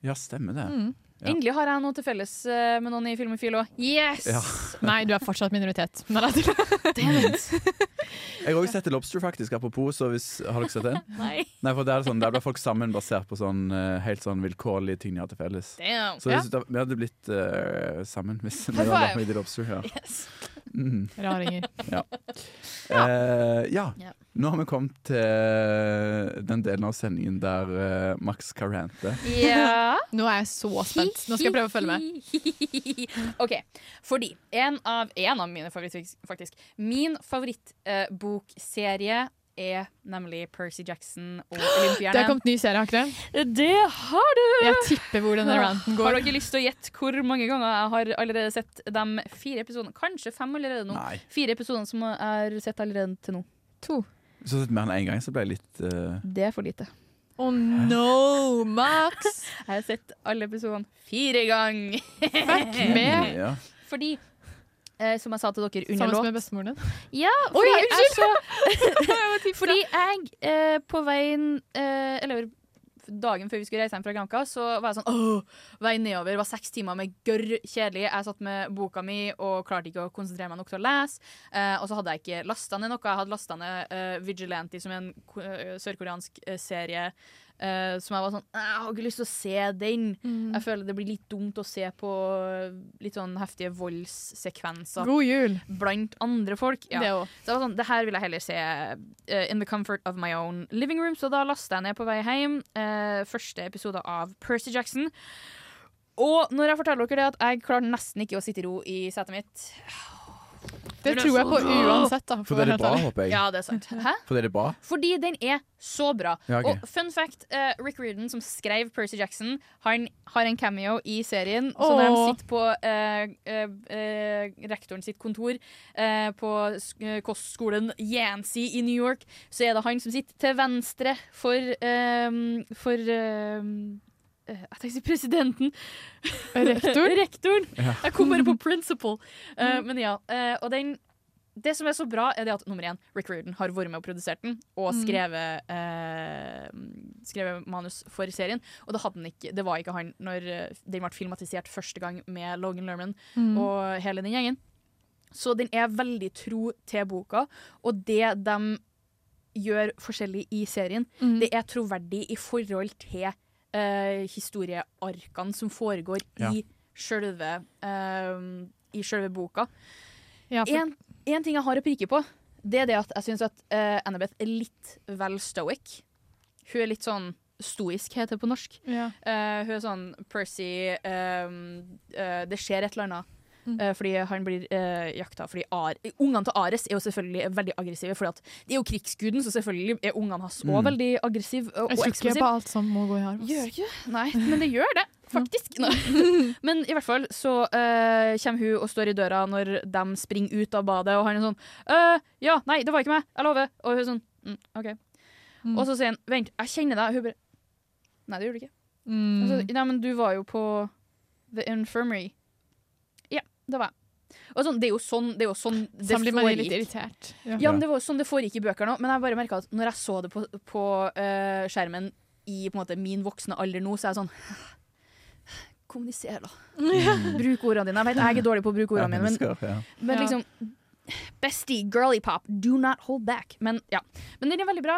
Speaker 7: Ja, stemmer det.
Speaker 11: Mm.
Speaker 7: Ja.
Speaker 5: Endelig har jeg noe til felles eh, med noen i Filmofil òg. Yes!
Speaker 7: Ja.
Speaker 11: Nei, du er fortsatt minoritet. Nei, nei,
Speaker 7: Jeg har også sett The Lobster, faktisk, apropos. Så hvis, har dere sett den?
Speaker 5: Nei.
Speaker 7: for der, er det sånn, der ble folk sammen basert på sånn, eh, helt sånn vilkårlige ting de har til felles.
Speaker 5: Damn.
Speaker 7: Så
Speaker 5: Ja.
Speaker 7: hvis, da, vi hadde blitt eh, sammen hvis vi
Speaker 5: High
Speaker 7: hadde vært
Speaker 5: five.
Speaker 7: med i The Lobster. Ja.
Speaker 5: Yes.
Speaker 7: Mm.
Speaker 11: Raringer.
Speaker 7: Ja. Eh, ja.
Speaker 5: Ja.
Speaker 7: Nå har vi kommet til den delen av sendingen der eh, Max skal rante.
Speaker 5: Ja.
Speaker 11: Nå er jeg så spent. Nå skal jeg prøve å følge med.
Speaker 5: OK. Fordi en av, en av mine favorittfilmer, faktisk Min favorittbokserie er nemlig Percy Jackson og
Speaker 11: Det har
Speaker 5: Olympierne.
Speaker 11: kommet ny serie, har ikke det?
Speaker 5: Det har du!
Speaker 11: Jeg tipper hvor denne ranten
Speaker 5: Har
Speaker 11: går.
Speaker 5: dere lyst til å gjette hvor mange ganger jeg har allerede sett de fire episodene? Kanskje fem allerede nå.
Speaker 7: Nei.
Speaker 5: Fire episoder som jeg har sett allerede til nå. To.
Speaker 7: Så sett mer enn én gang, så ble jeg litt eh,
Speaker 5: Det er for lite.
Speaker 11: Oh no, Max!
Speaker 5: Jeg har sett alle episodene fire ganger.
Speaker 11: Fuck med.
Speaker 7: Ja.
Speaker 5: Fordi, eh, som jeg sa til dere under
Speaker 11: Sammen med
Speaker 5: låt
Speaker 11: bestemoren din.
Speaker 5: Ja, fordi
Speaker 11: ja,
Speaker 5: jeg så Fordi jeg eh, på veien eh, Eller dagen før vi skulle reise hjem fra Granca, så var jeg sånn Åh, vei nedover var seks timer med gørr kjedelig. Jeg satt med boka mi og klarte ikke å konsentrere meg nok til å lese. Eh, og så hadde jeg ikke lasta ned noe. Jeg hadde lasta ned eh, Vigilante, som er en ko- eh, sørkoreansk eh, serie. eh, som jeg var sånn «Æ, Jeg har ikke lyst til å se den.
Speaker 11: Mm.
Speaker 5: Jeg føler det blir litt dumt å se på litt sånn heftige voldssekvenser.
Speaker 11: God jul.
Speaker 5: Blant andre folk. Ja.
Speaker 11: Det òg.
Speaker 5: Så jeg var sånn, det her vil jeg heller se eh, in the comfort of my own living room. Så da lasta jeg ned på vei hjem eh, første episode av Percy Jackson. Og når jeg forteller dere det at jeg klarer nesten ikke å sitte i ro i setet mitt
Speaker 11: Det tror jeg på uansett, da.
Speaker 7: For det er
Speaker 11: å være helt
Speaker 7: bra,
Speaker 11: ærlig.
Speaker 7: håper jeg.
Speaker 5: sånn? Ja, det er sant. Hæ?
Speaker 7: For det er bra.
Speaker 5: Fordi den er så bra.
Speaker 7: Ja, ok.
Speaker 5: Og fun fact, eh, Rick Reardon, som skrev Percy Jackson, han har en cameo i serien. Så
Speaker 11: Åh.
Speaker 5: når de sitter på eh, eh, eh, rektoren sitt kontor eh, på sk- eh, kostskolen Yancy i New York, så er det han som sitter til venstre for, eh, for eh, eh, jeg tenkte å si presidenten.
Speaker 11: Rektoren?
Speaker 5: Rektoren.
Speaker 11: Ja.
Speaker 5: Jeg kom bare på principal. Eh, men ja, eh, og den det som er så bra, er det at nummer én, Rick Reardon har vært med og produsert den, og
Speaker 11: Mm.
Speaker 5: skrevet, eh, skrevet manus for serien. Og det, hadde han ikke, det var ikke han når eh, den ble filmatisert første gang med Logan Lerman
Speaker 11: Mm.
Speaker 5: og hele den gjengen. Så den er veldig tro til boka, og det de gjør forskjellig i serien,
Speaker 11: Mm.
Speaker 5: det er troverdig i forhold til eh, historiearkene som foregår
Speaker 11: Ja.
Speaker 5: i sjølve eh, i sjølve boka.
Speaker 11: Ja, for-
Speaker 5: en, en ting jeg har å pirke på, det er det at jeg syns at eh, Annabeth er litt vel stoic. Hun er litt sånn stoisk, heter det på norsk.
Speaker 11: Ja.
Speaker 5: Eh, hun er sånn Percy ehm, eh, Det skjer et eller annet. Eh, fordi han blir eh, jakta fordi Ar Ungene til Ares er jo selvfølgelig veldig aggressive. For de er jo krigsguden, så selvfølgelig er ungene hans òg
Speaker 11: Mm.
Speaker 5: veldig aggressive og, og
Speaker 11: Jeg tror ikke på
Speaker 5: eksplosive.
Speaker 11: alt som må gå i arv. ass.
Speaker 5: Gjør ikke det? Nei, men det gjør det, faktisk. Nei. Men i hvert fall så eh, kommer hun og står i døra når de springer ut av badet, og han er sånn «Øh, Ja, nei, det var ikke meg. Jeg lover. Og hun er sånn mm, OK.
Speaker 11: Mm.
Speaker 5: Og så sier han Vent, jeg kjenner deg. Og hun bare Nei, det gjorde du ikke.
Speaker 11: Mm.
Speaker 5: Og så, Altså, nei, men du var jo på The Infirmary. Ja, det var jeg. Og sånn, det er jo sånn det, er jo sånn det
Speaker 11: Sånn blir man litt irritert.
Speaker 5: Ja. men Det var jo sånn det foregikk i bøkene òg, men jeg bare merka at når jeg så det på, på eh, skjermen i på en måte, min voksne alder nå, så er jeg sånn Kommuniser, da.
Speaker 7: Mm.
Speaker 5: Mm. Bruk ordene dine. Jeg vet jeg er dårlig på å bruke
Speaker 7: Ja,
Speaker 5: ordene mine, men
Speaker 7: mennesker, ja.
Speaker 5: men
Speaker 11: Ja.
Speaker 5: liksom Bestie, girly pop, do not hold back. Men ja, men den er veldig bra.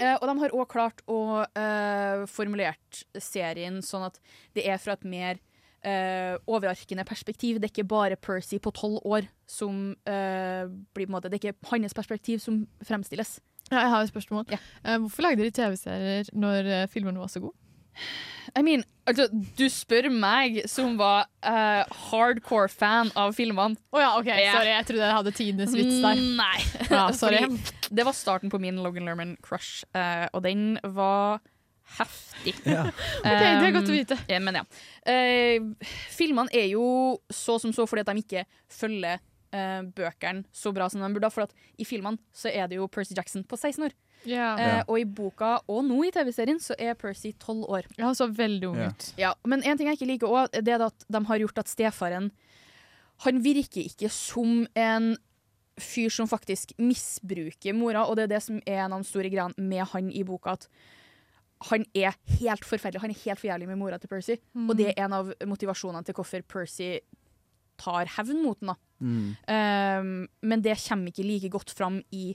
Speaker 5: Eh, og de har òg klart å eh, formulert serien sånn at det er fra et mer eh, overarkende perspektiv. Det er ikke bare Percy på tolv år som eh, blir på en måte Det er ikke hans perspektiv som fremstilles.
Speaker 11: Ja, jeg har et spørsmål. Eh, hvorfor lagde dere TV-serier når eh, filmene var så gode?
Speaker 5: I mean, altså, du spør meg som var eh, hardcore fan av filmene.
Speaker 11: Å ja, OK. Sorry, jeg trodde jeg hadde tidenes vits der.
Speaker 5: Nei.
Speaker 11: Ja, sorry.
Speaker 5: Fordi det var starten på min Logan Lerman-crush, eh, og den var heftig.
Speaker 11: Ja. Ok, det er godt å vite.
Speaker 5: Eh, men ja. Eh, filmene er jo så som så fordi at de ikke følger eh, bøkene så bra som de burde. For at i filmene så er det jo Percy Jackson på 16 år.
Speaker 11: Ja.
Speaker 5: Eh, og i boka, og nå i TV-serien, så er Percy 12 år.
Speaker 11: Ja, han så veldig ung ut.
Speaker 5: Ja, men en ting jeg ikke liker også, det er at de har gjort at stefaren Han virker ikke som en fyr som faktisk misbruker mora, og det er det som er en av de store greiene med han i boka. at han er helt forferdelig. Han er helt for jævlig med mora til Percy.
Speaker 11: Mm.
Speaker 5: Og det er en av motivasjonene til hvorfor Percy tar hevn mot den. da.
Speaker 11: Mm.
Speaker 5: Um, men det kommer ikke like godt fram i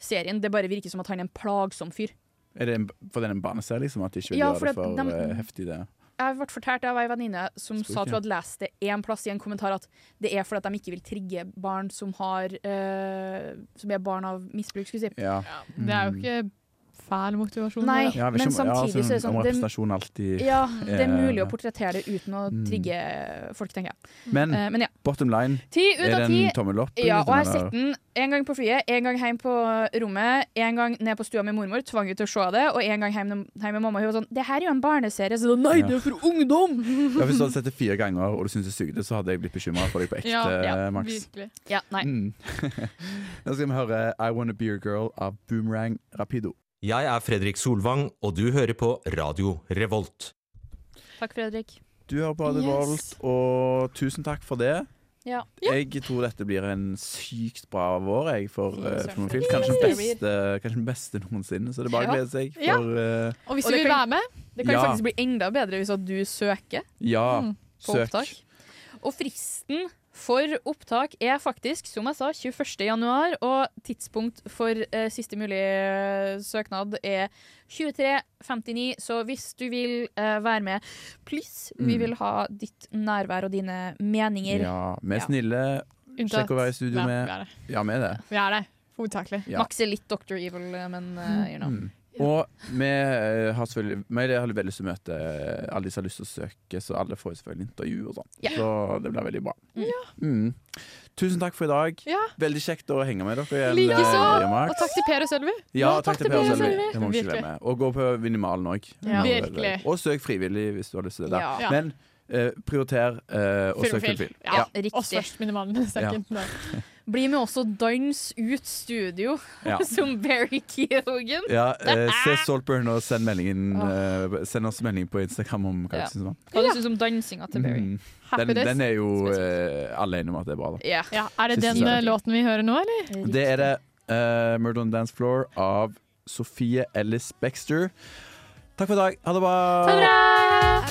Speaker 5: serien. Det bare virker som at han er en plagsom fyr.
Speaker 7: Er det en, for den en baneser, liksom? At de ikke vil
Speaker 5: Ja, for
Speaker 7: gjøre det
Speaker 5: at
Speaker 7: for
Speaker 5: dem-
Speaker 7: eh, heftig, det.
Speaker 5: Jeg ble fortalt av ei venninne som
Speaker 7: Spooky.
Speaker 5: sa at hun hadde lest det én plass i en kommentar at det er fordi at de ikke vil trigge barn som har eh, Som er barn av misbruk, skulle jeg si.
Speaker 7: Ja.
Speaker 11: Det er jo ikke fæl motivasjon.
Speaker 5: Nei,
Speaker 7: Mm. Ja, jeg vet
Speaker 5: men
Speaker 7: ikke om- ja,
Speaker 5: samtidig så er det
Speaker 7: Om
Speaker 5: sånn det,
Speaker 7: representasjon alltid
Speaker 5: ja, det er
Speaker 7: eh,
Speaker 5: mulig å portrettere det uten å
Speaker 7: Mm.
Speaker 5: trigge folk, tenker jeg.
Speaker 7: Men,
Speaker 5: Eh, men ja.
Speaker 7: bottom line,
Speaker 5: Ti ut
Speaker 7: er
Speaker 5: av
Speaker 7: det
Speaker 5: ti.
Speaker 7: en tommel opp? liksom,
Speaker 5: Ja, og jeg har sett
Speaker 7: eller?
Speaker 5: den en gang på flyet, en gang hjem på rommet, en gang ned på stua med mormor, tvang henne til å se det, og en gang hjem, hjem med mamma. Hun var sånn 'Det her er jo en barneserie.' Så jeg sa, nei,
Speaker 7: Ja.
Speaker 5: det er for ungdom!
Speaker 7: Ja, hvis du hadde sett det fire ganger og du syntes det sugde, så hadde jeg blitt bekymra for deg på ekte, eh, Max.
Speaker 5: Ja, nei.
Speaker 7: Mm. Nå skal vi høre I Wanna Be Your Girl av Boomerang Rapido.
Speaker 2: Jeg er Fredrik Solvang, og du hører på Radio Revolt.
Speaker 5: Takk, Fredrik.
Speaker 7: Du hører på Radio Revolt, og tusen takk for det.
Speaker 5: Ja.
Speaker 7: Jeg tror dette blir en sykt bra vår jeg, for
Speaker 11: Fy
Speaker 7: eh,
Speaker 11: søren.
Speaker 7: Filmofil. Kanskje den
Speaker 11: Yes.
Speaker 7: beste, kanskje den beste noensinne, så det er bare
Speaker 5: Ja.
Speaker 7: å glede seg.
Speaker 11: Ja.
Speaker 7: For, eh,
Speaker 11: Og hvis
Speaker 5: Og
Speaker 11: du
Speaker 5: det
Speaker 11: vil
Speaker 5: kan-
Speaker 11: være med
Speaker 5: Det kan jo
Speaker 7: Ja.
Speaker 5: faktisk bli enda bedre hvis at du søker
Speaker 7: Ja,
Speaker 5: mm, på
Speaker 7: søk.
Speaker 5: opptak. Og fristen for opptak er faktisk, som jeg sa, 21. januar. Og tidspunkt for eh, siste mulige eh, søknad er 23.59. Så hvis du vil eh, være med, please, vi
Speaker 7: Mm.
Speaker 5: vil ha ditt nærvær og dine meninger.
Speaker 7: Ja, vi er snille.
Speaker 5: Unntatt-
Speaker 7: Sjekk å være i studio
Speaker 5: Ja,
Speaker 7: med.
Speaker 5: vi er det.
Speaker 7: Ja, vi er det.
Speaker 5: Vi er det. Hovedsakelig.
Speaker 7: Ja.
Speaker 5: Max er litt Dr. Evil, eh, men eh, you know.
Speaker 7: Mm. Og vi eh, har selvfølgelig vi har veldig lyst til å møte eh, alle de som har lyst til å søke, så alle får jo selvfølgelig intervju og sånn.
Speaker 5: Ja.
Speaker 7: Så det blir veldig bra.
Speaker 11: Ja.
Speaker 7: Mm. Tusen takk for i dag.
Speaker 11: Ja.
Speaker 7: Veldig kjekt å henge med dere. igjen,
Speaker 11: Likeså.
Speaker 7: eh, Maria
Speaker 11: Og
Speaker 7: Marx.
Speaker 11: takk til Per og Sølvi.
Speaker 7: Ja, takk til Per og Selvi. Det må vi ikke
Speaker 11: Virkelig.
Speaker 7: glemme. Og gå på Minimalen òg.
Speaker 11: Ja. Virkelig.
Speaker 7: Og søk frivillig hvis du har lyst til det. der.
Speaker 11: Ja.
Speaker 7: Men eh, prioriter eh, og søk
Speaker 11: Filmofil.
Speaker 7: filmfil.
Speaker 11: Ja,
Speaker 5: Ja, riktig.
Speaker 11: oss først, minimalen. Second.
Speaker 5: Ja. Bli med oss og dans ut studio,
Speaker 7: Ja.
Speaker 5: som Barry Keoghan.
Speaker 7: Ja, eh, se Saltburn og send, meldingen, eh, send oss melding på Instagram om hva
Speaker 5: Ja.
Speaker 7: du syns om den.
Speaker 5: Hva du syns om dansinga til Barry?
Speaker 7: Mm. Den,
Speaker 5: Happiness.
Speaker 7: den er jo eh, alle enige om at det er bra. Da.
Speaker 5: Ja.
Speaker 11: Er det den eh, låten vi hører nå, eller?
Speaker 7: Det er det. eh, 'Murder on the Dance Floor' av Sofie Ellis Bexter. Takk for i dag. Ha det bra.